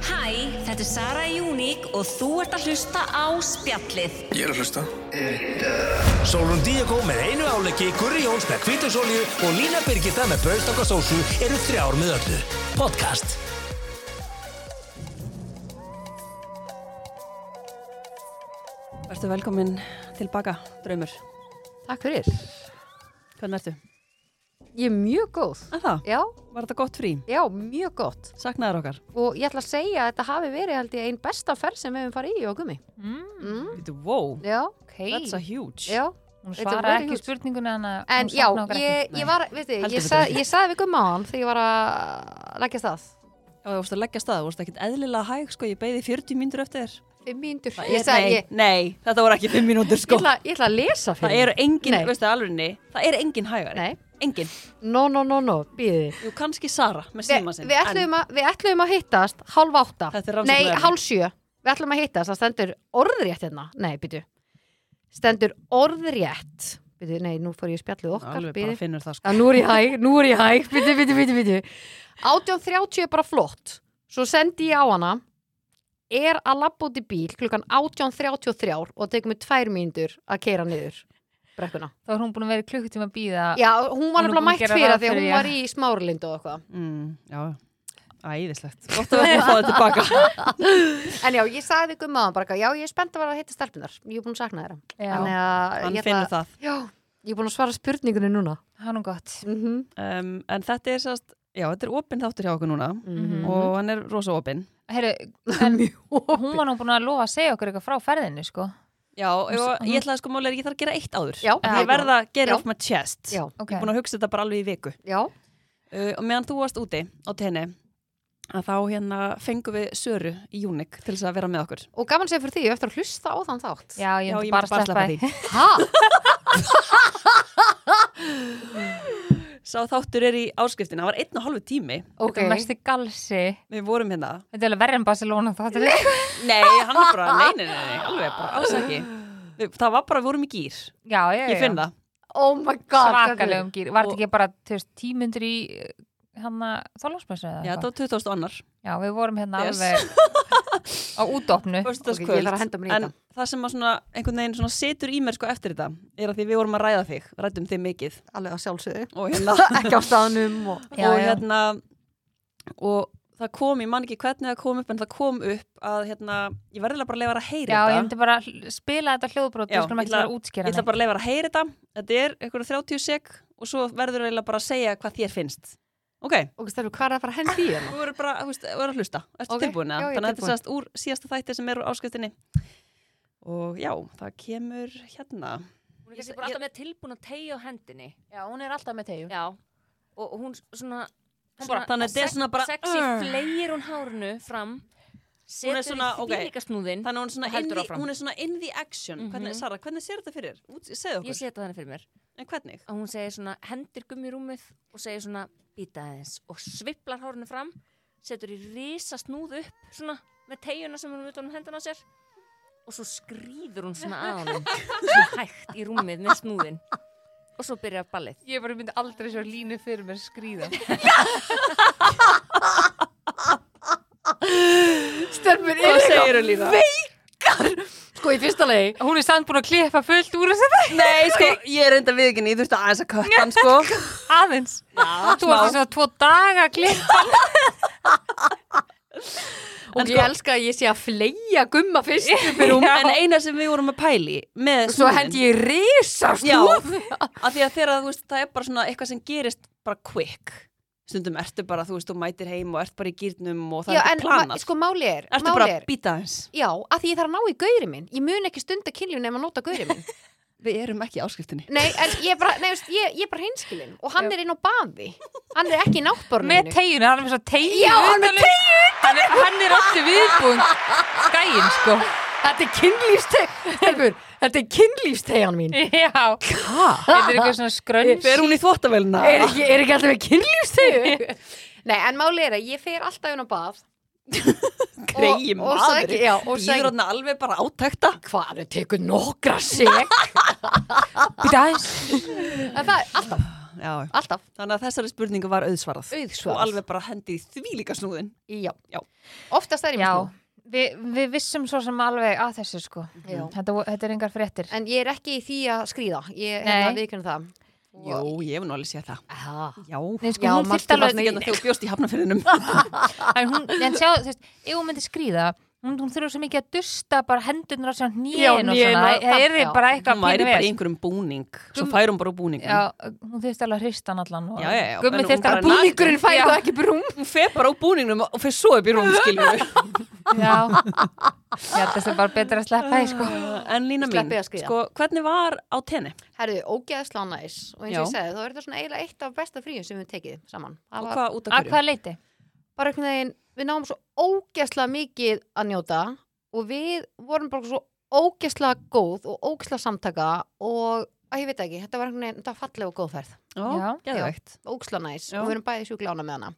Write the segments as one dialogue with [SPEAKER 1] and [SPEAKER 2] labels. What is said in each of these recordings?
[SPEAKER 1] Þetta er Sara Júník og þú ert að hlusta á spjallið.
[SPEAKER 2] Ég er að hlusta
[SPEAKER 3] Sólrún Díakó með einu áleggi, Gurri Jóns með kvítusólju og Lína Birgitta með brauðstokkasósu eru þrjár með öllu. Podcast.
[SPEAKER 4] Vertu velkomin tilbaka, draumur.
[SPEAKER 5] Takk fyrir.
[SPEAKER 4] Hvernig ertu?
[SPEAKER 5] Ég er mjög góð.
[SPEAKER 4] En það,
[SPEAKER 5] Já,
[SPEAKER 4] var þetta gott frí?
[SPEAKER 5] já, mjög gott.
[SPEAKER 4] Saknaðar okkar.
[SPEAKER 5] Og ég ætla að segja að þetta hafi verið held ég einn besta ferð sem við hefum farið í og gummi.
[SPEAKER 4] Þetta, wow,
[SPEAKER 5] Já,
[SPEAKER 6] Okay.
[SPEAKER 4] that's a huge.
[SPEAKER 5] Mm. já.
[SPEAKER 6] Hún
[SPEAKER 5] Þetta
[SPEAKER 6] svarar
[SPEAKER 5] var
[SPEAKER 6] ekki
[SPEAKER 5] huge.
[SPEAKER 6] spurningunni hann að
[SPEAKER 5] En
[SPEAKER 6] hún
[SPEAKER 5] já,
[SPEAKER 6] saknar okkar
[SPEAKER 5] ég,
[SPEAKER 6] ekki.
[SPEAKER 5] ég var, veit þið,
[SPEAKER 4] Heldur
[SPEAKER 5] ég,
[SPEAKER 4] betur
[SPEAKER 5] sa,
[SPEAKER 4] ekki.
[SPEAKER 5] ég saði við gumma á hann þegar ég var að leggja stað.
[SPEAKER 4] Já, þú vorst að leggja stað, þú vorst ekkert eðlilega hæg, sko, ég beði 40 mínútur eftir þér.
[SPEAKER 5] Fimm mínútur.
[SPEAKER 4] Það
[SPEAKER 5] Ég
[SPEAKER 4] er-
[SPEAKER 5] sagði,
[SPEAKER 4] nei,
[SPEAKER 5] ég,
[SPEAKER 4] nei, þetta voru ekki 5 mínútur,
[SPEAKER 5] ég,
[SPEAKER 4] sko.
[SPEAKER 5] ætla, ég ætla að lesa fyrir.
[SPEAKER 4] það eru engin,
[SPEAKER 5] Nei.
[SPEAKER 4] veistu, alvegni, það eru engin hægari.
[SPEAKER 5] Nei.
[SPEAKER 4] Engin.
[SPEAKER 5] No, no, no, no, býði.
[SPEAKER 4] Jú, kannski Sara með
[SPEAKER 5] Vi,
[SPEAKER 4] síma sinn.
[SPEAKER 5] við, ætluðum að, við ætluðum að hittast hálf átta.
[SPEAKER 4] Þetta er rannsóknarefni.
[SPEAKER 5] Nei, hálf sjö. Við ætluðum að hittast, það stendur orðrétt hérna. Nei, býtu. Stendur orðrétt. Býtu, nei, nú fór ég í spjallið okkar.
[SPEAKER 4] Alveg bara
[SPEAKER 5] Býtu.
[SPEAKER 4] finnur það, sko.
[SPEAKER 5] Já, nú er ég hæg, nú er ég hæg. Býtu, býtu, býtu, býtu. 18.30 er bara flott. Svo sendi ég á hana. Er að labba út í bíl klukkan 18.33 og tekum við tvær mínútur að keira niður brekkuna.
[SPEAKER 6] Þá er hún búin að vera í klukkutíma að býða
[SPEAKER 5] Já, hún var
[SPEAKER 6] Hún
[SPEAKER 5] nefnilega
[SPEAKER 6] er búin að
[SPEAKER 5] mætt
[SPEAKER 6] gera
[SPEAKER 5] fyrir
[SPEAKER 6] ráð
[SPEAKER 5] að því að
[SPEAKER 6] fyrir,
[SPEAKER 5] hún
[SPEAKER 6] já.
[SPEAKER 5] var í smáralind og eitthvað.
[SPEAKER 4] Mm, já, æðislegt. Gott að við ætlum að fá þetta tilbaka.
[SPEAKER 5] En já, ég sagði ykkur maður bara, eitthvað, já, ég er spennt að vera að hitta stelpunar. Ég er búin að sakna þeirra.
[SPEAKER 6] Já,
[SPEAKER 5] að
[SPEAKER 4] Hann
[SPEAKER 5] ég
[SPEAKER 4] finnur það.
[SPEAKER 5] Já, ég er búin að svara spurningunni núna.
[SPEAKER 6] hann er gott
[SPEAKER 5] Mm -hmm.
[SPEAKER 4] Um, en þetta er sérst, já, þetta er opinn þáttur hjá okkur núna
[SPEAKER 6] Mhm.
[SPEAKER 4] og hann er rosa opinn.
[SPEAKER 6] Heru, en, Hún var nú búin að lofa að segja okkur eitthvað frá ferðinni sko.
[SPEAKER 4] Já, og
[SPEAKER 6] s-
[SPEAKER 4] ég ætlaði sko málega ég þarf að gera eitt áður.
[SPEAKER 5] Já,
[SPEAKER 4] ég
[SPEAKER 5] já.
[SPEAKER 4] verða að gera
[SPEAKER 5] Já.
[SPEAKER 4] off my chest.
[SPEAKER 5] Já,
[SPEAKER 4] Ég
[SPEAKER 6] okay.
[SPEAKER 4] er búin að hugsa þetta bara alveg í viku.
[SPEAKER 5] já,
[SPEAKER 4] Uh, og meðan þú varst úti á tenni, að þá hérna fengum við Söru í Júnik til þess að vera með okkur.
[SPEAKER 5] og gaman segir fyrir því, ég á eftir að hlusta á þann þátt.
[SPEAKER 6] Já, ég
[SPEAKER 4] myndi
[SPEAKER 6] myndi bara að sleppa því
[SPEAKER 4] því.
[SPEAKER 5] Ha?
[SPEAKER 4] Sá þáttur er í áskriftina, það var einn og halvu tími.
[SPEAKER 5] Ok,
[SPEAKER 6] Þetta er mesti galsi
[SPEAKER 4] Við vorum hérna.
[SPEAKER 6] Þetta er alveg verri en Barcelona þá þetta er-
[SPEAKER 4] Nei, hann var bara, nei, nei, nei, nei alveg bara ásaki. Við- Það var bara, við vorum í gýr.
[SPEAKER 6] Já, já, já
[SPEAKER 4] Ég finn það.
[SPEAKER 5] oh my god.
[SPEAKER 6] Svakalegum gýr Var
[SPEAKER 4] Og-
[SPEAKER 6] þetta ekki bara þú veist, tímundur í hann að þólasmessu eða
[SPEAKER 4] Já,
[SPEAKER 6] eitthvað?
[SPEAKER 4] þetta var 2000 annar.
[SPEAKER 6] Já, við vorum hérna
[SPEAKER 4] Yes.
[SPEAKER 6] alveg á útdopnu
[SPEAKER 4] föstudagskvöld
[SPEAKER 5] Ok, ég þarf að henda mér í
[SPEAKER 4] en það sem að svona, einhvern veginn svona setur í mér sko eftir þetta er að því við vorum að ræða þig, rættum þig mikið
[SPEAKER 5] Alveg á sjálfsögðu.
[SPEAKER 4] og hérna,
[SPEAKER 5] Ekki á staðnum og...
[SPEAKER 6] Já,
[SPEAKER 4] og,
[SPEAKER 6] já.
[SPEAKER 4] hérna og það kom, ég man ekki hvernig það kom upp en það kom upp að hérna ég verðilega bara að leifa að heyra
[SPEAKER 6] Já, ég
[SPEAKER 4] þetta
[SPEAKER 6] myndi bara hl- spila þetta hljóðbrót
[SPEAKER 4] Já,
[SPEAKER 6] Við skulum
[SPEAKER 4] ég
[SPEAKER 6] ekki
[SPEAKER 4] ætla-
[SPEAKER 6] bara
[SPEAKER 4] ég
[SPEAKER 6] útskýra
[SPEAKER 4] ætla bara að leifa að heyra þetta þetta er einhverja 30 sek og svo verður eiginlega bara að segja hvað þér finnst ok,
[SPEAKER 5] Og stærðu, hvað er að fara að hendi í hérna?
[SPEAKER 4] þú verður bara þú veist, þú verður að hlusta, ertu
[SPEAKER 5] Ok,
[SPEAKER 4] okay. tilbúin
[SPEAKER 5] já, ég er
[SPEAKER 4] þannig að þetta
[SPEAKER 5] tilbúin.
[SPEAKER 4] er sérst úr síðasta þætti sem er úr áskriftinni og já, það kemur hérna
[SPEAKER 7] Hún er kannski bara alltaf með tilbúin að tegja á hendinni.
[SPEAKER 6] Já, hún er alltaf með tegjum
[SPEAKER 7] Já. Og og hún s- svona...
[SPEAKER 4] bara- þannig að þetta er
[SPEAKER 7] sex-
[SPEAKER 4] svona bara-
[SPEAKER 7] Sexy
[SPEAKER 4] Ugh.
[SPEAKER 7] fleir hún hárunu fram.
[SPEAKER 4] Hún
[SPEAKER 7] Setur
[SPEAKER 4] er svona,
[SPEAKER 7] í
[SPEAKER 4] ok.
[SPEAKER 7] fílikasnúðin.
[SPEAKER 4] Þannig að hún er, svona
[SPEAKER 7] Og
[SPEAKER 4] in
[SPEAKER 7] heldur
[SPEAKER 4] the,
[SPEAKER 7] áfram.
[SPEAKER 4] hún er svona in the action hvernig,
[SPEAKER 7] Mhm.
[SPEAKER 4] Sara, hvernig sér þetta fyrir? Út, segðu okkur,
[SPEAKER 7] Ég seti þannig fyrir mér.
[SPEAKER 4] en hvernig?
[SPEAKER 7] Að hún segir svona, hendir gummi í rúmið og segir svona, býta aðeins. Og sviplar hárunu fram, setur í risa snúð upp svona með tegjuna sem hún er utan um hendina á sér. Og svo skrýður hún svona að honum. Svona hægt í rúmið með snúðin. Og svo byrjar ballið.
[SPEAKER 6] Ég bara myndi aldrei svo línu fyrir mér skrýða.
[SPEAKER 5] Stelpur,
[SPEAKER 4] Hvað segir þú líka?
[SPEAKER 5] Sko, í fyrsta legi.
[SPEAKER 6] Hún er samt búin að klippa fullt úr þessu þetta.
[SPEAKER 4] Nei, sko, ég er enda viðkynni, ég þurfti aðeins að kötta hann, sko
[SPEAKER 6] Aðeins.
[SPEAKER 4] Já,
[SPEAKER 6] Þú varst þess að tvo daga að klippa.
[SPEAKER 5] Og ég elska að ég sé að fleja gumma fyrst upp í rúm.
[SPEAKER 4] En eina sem við vorum að pæli með
[SPEAKER 5] Svo hendi ég risa
[SPEAKER 4] Já,
[SPEAKER 5] stúð.
[SPEAKER 4] af því að þegar þú veist, það er bara svona eitthvað sem gerist bara quick Stundum ertu bara, þú veist, þú mætir heim og ert bara í gýrnum og það er ekki
[SPEAKER 5] ma-
[SPEAKER 4] planað
[SPEAKER 5] sko, máli er.
[SPEAKER 4] Ertu
[SPEAKER 5] máli
[SPEAKER 4] bara
[SPEAKER 5] er-
[SPEAKER 4] að býta aðeins
[SPEAKER 5] Já, að því ég þarf að ná í gaurið minn. Ég mun ekki stunda kynlífin ef að nota gaurið minn.
[SPEAKER 4] Við erum ekki í áskriftinni
[SPEAKER 5] Nei, en ég er bara, nei, veist, ég, ég er bara hinskilinn og hann er inn á baði. Hann er ekki í
[SPEAKER 6] Með
[SPEAKER 5] náttboruninu.
[SPEAKER 6] tegjuna, hann er með svo tegjum.
[SPEAKER 5] Já, hann er með
[SPEAKER 6] tegjum. um- Hann er, hann er alltaf viðbúin. Gæinn, sko.
[SPEAKER 5] Þetta er kynlífsteg, þetta er kynlífstegan mín.
[SPEAKER 6] Já. Þetta er eitthvað svona skrönns.
[SPEAKER 4] Fer hún í þvóttavélina?
[SPEAKER 5] Er ekki, er ekki alltaf með kynlífstegu? nei, en máli er að ég fer alltaf inn á bað.
[SPEAKER 4] Greiði
[SPEAKER 5] og- og sæki- já, og
[SPEAKER 4] maður
[SPEAKER 5] sæki-
[SPEAKER 4] Býður hann alveg bara átækta
[SPEAKER 5] Hvað, þau tekur nokkra seg?
[SPEAKER 6] Býta aðeins.
[SPEAKER 5] en það er alltaf,
[SPEAKER 4] Já,
[SPEAKER 5] alltaf
[SPEAKER 4] Þannig að þessari spurningu var auðsvarað
[SPEAKER 5] auðsvarað.
[SPEAKER 4] og alveg bara hendið í því líka snúðin.
[SPEAKER 5] Já.
[SPEAKER 4] Já.
[SPEAKER 5] Oftast er ég
[SPEAKER 6] Já.
[SPEAKER 5] með snúð.
[SPEAKER 6] Vi, við vissum svo sem alveg að þessu sko þetta, vo- þetta er engar fréttir
[SPEAKER 5] En ég er ekki í því að skrýða Ég
[SPEAKER 6] Nei.
[SPEAKER 5] er að viðkynna það
[SPEAKER 4] Jó, ég hef nú alveg séð það.
[SPEAKER 5] Aha.
[SPEAKER 4] Já,
[SPEAKER 6] Nei, sko,
[SPEAKER 5] Já,
[SPEAKER 6] hún
[SPEAKER 5] margt
[SPEAKER 6] þyrfti
[SPEAKER 4] það er
[SPEAKER 6] alveg
[SPEAKER 4] ekki hérna þegar þú bjóst í hafnafyrinum.
[SPEAKER 6] en, hún, en sjá, þú veist, ef hún myndi skrýða hún, hún þurfa svo mikið að dusta bara hendurnar á sér
[SPEAKER 5] Já,
[SPEAKER 6] nýjum og
[SPEAKER 5] hnén
[SPEAKER 6] svona
[SPEAKER 5] og-
[SPEAKER 6] það er
[SPEAKER 5] já.
[SPEAKER 6] bara eitthvað
[SPEAKER 4] Hún væri
[SPEAKER 6] pínu
[SPEAKER 4] bara í
[SPEAKER 6] ves.
[SPEAKER 4] einhverjum búning, svo
[SPEAKER 6] Gum-
[SPEAKER 4] fær hún bara úr búningum.
[SPEAKER 6] Já, hún þurfti alveg að hrista hann allan og-
[SPEAKER 4] Já, já, já, en
[SPEAKER 6] Gummi
[SPEAKER 4] hún
[SPEAKER 6] þurfti
[SPEAKER 4] bara
[SPEAKER 6] að
[SPEAKER 4] nagli-
[SPEAKER 5] Búningurinn fæði
[SPEAKER 6] Já.
[SPEAKER 5] það ekki brúm
[SPEAKER 4] Hún fer bara úr búningnum og fer svo upp í rúm, skiljum við.
[SPEAKER 6] Já, já þetta er bara betra að sleppa því sko
[SPEAKER 4] En Lína mín,
[SPEAKER 5] Sleppið að skríða.
[SPEAKER 4] sko, hvernig var á tenni?
[SPEAKER 5] Herðu, ógeðslega næs og eins og ég
[SPEAKER 4] Já.
[SPEAKER 5] segði, þá er þetta svona eiginlega eitt af besta fríum sem við höfum tekið saman. Það
[SPEAKER 4] Og
[SPEAKER 5] var
[SPEAKER 4] hvað út af
[SPEAKER 6] Að
[SPEAKER 4] hverju?
[SPEAKER 6] hvaða leiti?
[SPEAKER 5] bara einhvern veginn, við náum svo ógeðslega mikið að njóta og við vorum bara svo ógeðslega góð og ógeðslega samtaka og að ég veit ekki, þetta var einhvern veginn, þetta var falleg og góð ferð,
[SPEAKER 4] Já,
[SPEAKER 6] Já,
[SPEAKER 4] geðveikt.
[SPEAKER 5] ógeðslega næs
[SPEAKER 4] Já.
[SPEAKER 5] og við erum bæði sjúklána með hana.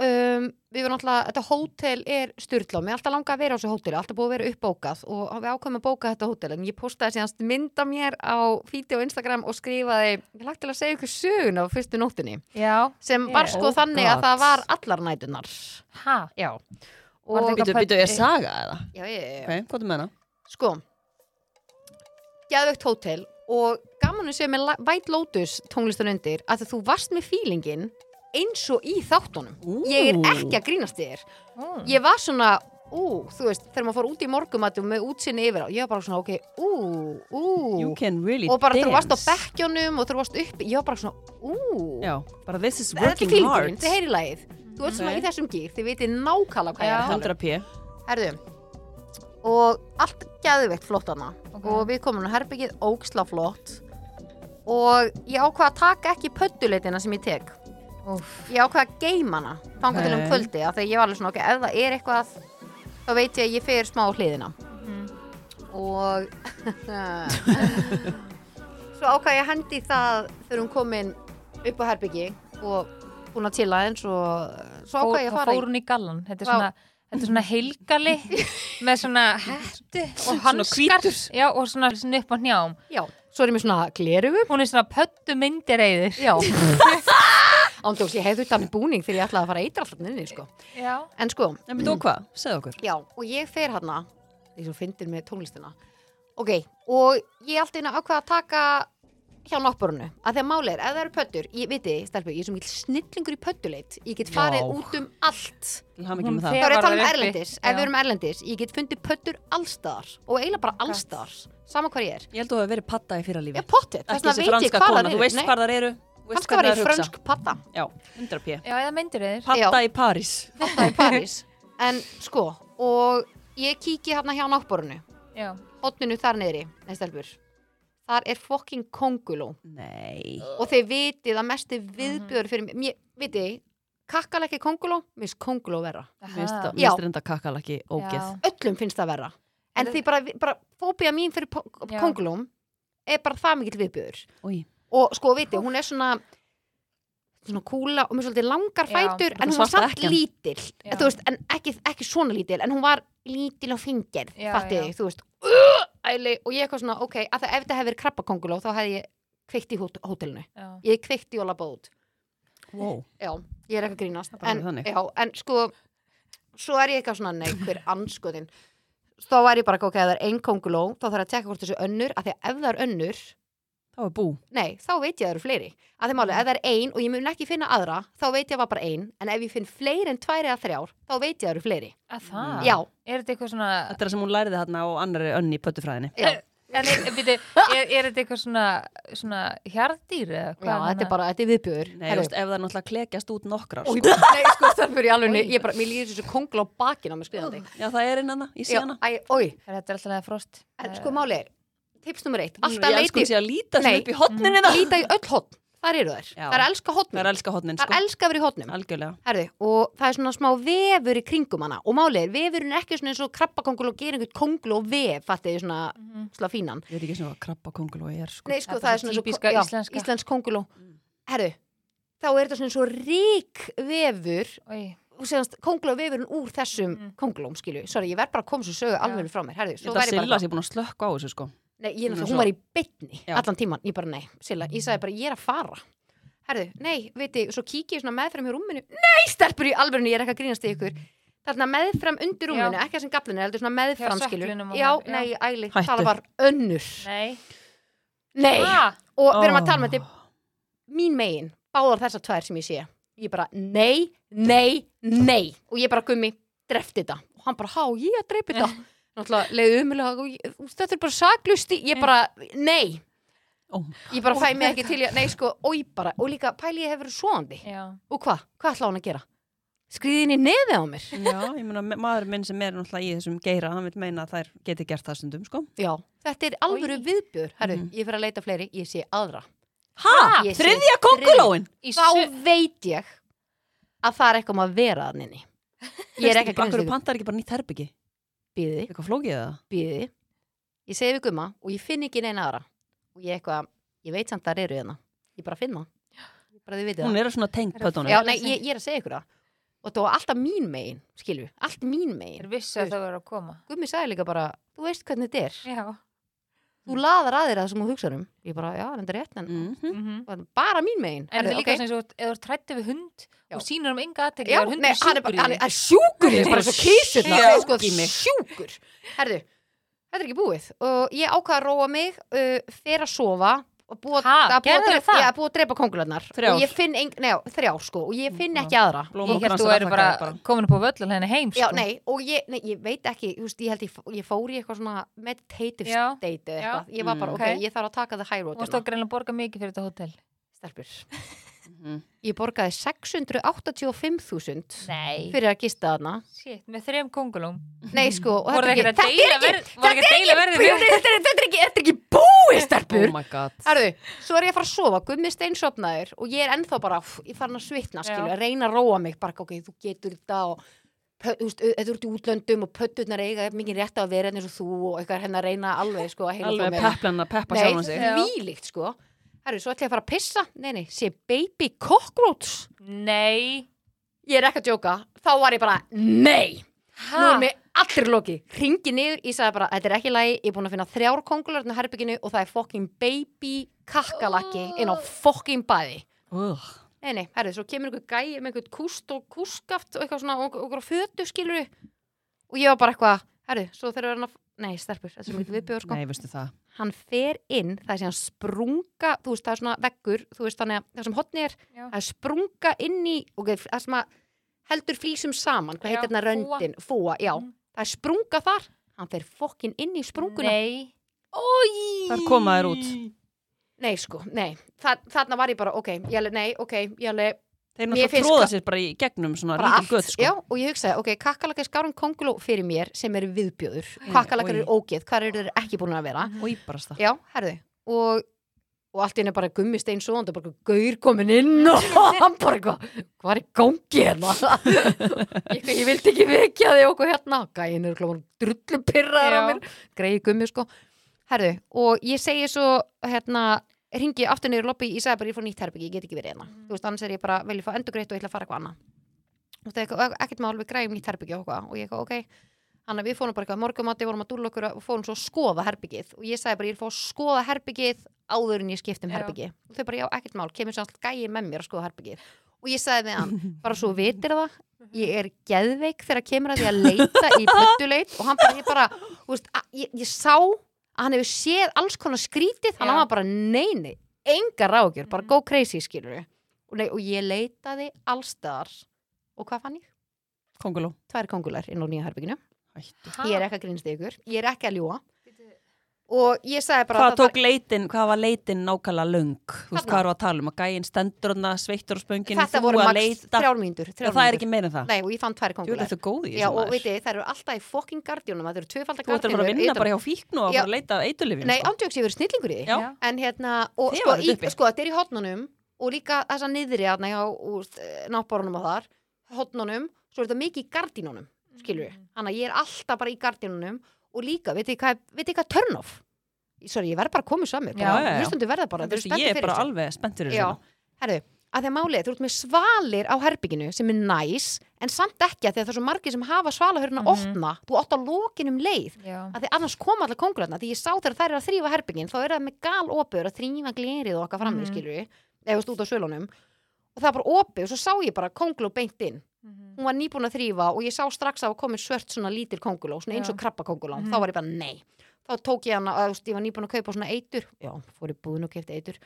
[SPEAKER 5] Um, við vorum alltaf, þetta hótel er styrla og mér er alltaf langa að vera á þessu hóteli, alltaf búið að vera uppbókað og við ákveðum að bóka þetta hótel en ég postaði síðanst mynda mér á fíti og Instagram og skrifaði, ég lagt til að segja ykkur söguna á fyrstu nóttinni
[SPEAKER 6] já,
[SPEAKER 5] sem var
[SPEAKER 6] Yeah.
[SPEAKER 5] sko
[SPEAKER 4] Oh
[SPEAKER 5] þannig
[SPEAKER 4] God.
[SPEAKER 5] að það var allar nætunar
[SPEAKER 6] ha
[SPEAKER 5] já
[SPEAKER 6] Var þetta
[SPEAKER 5] og,
[SPEAKER 4] Býtu,
[SPEAKER 6] eitthvað-
[SPEAKER 4] býtu, er saga eða?
[SPEAKER 5] já, já, já, já.
[SPEAKER 4] Ok, hvað er með hana?
[SPEAKER 5] sko geðvögt hótel og gaman að séu með La- White Lotus tónlistan undir að þú varst með feelingin eins og í þáttunum ég er ekki að grínast í þér
[SPEAKER 6] mm.
[SPEAKER 5] ég var svona, ú, þú veist þegar maður fór út í morgumatum með útsinni yfir á ég var bara svona, ok, ú, ú
[SPEAKER 4] You can really
[SPEAKER 5] og bara
[SPEAKER 4] dance.
[SPEAKER 5] þegar þú varst á bekkjónum og þegar þú varst uppi, ég var bara svona, ú
[SPEAKER 4] Já, bara this is
[SPEAKER 5] þetta er
[SPEAKER 4] working
[SPEAKER 5] fílingurinn,
[SPEAKER 4] hard.
[SPEAKER 5] þetta er heyrilægið þú ert svona
[SPEAKER 4] Ok.
[SPEAKER 5] í þessum gír, þið vitið nákvæmlega hvað ég er að tala
[SPEAKER 4] 100 p.
[SPEAKER 5] um herðu, og allt geðveikt flott hana
[SPEAKER 6] Ok.
[SPEAKER 5] og við komum á herbyggið óksla flott og ég ákvað að taka ekki pöttuleitina sem ég tek
[SPEAKER 6] Úff,
[SPEAKER 5] ég ákvað að geima hana þangað til um
[SPEAKER 4] Nei.
[SPEAKER 5] kvöldi af því að ég var alveg svona ok, ef það er eitthvað þá veit ég að ég fer smá á hliðina
[SPEAKER 6] Mhm.
[SPEAKER 5] og svo ákvað ég að hendi í það þegar hún komin upp á herbyggi og búin að tila eins og eh, svo
[SPEAKER 6] fór,
[SPEAKER 5] ákvað ég að
[SPEAKER 6] þá
[SPEAKER 5] fara
[SPEAKER 6] fór hún í gallan þetta er
[SPEAKER 5] Vá.
[SPEAKER 6] svona, þetta er svona heilgali með svona hættu og hanskar
[SPEAKER 4] hvítur.
[SPEAKER 6] já, og svona, svona upp á hnjám
[SPEAKER 5] í já, svo er ég með svona glerugu
[SPEAKER 6] hún er svona pöttu myndireiðir
[SPEAKER 5] já ándjóks, ég hefði utan búning þegar ég ætlaði að fara að eitra alltaf nynni sko.
[SPEAKER 6] já,
[SPEAKER 5] en sko,
[SPEAKER 4] En býtu, og hvað? Segð okkur.
[SPEAKER 5] Já, og ég fer hérna, hana því sem fyndir með tónlistina ok, og ég allt einu ákvað að taka hjá náttbórunu að því að máli er, ef það eru pöttur, ég veit þið stelpur, ég er svo mikil snillingur í pöttuleit ég get farið
[SPEAKER 4] Já.
[SPEAKER 5] út um allt
[SPEAKER 4] Til hamingjum
[SPEAKER 6] Hún
[SPEAKER 4] með það.
[SPEAKER 5] þá er ég að
[SPEAKER 6] var
[SPEAKER 5] tala um
[SPEAKER 6] uppi.
[SPEAKER 5] erlendis,
[SPEAKER 6] Já.
[SPEAKER 5] ef við erum erlendis ég get fundið pöttur allstaðar og eiginlega bara allstaðar, sama hvað ég er
[SPEAKER 4] Ég held að þú hefur verið patta í fyrra lífi.
[SPEAKER 5] ég er pottet, þess
[SPEAKER 4] Ekki
[SPEAKER 5] vegna
[SPEAKER 4] þessi
[SPEAKER 5] veit ég
[SPEAKER 4] franska
[SPEAKER 5] hvað það
[SPEAKER 4] kona,
[SPEAKER 5] eru
[SPEAKER 4] þú veist
[SPEAKER 5] Nei,
[SPEAKER 4] hvað það eru. þú veist
[SPEAKER 5] kannski var
[SPEAKER 4] hvernig
[SPEAKER 5] ég
[SPEAKER 4] þær hugsa.
[SPEAKER 5] frönsk patta
[SPEAKER 4] Já, 100 p.
[SPEAKER 6] já, eða myndireiðir
[SPEAKER 4] Patta í París.
[SPEAKER 5] patta í París en sko, og ég kíki hérna hjá náttbórunu
[SPEAKER 6] já,
[SPEAKER 5] hotninu þar neyri, nei stelpur þar er fokking konguló
[SPEAKER 4] Nei.
[SPEAKER 5] og þeir vitið að mesti viðbjör fyrir mér, mér vitið, kakkalaki konguló mér finnst konguló verra,
[SPEAKER 4] Mér finnst það-
[SPEAKER 5] Já.
[SPEAKER 4] mér finnst reynda kakalaki ógeð.
[SPEAKER 6] Já.
[SPEAKER 5] öllum finnst það verra en
[SPEAKER 6] En-
[SPEAKER 5] því bara, bara fóbía mín fyrir
[SPEAKER 6] Já.
[SPEAKER 5] kongulóm er bara það mikill viðbjör
[SPEAKER 4] Új,
[SPEAKER 5] og sko vitið, hún er svona svona kúla og með svolítið langar
[SPEAKER 6] Já,
[SPEAKER 5] fætur en hún var
[SPEAKER 4] svarta
[SPEAKER 5] samt
[SPEAKER 4] ekkjan.
[SPEAKER 5] lítil
[SPEAKER 6] Já.
[SPEAKER 5] þú veist, en ekki, ekki svona lítil en hún var lítil og fingir
[SPEAKER 6] Já,
[SPEAKER 5] fattið
[SPEAKER 6] já.
[SPEAKER 5] þig, þú veist æli, og ég eitthvað svona, ok, að það ef þetta hefði verið krabbakonguló þá hefði ég kveikt í hót, hótelinu
[SPEAKER 6] já,
[SPEAKER 5] ég hef kveikt í Óla út
[SPEAKER 4] wow.
[SPEAKER 5] já, ég er ekki að grínast
[SPEAKER 4] bara
[SPEAKER 5] en,
[SPEAKER 4] þannig.
[SPEAKER 5] já, en sko, svo er ég eitthvað svona nei, hver anskotin þá var ég bara, ok, ef það er ein konguló þá þarf ég að tekka hvort þessu önnur, af því að ef það er önnur
[SPEAKER 4] Það var bú.
[SPEAKER 5] Nei, þá veit ég að það eru fleiri. Að þeim máli,
[SPEAKER 4] Mm.
[SPEAKER 5] ef það er ein og ég mun ekki finna aðra, þá veit ég að það var bara ein, en ef ég finn fleiri en tvær eða þrjár, þá veit ég að það eru fleiri.
[SPEAKER 6] að það
[SPEAKER 5] Já,
[SPEAKER 6] er þetta eitthvað svona
[SPEAKER 4] Þetta er það sem hún læriði hérna á annari önni í pöttufræðinni.
[SPEAKER 5] já,
[SPEAKER 6] En er, byrju, er, er þetta eitthvað svona, svona hjarðdýr eða
[SPEAKER 5] já, þetta er bara, þetta er viðbjör.
[SPEAKER 4] Nei, þú veist, e- ef það er náttúrulega klekjast út nokkrar. sko.
[SPEAKER 5] Nei, sko, það fyrir í alveg, ég bara, mér líður þessu kongla á bakinn á mig skriðandi.
[SPEAKER 4] Já, það er hérna, innan það, ég sé
[SPEAKER 5] Já,
[SPEAKER 4] hana.
[SPEAKER 5] æ, oi,
[SPEAKER 6] Þetta er alltaf að frost
[SPEAKER 5] en sko máli er, tips nummer eitt, alltaf
[SPEAKER 4] Eh. Mm, Ég elsku hún
[SPEAKER 5] leiti,
[SPEAKER 4] sé að líta sem
[SPEAKER 5] Nei. Mm.
[SPEAKER 4] upp í hérna. hotninu það.
[SPEAKER 5] líta í öll hotn, þar eru þær.
[SPEAKER 4] Já.
[SPEAKER 5] Það er elska
[SPEAKER 4] Það er
[SPEAKER 5] hotnum,
[SPEAKER 4] elska hotnin,
[SPEAKER 5] það er
[SPEAKER 4] sko.
[SPEAKER 5] elska að vera í hotnum.
[SPEAKER 4] Algjörlega.
[SPEAKER 5] Herðu, og það er svona smá vefur í kringum hana og málið er, vefurinn er ekki svona eins og krabbakongul og gerir einhvern kongul og vef fattið þið svona mm fínan
[SPEAKER 4] Ég veit ekki sem hvað krabba kongul og ég er, sko.
[SPEAKER 5] Nei, sko, það,
[SPEAKER 6] það er bara
[SPEAKER 5] er svona
[SPEAKER 6] típiska
[SPEAKER 5] já,
[SPEAKER 6] íslenska.
[SPEAKER 5] íslensk kongul og herðu, þá er þetta svona eins og rík vefur
[SPEAKER 6] Oi,
[SPEAKER 5] kongul og vefurinn úr þessum mm. kongulóm skilju, sorry, ég verð bara að koma svo sögu alveg frá mér, herðu,
[SPEAKER 4] Ég
[SPEAKER 5] svo
[SPEAKER 4] held að
[SPEAKER 5] væri
[SPEAKER 4] Silla
[SPEAKER 5] bara
[SPEAKER 4] sé búin að slökka á þessu, sko.
[SPEAKER 5] Nei, ég,
[SPEAKER 4] Hún er
[SPEAKER 5] náttúrulega,
[SPEAKER 4] svo-
[SPEAKER 5] hún var í bytni
[SPEAKER 4] Já.
[SPEAKER 5] allan tíman, ég bara nei, Silla, ég sagði bara ég er að fara Herðu, nei, veit ég, svo kík ég svona meðfram hjá rúminu Nei, stelpur í alvörinu, ég er ekki að grínast í ykkur Þarna meðfram undir rúminu, ekki þessum gaflinu, heldur svona meðfram
[SPEAKER 6] Hjá
[SPEAKER 5] skilur.
[SPEAKER 6] sökklinum og
[SPEAKER 5] Já,
[SPEAKER 6] það, já.
[SPEAKER 5] nei, æli,
[SPEAKER 4] Hættu.
[SPEAKER 5] það var önnur.
[SPEAKER 6] Nei.
[SPEAKER 5] Nei,
[SPEAKER 6] Ah,
[SPEAKER 5] og við erum að tala
[SPEAKER 4] Ó.
[SPEAKER 5] með þetta mín megin, báðar þessar tvær sem ég sé ég bara, nei, nei, nei og ég bara, gummi, drefti þetta og hann bara, há, ég að dreipi
[SPEAKER 4] Eh.
[SPEAKER 5] þetta náttúrulega leiði umulega og ég- þetta er bara saklusti, ég bara, nei
[SPEAKER 4] Ó.
[SPEAKER 5] ég bara fæ mig ekki til ég, nei sko, og ég bara og líka, pæli ég hefur verið svoandi
[SPEAKER 4] Eh.
[SPEAKER 6] já.
[SPEAKER 5] og hvað, hvað ætla hann að gera? skriði inn í neðið á mér
[SPEAKER 4] Já, ég meina, me- maður minn sem er náttúrulega í þessum geira, hann vil meina að þær geti gert það stundum, sko.
[SPEAKER 5] Já. þetta er alvöru viðbjör, herru,
[SPEAKER 4] Mhm.
[SPEAKER 5] ég fyrir að leita fleiri ég sé aðra
[SPEAKER 4] Ha?
[SPEAKER 5] Ég sé
[SPEAKER 4] Þriðja kongulóin?
[SPEAKER 6] Í
[SPEAKER 5] þá
[SPEAKER 6] su-
[SPEAKER 5] veit ég að það er eitthvað um að vera að nynni ég er ekki að
[SPEAKER 4] Akkur
[SPEAKER 5] grunst
[SPEAKER 4] pantar ekki bara nýtt herbyggi?
[SPEAKER 5] bíði,
[SPEAKER 4] Eitthvað flókið eða?
[SPEAKER 5] bíði ég segi við gumma og ég finn ekki neina aðra og ég eitthvað, ég veit samt þar eru hérna ég bara finna ég bara þið vitið
[SPEAKER 4] Hún
[SPEAKER 5] það
[SPEAKER 4] er að svona tengd pötunum.
[SPEAKER 5] Já, nei, ég, ég er að segja ykkur það og það var alltaf mín megin, skilju allt mín
[SPEAKER 6] Þeir
[SPEAKER 5] megin,
[SPEAKER 6] vissu að það voru að koma.
[SPEAKER 5] gummi sagði líka bara þú veist hvernig þetta er,
[SPEAKER 6] Já.
[SPEAKER 5] þú laðar að þér það sem þú hugsa um ég bara, já, þetta er rétt en
[SPEAKER 4] Mhm.
[SPEAKER 6] En
[SPEAKER 5] bara mín megin
[SPEAKER 6] það
[SPEAKER 5] Hm? Herðu,
[SPEAKER 6] Mm. er líka
[SPEAKER 5] ok.
[SPEAKER 6] sem þú, ef þú ert trætti við hund
[SPEAKER 5] Já.
[SPEAKER 6] og sínur um enga aðtekki,
[SPEAKER 5] Já,
[SPEAKER 6] er hundur
[SPEAKER 5] nei, hann er
[SPEAKER 6] sjúkur
[SPEAKER 5] bara,
[SPEAKER 6] í
[SPEAKER 5] hann
[SPEAKER 6] þig.
[SPEAKER 5] er sjúkur
[SPEAKER 4] Hann
[SPEAKER 5] í þig,
[SPEAKER 4] er
[SPEAKER 5] bara svo kísur
[SPEAKER 4] sjúkur
[SPEAKER 5] það, sko,
[SPEAKER 4] í mig.
[SPEAKER 5] sjúkur. Herðu, þetta er ekki búið og ég ákvað að róa mig, uh, fer að sofa og búið
[SPEAKER 6] Ha,
[SPEAKER 5] að búið að
[SPEAKER 6] gerðirðu
[SPEAKER 5] drepa,
[SPEAKER 6] það?
[SPEAKER 5] já, búið að drepa kongularnar
[SPEAKER 4] Þrjár.
[SPEAKER 5] og ég finn, ein, nei, þrjár sko, og ég finn ekki aðra.
[SPEAKER 4] Blóma
[SPEAKER 6] Ég held þú eru bara komin upp á völlun henni heim, sko.
[SPEAKER 5] Já, nei, og ég, nei, ég veit ekki, þú veist, ég held ég, fó- ég fór í eitthvað svona meditative
[SPEAKER 6] Já,
[SPEAKER 5] state eða
[SPEAKER 6] já.
[SPEAKER 5] eitthvað, ég var bara,
[SPEAKER 4] Mm.
[SPEAKER 5] ok,
[SPEAKER 6] Ok.
[SPEAKER 5] ég þarf að taka það high
[SPEAKER 6] Þú
[SPEAKER 5] road
[SPEAKER 6] varst
[SPEAKER 5] hérna,
[SPEAKER 6] okkur að borga mikið fyrir þetta hótel.
[SPEAKER 5] stelpur.
[SPEAKER 4] Mhm.
[SPEAKER 5] Ég borgaði 685.000
[SPEAKER 6] Nei.
[SPEAKER 5] fyrir að gista þarna.
[SPEAKER 6] Shit, með þrem kongulum.
[SPEAKER 5] Nei, sko, og
[SPEAKER 6] Voru
[SPEAKER 5] þetta
[SPEAKER 6] þeir
[SPEAKER 5] er ekki,
[SPEAKER 6] ekki
[SPEAKER 5] þetta
[SPEAKER 6] að
[SPEAKER 5] er ekki,
[SPEAKER 6] deila verð- voru ekki að deila verðinu?
[SPEAKER 5] Jú, nei, þetta er- þetta er ekki, þetta er ekki búið,
[SPEAKER 4] Oh
[SPEAKER 5] stelpur.
[SPEAKER 4] my god.
[SPEAKER 5] Herðu, svo er ég að fara að sofa, gummi steinsopnaður og ég er ennþá bara, pff, ég farin að svitna, skilju,
[SPEAKER 6] Já.
[SPEAKER 5] að reyna að róa mig, bara, ok, þú getur þetta og, pö- þú veist, þetta eru út í útlöndum og pötturnar eiga jafn mikið rétt á að vera hérna eins og þú og eitthvað er henni að reyna alveg, sko, að heila
[SPEAKER 4] Alveg
[SPEAKER 5] mér.
[SPEAKER 4] peplan að peppa sjálfan sig.
[SPEAKER 5] Nei, þvílíkt, sko. Herru, svo ætla ég að fara að pissa, nei, nei, sé baby cockroach.
[SPEAKER 6] Nei.
[SPEAKER 5] Ég er ekki að djóka, þá var ég bara, nei, nú
[SPEAKER 6] Ha?
[SPEAKER 5] er mér allir loki. Ringi niður, ég sagði bara, þetta er ekki lægi, ég er búin að finna þrjár kongular í herbygginu og það er fucking baby kakkalakki inn á fucking bæði.
[SPEAKER 4] Ugh.
[SPEAKER 5] Nei, nei, herðu, svo kemur einhver gæi með einhvern kúst og kústskaft og eitthvað svona og og einhverja fötu skilur og ég var bara eitthvað, herðu, svo þegar hann að, nei, stelpur, þetta er svo mikið viðbjör sko
[SPEAKER 4] Nei, veistu það.
[SPEAKER 5] hann fer inn, það er síðan sprunga þú veist, það er svona veggur, þú veist þannig að það sem hotni er,
[SPEAKER 6] Já.
[SPEAKER 5] það er sprunga inn í ok, það sem að heldur flísum saman, hvað
[SPEAKER 6] Já,
[SPEAKER 5] heitir þarna
[SPEAKER 6] fúga.
[SPEAKER 5] röndin fúa, já,
[SPEAKER 6] Mm.
[SPEAKER 5] það er sprunga þar hann fer fokkin inn í sprunguna nei,
[SPEAKER 6] Nei.
[SPEAKER 4] Þar koma þær út.
[SPEAKER 5] sko, nei, Þa, þarna var ég bara ok, ég alveg, nei, ok, ég alveg
[SPEAKER 4] Þeir
[SPEAKER 5] Mér
[SPEAKER 4] náttúrulega
[SPEAKER 5] finnst
[SPEAKER 4] tróða
[SPEAKER 5] sko-
[SPEAKER 4] sér bara í gegnum svona
[SPEAKER 5] bara
[SPEAKER 4] lítil
[SPEAKER 5] allt,
[SPEAKER 4] gött, sko.
[SPEAKER 5] já, og ég hugsaði, ok, kakkalakar skárum konguló fyrir mér sem eru viðbjóður kakkalakar
[SPEAKER 4] oj.
[SPEAKER 5] eru ógeð, hvað eru þeir ekki búin að vera
[SPEAKER 4] Og íbarast það.
[SPEAKER 5] Já, herðu og, og allt í henni bara gummi stein svo og það bara gaur komin inn og hann bara eitthvað, hvað er í gangi hérna ég, ég vildi ekki vekja þig okkur hérna, gæin er klóman drullu pyrraður á
[SPEAKER 6] Já.
[SPEAKER 5] mér greiði gummi sko, herðu og ég segi svo hérna ringi aftur niður í lobby, ég sagði bara ég fór nýtt herbyggi, ég get ekki verið hérna þú veist, annars er ég bara, vel ég fá endurgreitt og ég ætla að fara eitthvað annað og það er eitthvað, ekkert mál við græjum nýtt herbyggja og eitthvað og ég eitthvað, ok þannig að við fórum bara eitthvað morgumati, vorum að dúlla okkur og fórum svo að skoða herbyggið og ég sagði bara, ég er að fá að skoða herbyggið áður en ég skipt um
[SPEAKER 6] Já.
[SPEAKER 5] herbyggi og þau bara, já, ekkert mál, kemur svo alltaf gæi með mér að skoða herbyggið og ég sagði við hann, bara svo þú vitir það ég er geðveik þegar kemur að því að leita í pöttuleit og hann bara, ég bara, þú veist, að, ég, ég sá að hann hefur séð alls konar skrítið þannig að
[SPEAKER 6] Já.
[SPEAKER 5] hann var bara, nei, nei, enga rákjör bara go crazy, skilur og, nei, og ég leitaði allstaðar og hvað fann ég?
[SPEAKER 4] Konguló.
[SPEAKER 5] tvær kongular inn á nýja herbygginu
[SPEAKER 4] Hættu.
[SPEAKER 5] ég er ekki að grínst ykkur, ég er ekki að ljúa og ég sagði bara
[SPEAKER 4] Hvað
[SPEAKER 5] að það
[SPEAKER 4] tók leitin, hvað var leitin nákvæmlega löng? Þú veist,
[SPEAKER 5] Þarna.
[SPEAKER 4] hvað eru að tala um? Að gæinn stendur hana, sveittur á spönginu,
[SPEAKER 5] var, þetta voru
[SPEAKER 4] að
[SPEAKER 5] maks
[SPEAKER 4] leita.
[SPEAKER 5] þrjár mínútur
[SPEAKER 4] Já,
[SPEAKER 5] þrjár
[SPEAKER 4] það er
[SPEAKER 5] mínútur.
[SPEAKER 4] ekki meira en það.
[SPEAKER 5] nei, og ég fann tvær
[SPEAKER 4] Jú,
[SPEAKER 5] kongular
[SPEAKER 4] þetta er góð í
[SPEAKER 5] Já,
[SPEAKER 4] þessu
[SPEAKER 5] og veit
[SPEAKER 4] maður.
[SPEAKER 5] þið, það eru alltaf í fokking gardjónum það eru tvöfaldar
[SPEAKER 4] Þú ert að fara að vinna bara hjá fíknu og að
[SPEAKER 5] Já.
[SPEAKER 4] fara að leita að sko. eitulifjum.
[SPEAKER 5] Nei, ándjóks, ég verið snillingur í því
[SPEAKER 4] Já.
[SPEAKER 6] Já.
[SPEAKER 5] En hérna, og
[SPEAKER 4] Þið
[SPEAKER 5] sko,
[SPEAKER 4] varuð
[SPEAKER 5] í,
[SPEAKER 4] uppi.
[SPEAKER 5] sko, þetta er í hotnunum og líka þessa niðri aðna hjá náttbárunum og þar, hotnunum svo er þetta mikið í gardínunum, skilur
[SPEAKER 4] Mm.
[SPEAKER 5] við Þannig að ég er alltaf bara í gardínunum og líka, veit þið hvað, veit þið hvað turn off? Sorry, ég verð bara að koma saman
[SPEAKER 6] Já,
[SPEAKER 4] já, já.
[SPEAKER 5] Hlustundu verða bara,
[SPEAKER 4] Þú
[SPEAKER 5] þeir
[SPEAKER 4] veist,
[SPEAKER 5] eru spenntir
[SPEAKER 4] Ég er
[SPEAKER 5] fyrir
[SPEAKER 4] bara
[SPEAKER 5] þessu.
[SPEAKER 4] alveg spenntur í
[SPEAKER 5] Já,
[SPEAKER 4] þessu.
[SPEAKER 5] herru, að því að málið, er, þú ert með svalir á herbygginu sem er næs, en samt ekki að því að það er svo margir sem hafa
[SPEAKER 4] Mhm.
[SPEAKER 5] svalahörna opna, þú átt að lokin um leið
[SPEAKER 6] Já.
[SPEAKER 5] að því annars koma allar kongularna því ég sá þegar þær eru að þrýfa herbyggin þá eru það með gal opið, eru að þrýfa glerið og okkar framvið mm. skilur við, eða þú veist, út á sölunum og það er bara opið og svo sá ég bara konglu beint inn hún var nýbúin að þrýfa og ég sá strax að það var komin svört svona lítil konguló, svona eins og krabba þá var ég bara nei, þá tók ég hana að, þú veist, ég var nýbúin að kaupa svona eitur já, fór í búðin og kefti eitur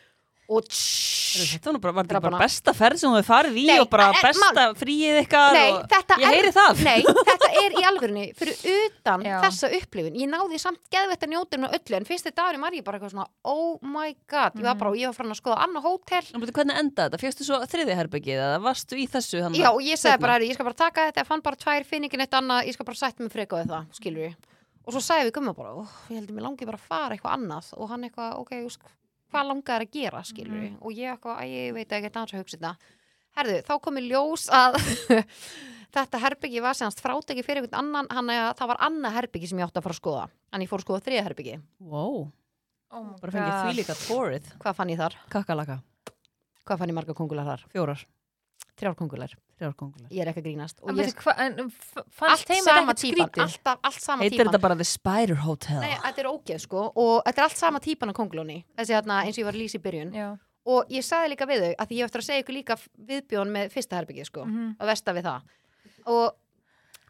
[SPEAKER 5] og tss,
[SPEAKER 4] Þetta var nú bara, var þetta
[SPEAKER 5] Drapana.
[SPEAKER 4] bara besta ferð sem þú hefur farið í
[SPEAKER 5] Nei,
[SPEAKER 4] og bara
[SPEAKER 5] en-
[SPEAKER 4] besta fríið ykkar
[SPEAKER 5] nei,
[SPEAKER 4] og
[SPEAKER 5] þetta
[SPEAKER 4] ég heyri það.
[SPEAKER 5] nei, þetta er í alvörunni fyrir utan
[SPEAKER 6] Já.
[SPEAKER 5] þessa upplifun ég náði samt geðvett að njóta henni öllu en fyrst þetta var ég bara eitthvað svona, oh my god ég var bara, og ég var frá að skoða annað hótel
[SPEAKER 4] En betur, hvernig endaði þetta? Fjöxtu svo þriði herbyggið eða varstu í þessu hann?
[SPEAKER 5] Já, og ég sagði
[SPEAKER 4] seinna.
[SPEAKER 5] bara, "Herri, ég skal bara taka þetta, ég fann bara tvær, finn ekki neitt annað, ég skal bara sætt mig freka við það, skilur ég. Og svo sagði við gumma bara, "Ó, ég heldur mér langi bara að fara eitthvað annað og hann eitthvað, ok, þú veist, hvað langar að gera, skilur ég. Og ég eitthvað, æ, ég veit ekki annars að hugsa þetta. Herðu, þá kom í ljós að þetta herbyggi var semast fráteki fyrir einhvern annan, hann að það var annað herbyggi sem ég átti að fara að skoða. Þannig ég fór að skoða þriða herbyggi.
[SPEAKER 4] Wow,
[SPEAKER 6] Oh my
[SPEAKER 4] bara fengið
[SPEAKER 6] god.
[SPEAKER 4] því líka tórið.
[SPEAKER 5] Hvað fann ég þar?
[SPEAKER 4] Kakalaka,
[SPEAKER 5] Hvað fann ég marga kongular þar?
[SPEAKER 4] fjórar,
[SPEAKER 5] Þrjár kongular.
[SPEAKER 4] þrjár kongular.
[SPEAKER 5] Ég er ekki að grínast. Og
[SPEAKER 6] En
[SPEAKER 5] ég,
[SPEAKER 6] veitu hvað- en f- Fannst
[SPEAKER 5] allt
[SPEAKER 6] þeim
[SPEAKER 5] sama
[SPEAKER 6] þetta
[SPEAKER 5] típan,
[SPEAKER 6] skrítið?
[SPEAKER 5] alltaf, allt sama
[SPEAKER 4] Heitir
[SPEAKER 5] típan.
[SPEAKER 4] þetta bara The Spider Hotel?
[SPEAKER 5] Nei, þetta er ógeð sko og þetta er allt sama típan af kongulóni þessi hérna eins og ég var að lýsa í byrjun
[SPEAKER 6] Já.
[SPEAKER 5] og ég sagði líka við þau að því ég á eftir að segja ykkur líka viðbjón með fyrsta herbyggið sko
[SPEAKER 6] Mhm.
[SPEAKER 5] og versta við það og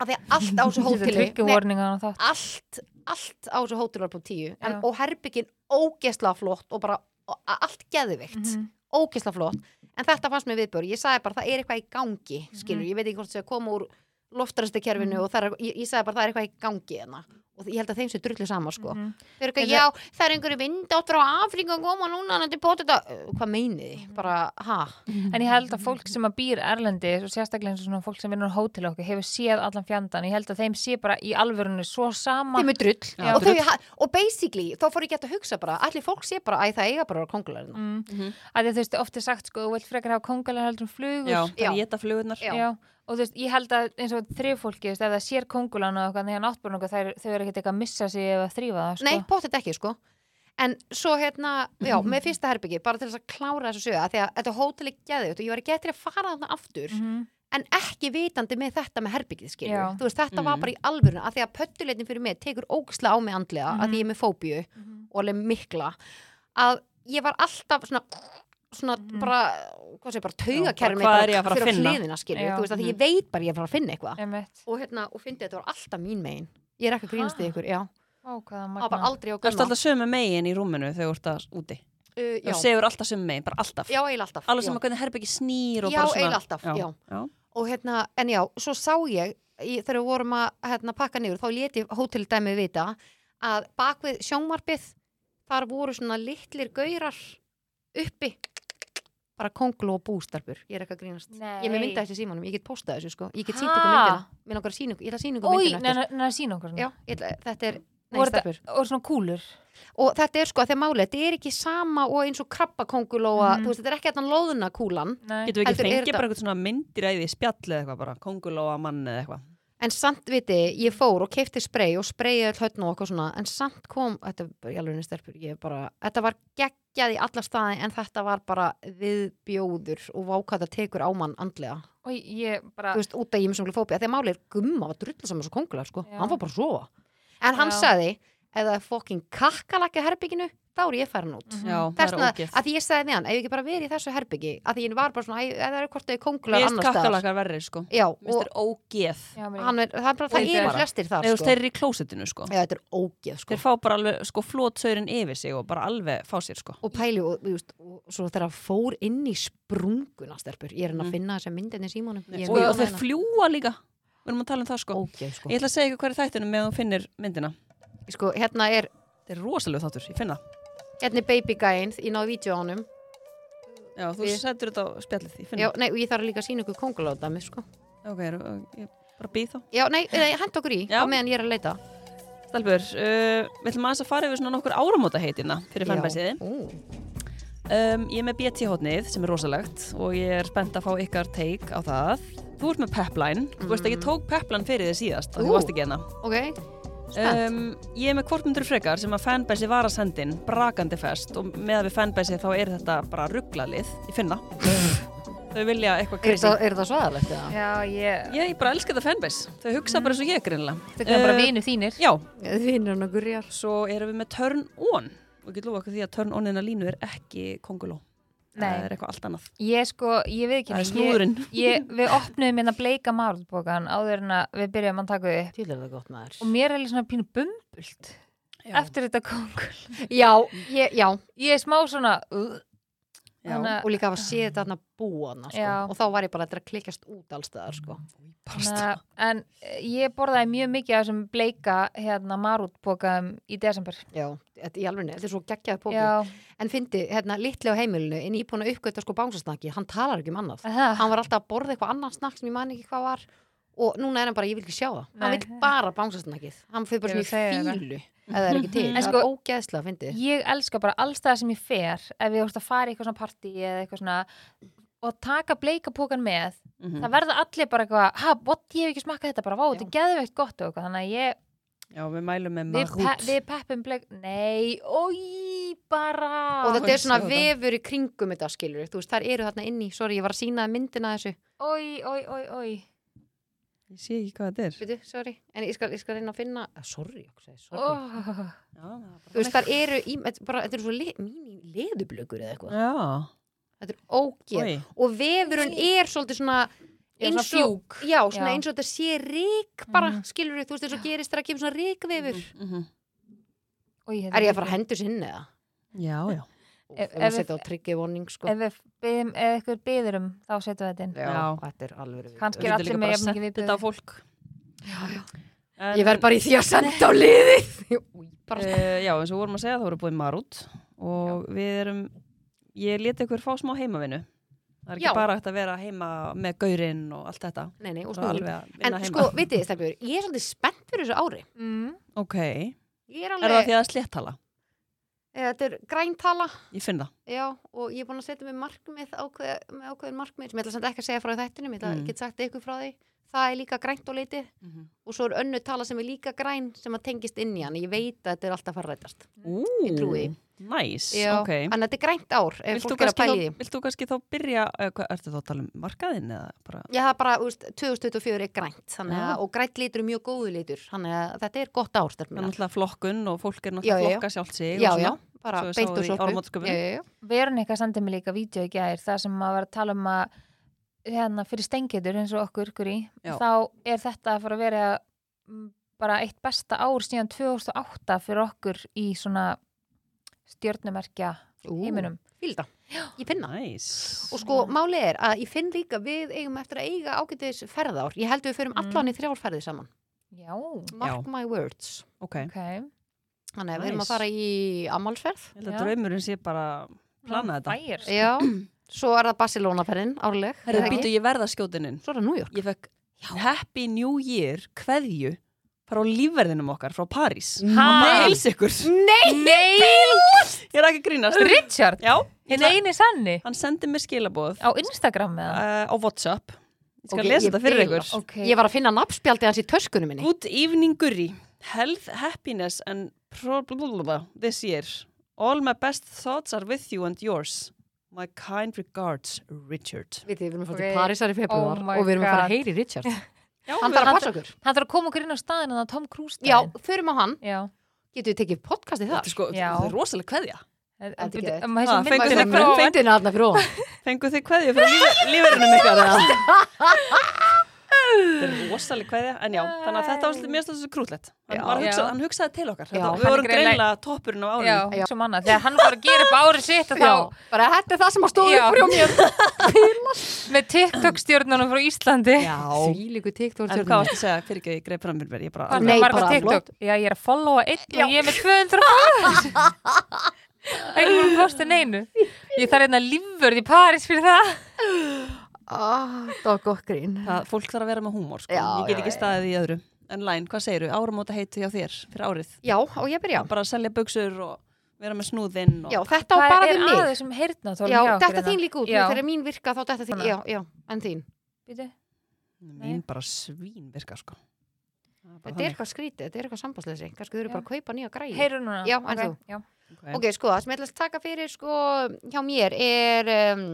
[SPEAKER 5] að því að allt á þessu hóteli
[SPEAKER 6] Tryggjum
[SPEAKER 5] Nei,
[SPEAKER 6] vorningan og þátt
[SPEAKER 5] allt, allt á þessu hóteli var på tíu en,
[SPEAKER 6] Já.
[SPEAKER 5] og herbyggin ógeðslega flott og bara og, a- allt geðvikt
[SPEAKER 6] Mhm. sko.
[SPEAKER 5] ógeðslega flott en þetta fannst mér viðbjörn, ég sagði bara það er eitthvað í gangi
[SPEAKER 6] Mhm.
[SPEAKER 5] skilur, ég veit ekki hvort það sé að koma úr loftrastakerfinu og það er, ég, ég sagði bara það er eitthvað í gangi hérna og ég held að þeim sé drullu sama sko
[SPEAKER 6] Mhm.
[SPEAKER 5] þau eru eitthvað,
[SPEAKER 6] En
[SPEAKER 5] já, það er einhverju vindátt frá Afríka að koma núna, þetta er bótið hvað meinið þið,
[SPEAKER 4] Mm.
[SPEAKER 5] bara, ha
[SPEAKER 6] En ég held að fólk sem að býr erlendis og sérstaklega eins og svona fólk sem vinnur á hótel okkur hefur séð allan fjandan, ég held að þeim sé bara í alvörunni svo sama
[SPEAKER 5] þeim er drull,
[SPEAKER 4] Já,
[SPEAKER 5] og,
[SPEAKER 4] drull.
[SPEAKER 5] þau, ha- og basically, þá fór ég gett að hugsa bara allir fólk sé bara, æ, það eiga bara að vera hérna." kongularinn
[SPEAKER 6] mm. að því að þú veist, oft er sagt sko, þú vilt frekar hafa kongalega heldur um flugur
[SPEAKER 4] Já,
[SPEAKER 5] Já.
[SPEAKER 4] bara geta flugurnar.
[SPEAKER 5] Já.
[SPEAKER 6] og þú veist, ég held að eins og þrifólki, þú veist, ef það sér kongulan og eitthvað, þannig að náttbúrn okkur, þær- þau eru ekkert eitthvað að missa sig eða þrýfa það, sko
[SPEAKER 5] Nei, pottet ekki sko En svo hérna, já,
[SPEAKER 4] Mhm.
[SPEAKER 5] með fyrsta herbyggi bara til þess að klára þessu sögja því að þetta hótel er geðið og ég var ekki eftir að fara þarna aftur
[SPEAKER 6] Mhm.
[SPEAKER 5] en ekki vitandi með þetta með herbyggið skilur
[SPEAKER 6] Já.
[SPEAKER 5] þú veist, þetta
[SPEAKER 4] Mhm.
[SPEAKER 5] var bara í alvöruna að því að pöttuleitin fyrir mig tekur ógislega á mig andlega að
[SPEAKER 4] Mhm.
[SPEAKER 5] því ég er með fóbíu og alveg mikla að ég var alltaf svona svona bara, hvað sé, bara taugakerfi
[SPEAKER 4] Mhm. Já, bara hvað
[SPEAKER 5] mitt bara
[SPEAKER 4] er ég að fara að
[SPEAKER 5] fer á
[SPEAKER 4] finna? mhm.
[SPEAKER 5] hliðina, skilur,
[SPEAKER 6] Já.
[SPEAKER 5] þú veist, að því ég veit bara ég er að fara að finna eitthvað
[SPEAKER 6] Einmitt.
[SPEAKER 5] og hérna, og fyndi þetta var alltaf mín megin ég er ekki að grínast í ykkur, já,
[SPEAKER 6] Ó, hvað það
[SPEAKER 5] það
[SPEAKER 6] magna
[SPEAKER 5] var bara aldrei á
[SPEAKER 4] Það
[SPEAKER 5] gumma
[SPEAKER 4] alltaf sömu megin í rúminu þegar þú ert að úti.
[SPEAKER 5] Uh,
[SPEAKER 4] Þú
[SPEAKER 5] já,
[SPEAKER 4] segur alltaf sömu megin, bara alltaf.
[SPEAKER 5] já, eiginlega alltaf
[SPEAKER 4] Alveg
[SPEAKER 5] já.
[SPEAKER 4] saman hvernig herbyggi snýr og
[SPEAKER 5] Já,
[SPEAKER 4] bara svona.
[SPEAKER 5] eiginlega alltaf, já. og hérna, en já, svo sá ég í, þegar við vorum að hérna, pakka niður þá leti hóteldæmið vita að bakvið sjónvarpið þar voru svona litlir gaurar uppi bara konglu og bústarpur, ég er ekki að grínast ég er með mynda þessi símanum, ég get postað þessu sko ég get sýnt ykkur
[SPEAKER 6] Ha?
[SPEAKER 5] myndina, Mig langar að sýna ykkur- ég ætla að sýna ykkur
[SPEAKER 6] Új,
[SPEAKER 5] myndina eftir.
[SPEAKER 6] neina, neina, sína okkur svona.
[SPEAKER 5] já, ég ætla, þetta er Nei,
[SPEAKER 6] Voru
[SPEAKER 5] stelpur.
[SPEAKER 6] þetta- og svona kúlur
[SPEAKER 5] og þetta er sko að þegar máli, þetta er ekki sama og eins og krabbakongulóa,
[SPEAKER 6] Mhm.
[SPEAKER 5] þú veist, þetta er ekki hérna loðuna kúlan,
[SPEAKER 6] Nei.
[SPEAKER 4] Getum við ekki
[SPEAKER 5] Heldur, er
[SPEAKER 4] fengið
[SPEAKER 5] þetta-
[SPEAKER 4] bara eitthvað svona myndiræði í spjall eða eitthvað bara, kongulóa mann eða eitthvað.
[SPEAKER 5] En samt viti, ég fór og keipti sprey og spreyið öll hölln og okkur svona en samt kom, þetta er bara í alveg stelpur ég er bara, þetta var geggjað í alla staði en þetta var bara viðbjóður og vákvæða tekur á mann andlega
[SPEAKER 6] og ég bara
[SPEAKER 5] þú veist, út af ég sem glifóbi, þegar málið er gumma var drull saman svo kongular, sko,
[SPEAKER 6] Já.
[SPEAKER 5] hann var bara að sofa en hann
[SPEAKER 6] Já.
[SPEAKER 5] sagði, ef það er fokkin kakkalakja herbygginu, þá er ég farin út
[SPEAKER 6] Mhm.
[SPEAKER 4] Já, það er
[SPEAKER 5] þessna,
[SPEAKER 4] ógeð.
[SPEAKER 5] að því ég sagði við hann, ef ég ekki bara verið í þessu herbyggi að því ég var bara svona, "Æ, ef það er hvort þau kongular
[SPEAKER 4] Mér finnst
[SPEAKER 5] annars staðar
[SPEAKER 4] kakkalakar verri, sko.
[SPEAKER 5] já,
[SPEAKER 4] Mér
[SPEAKER 5] og
[SPEAKER 4] finnst þeir ógeð.
[SPEAKER 6] já, mér-
[SPEAKER 5] hann er, það er bara,
[SPEAKER 4] Þeir
[SPEAKER 5] það eru
[SPEAKER 4] bara-
[SPEAKER 5] flestir þar,
[SPEAKER 4] Eða þú veist,
[SPEAKER 5] sko.
[SPEAKER 4] þeir eru í klósitinu, sko.
[SPEAKER 5] Já, þetta er ógeð sko.
[SPEAKER 4] Þeir fá bara alveg, sko, flótsaurinn yfir sig og bara alveg fá sér, sko.
[SPEAKER 5] Og pæli, og, þú veist, og svo þegar hann fór inn í sprunguna stelpur, ég er hann að finna þessa myndinni í símanum. Ég er
[SPEAKER 4] Mm. Og,
[SPEAKER 5] með
[SPEAKER 4] og þeir
[SPEAKER 5] hana.
[SPEAKER 4] fljúa líka. Við erum að tala um það, sko.
[SPEAKER 5] Ógeð sko.
[SPEAKER 4] Ég ætla að segja ykkur hverju þættunum með þú finnir myndina.
[SPEAKER 5] sko. Hérna er,
[SPEAKER 4] Þetta er rosalega þáttur, ég finn það.
[SPEAKER 5] hérna er baby guy-in, ég náði vídeo á honum.
[SPEAKER 4] Já, þú
[SPEAKER 5] Ég-
[SPEAKER 4] setur þetta á spjallið, ég finn
[SPEAKER 5] Já,
[SPEAKER 4] það.
[SPEAKER 5] nei, og ég þarf líka að sína ykkur kongulóðdæmi sko.
[SPEAKER 4] Ok, er- ég bara býð þá.
[SPEAKER 5] Já, nei, nei hend okkur í,
[SPEAKER 4] Já.
[SPEAKER 5] á meðan ég er að leita.
[SPEAKER 4] Stelbur, uh, við ætlum aðeins að fara yfir svona nokkur áramóta heitina fyrir fanbæsiði.
[SPEAKER 5] Ú,
[SPEAKER 4] Um, ég er með BT-hótnið sem er rosalegt og ég er spennt að fá ykkar take á það. Þú ert með Pepline, þú veist að ég tók Pepline fyrir þið síðast, að
[SPEAKER 5] Ú.
[SPEAKER 4] þú varst ekki hérna.
[SPEAKER 5] ok,
[SPEAKER 4] Um, ég er með kvortmundur frekar sem að fanbæsi var að sendin, brakandi fest og með að við fanbæsi þá er þetta bara rugglalið, ég finn það. Þau vilja eitthvað
[SPEAKER 5] er
[SPEAKER 4] crazy.
[SPEAKER 5] það, er það svaðalegt eða?
[SPEAKER 6] já, ég
[SPEAKER 4] Ég, ég bara elska þetta fanbæs, þau hugsa bara eins og ég greinlega.
[SPEAKER 6] þetta er bara
[SPEAKER 4] Eh,
[SPEAKER 6] vinur þínir
[SPEAKER 4] Já,
[SPEAKER 5] Þið finnir hann að gurjar.
[SPEAKER 4] svo erum við með turn on og ég get lofa okkur því að turn oninna línu er ekki konguló það
[SPEAKER 6] Nei.
[SPEAKER 4] er eitthvað allt annað
[SPEAKER 6] Ég sko, ég veit ekki
[SPEAKER 4] það er
[SPEAKER 6] ég,
[SPEAKER 4] snúðurinn
[SPEAKER 6] ég, Við opnum hérna bleika málbókan áður en að við byrjum að taka þið
[SPEAKER 5] Til er það gott maður.
[SPEAKER 6] og mér er alveg svona pínu bumbult eftir þetta kongul
[SPEAKER 5] Já, ég, já,
[SPEAKER 6] Ég er smá svona uh,
[SPEAKER 4] Já.
[SPEAKER 6] þannig að-
[SPEAKER 5] og líka að hafa séð þetta búana, sko.
[SPEAKER 6] Já.
[SPEAKER 5] Og þá var ég bara að klikkjast út allstaðar, sko.
[SPEAKER 6] þannig að- En eh, ég borðaði mjög mikið af þessum bleika hérna marútbókaðum í desember
[SPEAKER 5] Já, þetta í alveg, þetta er svo geggjaði póki.
[SPEAKER 6] Já,
[SPEAKER 5] En fyndi, hérna, litli á heimilinu, en ég er búin að uppgöta sko bánsasnakki, hann talar ekki um annað.
[SPEAKER 6] það
[SPEAKER 5] Hann var alltaf að borða eitthvað annað snakk sem ég man ekki hvað var og núna er hann bara, ég vil ekki sjá það. Hann
[SPEAKER 6] Nei.
[SPEAKER 5] vil bara bánsasnakkið. Hann fyrir bara svona
[SPEAKER 6] Ég vil segja
[SPEAKER 5] í fílu, ef það er ekki til.
[SPEAKER 6] En
[SPEAKER 5] Það
[SPEAKER 6] sko-
[SPEAKER 5] er ógeðslega, fyndi.
[SPEAKER 6] Ég elska bara alls það sem ég fer ef ég vorst að fara í eitthvað svona partí eða eitthvað svona og taka bleika pókan með
[SPEAKER 4] Mhm.
[SPEAKER 6] það verða allir bara eitthvað ha, what, ég hef ekki smakkað þetta bara, vá, þetta er geðveikt gott og eitthvað, þannig að ég,
[SPEAKER 4] já, við mælum með
[SPEAKER 6] við, pe
[SPEAKER 4] marút
[SPEAKER 6] við peppum bleik, nei, ói, bara
[SPEAKER 5] Og þetta er svona
[SPEAKER 4] sjá þetta.
[SPEAKER 5] vefur í kringum þetta skilur, þú veist, þær eru þarna inni, sorry, ég var að sína myndina af þessu,
[SPEAKER 6] ói, ói, ói, ói
[SPEAKER 4] ég sé ekki hvað þetta er
[SPEAKER 5] veitu, sorry, en ég skal, ég skal reyna að finna, Ah, sorry, ég segi sorry.
[SPEAKER 6] oh,
[SPEAKER 5] Þú veist, þær eru, í, þetta er bara, þetta eru svo le, mínu leðublökur eða eitthvað,
[SPEAKER 4] já,
[SPEAKER 5] þetta er ógeð.
[SPEAKER 4] Oi.
[SPEAKER 5] og vefurinn er svolítið svona
[SPEAKER 6] Já,
[SPEAKER 5] eins
[SPEAKER 6] svona
[SPEAKER 5] og, já, svona
[SPEAKER 6] Já.
[SPEAKER 5] eins og þetta sé rík bara, skilur þú veist eins og gerist þegar að kemur svona ríkvefur
[SPEAKER 4] Mhm.
[SPEAKER 6] ói,
[SPEAKER 5] er ég að fara að hendur sinni eða?
[SPEAKER 4] já, já
[SPEAKER 5] Úf,
[SPEAKER 6] Ef-
[SPEAKER 5] ef maður
[SPEAKER 6] ef-
[SPEAKER 5] setja á tryggi vonning sko
[SPEAKER 6] ef við byðum, ef eitthvað byður um þá setjum við þetta inn
[SPEAKER 4] Já.
[SPEAKER 5] þetta er alveg
[SPEAKER 6] kannski
[SPEAKER 4] Við
[SPEAKER 6] er
[SPEAKER 4] getum líka
[SPEAKER 6] allir með
[SPEAKER 4] bara
[SPEAKER 6] jafn
[SPEAKER 4] sett
[SPEAKER 6] mikið
[SPEAKER 4] þetta á
[SPEAKER 6] viðbjöður
[SPEAKER 4] fólk En-
[SPEAKER 5] ég verð bara í því að senda á liðið Új, bara
[SPEAKER 4] Eh, já, eins og við vorum að segja þá erum við búin marút og við erum ég leti ykkur fá smá heimavinu það er ekki
[SPEAKER 5] Já.
[SPEAKER 4] bara hægt að vera heima með gaurinn og allt þetta
[SPEAKER 5] nei, nei, og
[SPEAKER 4] Svo
[SPEAKER 5] snúið
[SPEAKER 4] alveg að
[SPEAKER 5] en
[SPEAKER 4] vinna heima
[SPEAKER 5] sko, vitið þið, stelpur, ég er svolítið spennt fyrir þessu ári
[SPEAKER 6] mm.
[SPEAKER 4] ok, er
[SPEAKER 5] ég er
[SPEAKER 4] það
[SPEAKER 5] alveg,
[SPEAKER 4] því að sléttala?
[SPEAKER 5] eh, þetta er græntala
[SPEAKER 4] Ég finn það
[SPEAKER 5] já, og ég er búin að setja mig markmið ákveð, með ákveðin markmið sem ég ætla samt ekki að segja frá þættinum, ég ætla,
[SPEAKER 4] Mm.
[SPEAKER 5] get sagt ykkur frá því það er líka grænt og litið og svo er önnu tala sem er líka græn sem að tengist inn í hann ég veit að þetta er alltaf að fara að rætast
[SPEAKER 4] Ú,
[SPEAKER 5] Ég trúi því.
[SPEAKER 4] næs,
[SPEAKER 5] Já,
[SPEAKER 4] ok
[SPEAKER 5] en þetta er grænt ár ef
[SPEAKER 4] Vilt þú,
[SPEAKER 5] fólk er að
[SPEAKER 4] kannski
[SPEAKER 5] pæla í
[SPEAKER 4] þá,
[SPEAKER 5] því
[SPEAKER 4] vilt þú kannski þá byrja eh, hvað, ertu þá að tala um markaðinn eða bara
[SPEAKER 5] Já, það er bara, þú veist, 2024 er grænt þannig
[SPEAKER 4] Já.
[SPEAKER 5] að, og grænt litur er mjög góðu litur þannig að þetta er gott ár,
[SPEAKER 4] það er
[SPEAKER 5] stelpina
[SPEAKER 4] náttúrulega flokkun og fólk er
[SPEAKER 5] Já,
[SPEAKER 4] náttúrulega
[SPEAKER 5] já,
[SPEAKER 4] að
[SPEAKER 5] já.
[SPEAKER 4] flokka sjálft sig
[SPEAKER 5] Já,
[SPEAKER 4] og
[SPEAKER 5] já,
[SPEAKER 4] svona.
[SPEAKER 5] bara
[SPEAKER 4] Svo ég sá
[SPEAKER 5] beint og
[SPEAKER 4] í
[SPEAKER 5] sorpu
[SPEAKER 4] áramótaskaupinu.
[SPEAKER 5] Já, já, já.
[SPEAKER 6] Veronika sendi mig líka vídeo í gær það sem maður var að tala um að hérna, fyrir stengitur eins og okkur ykkur í
[SPEAKER 4] Já.
[SPEAKER 6] þá er þetta að fara að vera mm, bara eitt besta ár síðan 2008 fyrir okkur í svona stjörnumerkja
[SPEAKER 5] Ú,
[SPEAKER 6] heiminum
[SPEAKER 5] fílda, ég finna
[SPEAKER 4] Næs
[SPEAKER 5] Og sko, málið er að ég finn líka við eigum eftir að eiga ágætis ferðár ég held við
[SPEAKER 4] Mm.
[SPEAKER 5] förum allan í þrjárferði saman
[SPEAKER 6] Já, ok
[SPEAKER 5] Mark my words
[SPEAKER 4] Ok, ég
[SPEAKER 5] Þannig að við erum
[SPEAKER 4] Nice.
[SPEAKER 5] að fara í ammálsferð
[SPEAKER 4] held að
[SPEAKER 6] Já.
[SPEAKER 4] draumurinn sé bara plana þetta
[SPEAKER 6] Fær.
[SPEAKER 5] Já, svo er það Barcelona-ferðin árleg er
[SPEAKER 4] Herru,
[SPEAKER 5] það
[SPEAKER 4] býtu,
[SPEAKER 5] ekki?
[SPEAKER 4] ég verða skjótininn
[SPEAKER 5] Svo er það New York
[SPEAKER 4] ég fekk Happy New Year kveðju frá lífverðinum okkar frá París
[SPEAKER 6] Nei.
[SPEAKER 4] heils ykkur
[SPEAKER 6] Nei,
[SPEAKER 4] ég er ekki að grínast
[SPEAKER 6] Richard,
[SPEAKER 4] já, ég
[SPEAKER 6] hinn
[SPEAKER 4] ætla,
[SPEAKER 6] eini sanni
[SPEAKER 4] hann sendi mér skilaboð
[SPEAKER 6] á Instagram með það
[SPEAKER 4] uh, á Whatsapp ég skal
[SPEAKER 5] Ok,
[SPEAKER 4] lesa
[SPEAKER 5] ég
[SPEAKER 4] þetta fyrir
[SPEAKER 5] bila.
[SPEAKER 4] ykkur
[SPEAKER 6] okay.
[SPEAKER 5] Ég var að finna nafnspjaldið hans í töskunum minni.
[SPEAKER 4] Good evening Guri Health, happiness and pro- this year All my best thoughts are with you and yours My kind regards, Richard
[SPEAKER 5] Við þið, við erum að fara
[SPEAKER 6] Ok.
[SPEAKER 5] til Parísar í februar
[SPEAKER 6] Oh my
[SPEAKER 5] og við erum að fara
[SPEAKER 6] God.
[SPEAKER 5] að heyri Richard.
[SPEAKER 4] já,
[SPEAKER 5] Hann
[SPEAKER 4] við-
[SPEAKER 5] þarf að passa okkur.
[SPEAKER 6] Hann þarf að koma okkur inn á staðinu að Tom Cruise
[SPEAKER 5] Já,
[SPEAKER 6] staðinn.
[SPEAKER 5] förum á hann.
[SPEAKER 6] Já.
[SPEAKER 5] Getum við tekið podcastið
[SPEAKER 4] Þetta
[SPEAKER 5] þar?
[SPEAKER 4] er sko,
[SPEAKER 6] Já.
[SPEAKER 4] þetta er rosalega kveðja
[SPEAKER 5] er
[SPEAKER 6] Þetta
[SPEAKER 5] geðvægt.
[SPEAKER 4] Ha, fenguð þið
[SPEAKER 6] er
[SPEAKER 4] frá-
[SPEAKER 6] ekki
[SPEAKER 5] Fyndin aðna fyrir ofan.
[SPEAKER 4] Fenguð þið kveðju frá lífverðinum ykkar eða? Þetta er rosalega kveðja, en já, þannig að þetta var svolítið mér stóðsveg krúllett. Hann,
[SPEAKER 5] Já.
[SPEAKER 4] var að hugsa,
[SPEAKER 6] Já.
[SPEAKER 4] hann hugsaði til okkar.
[SPEAKER 5] Já.
[SPEAKER 4] Þetta, við
[SPEAKER 6] Hann
[SPEAKER 4] vorum
[SPEAKER 6] greinilega-
[SPEAKER 4] greinlega toppurinn á
[SPEAKER 6] Já,
[SPEAKER 4] árið.
[SPEAKER 6] sem annað, þegar hann var að gera upp árið sitt og
[SPEAKER 5] Já,
[SPEAKER 6] þá
[SPEAKER 5] bara þetta er það sem að stóðu
[SPEAKER 6] Já.
[SPEAKER 5] upp frá mér.
[SPEAKER 6] með TikTok stjórnunum frá Íslandi
[SPEAKER 5] Því líku TikTok
[SPEAKER 4] En hvað varst að segja fyrir ekki að ég greið fram fyrir mér? Ég bara,
[SPEAKER 6] Hann
[SPEAKER 5] Nei,
[SPEAKER 6] var eitthvað
[SPEAKER 5] bara
[SPEAKER 6] TikTok. Já, ég er að followa einn og ég er með 200 followers einhvern posti neinu ég þarf einna lífvörð í Paris fyrir það
[SPEAKER 5] Það Ah, var gott grín.
[SPEAKER 4] það, fólk þarf að vera með húmór, sko.
[SPEAKER 5] Já,
[SPEAKER 4] ég
[SPEAKER 5] já,
[SPEAKER 4] get ekki staðið í öðru. En Læn, hvað segiru? Áramóta heiti hjá þér fyrir árið.
[SPEAKER 5] Já, og ég byrja.
[SPEAKER 4] Bara að selja buksur og vera með snúðinn og...
[SPEAKER 5] Já, þetta á bara við
[SPEAKER 6] er
[SPEAKER 5] mig.
[SPEAKER 6] aðeins um heyrna
[SPEAKER 5] Já, þetta þín líka út. Þegar mín virka þá þetta þín.
[SPEAKER 6] Svona.
[SPEAKER 5] Já, já, en þín.
[SPEAKER 6] líka
[SPEAKER 4] Mín bara svín virka, sko. Það er bara
[SPEAKER 5] Þetta er
[SPEAKER 4] þannig.
[SPEAKER 5] eitthvað skrítið, þetta er eitthvað sambandsleysi. Kannski þau eru
[SPEAKER 6] Já.
[SPEAKER 5] bara að kaupa nýja græði.
[SPEAKER 6] Heyrðu núna
[SPEAKER 5] Já, en
[SPEAKER 6] ok,
[SPEAKER 5] þú?
[SPEAKER 6] já.
[SPEAKER 4] Ok.
[SPEAKER 5] Ok, sko, það sem ég ætla að taka fyrir sko, hjá mér er um,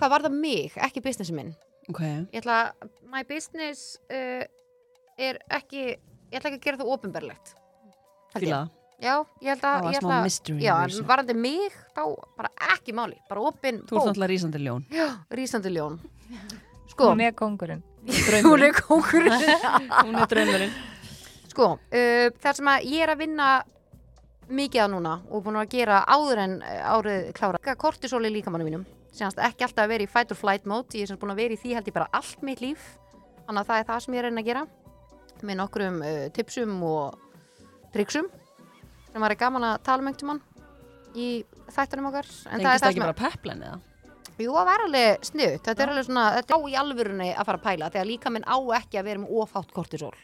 [SPEAKER 5] hvað var það mig, ekki businessin minn
[SPEAKER 4] Ok.
[SPEAKER 5] ég ætla að, my business uh, er ekki, ég ætla ekki að gera það ofinberlegt
[SPEAKER 4] Fíla það.
[SPEAKER 5] já, ég held
[SPEAKER 4] Það
[SPEAKER 5] að,
[SPEAKER 4] var
[SPEAKER 5] ég
[SPEAKER 4] smá
[SPEAKER 5] held að
[SPEAKER 4] mystery
[SPEAKER 5] já,
[SPEAKER 4] í
[SPEAKER 5] en
[SPEAKER 4] þessu.
[SPEAKER 5] varandi mig, þá bara ekki máli bara opinn,
[SPEAKER 4] Þú ert náttúrulega rísandi ljón.
[SPEAKER 5] já, rísandi ljón sko,
[SPEAKER 6] Hún er kongurinn.
[SPEAKER 5] hún er kókurinn
[SPEAKER 4] Hún er draumurinn.
[SPEAKER 5] Sko, uh, það sem að ég er að vinna mikið að núna og búin að gera áður en eh, árið klára kortisol í líkamannu mínum semast ekki alltaf að vera í fight or flight mode ég er sem búin að vera í því held ég bara allt mitt líf þannig að það er það sem ég er að reyna að gera með nokkrum uh, tipsum og triksum sem var gaman að tala um einhvern mann í þættunum okkar en það
[SPEAKER 4] Tengist
[SPEAKER 5] er
[SPEAKER 4] það
[SPEAKER 5] það
[SPEAKER 4] ekki
[SPEAKER 5] sem að
[SPEAKER 4] bara peplan eða?
[SPEAKER 5] Jú, það var alveg snuðt. Þetta er alveg svona, þetta er á í alvörunni að fara að pæla þegar líka minn á ekki að vera með ofhátt kortisol.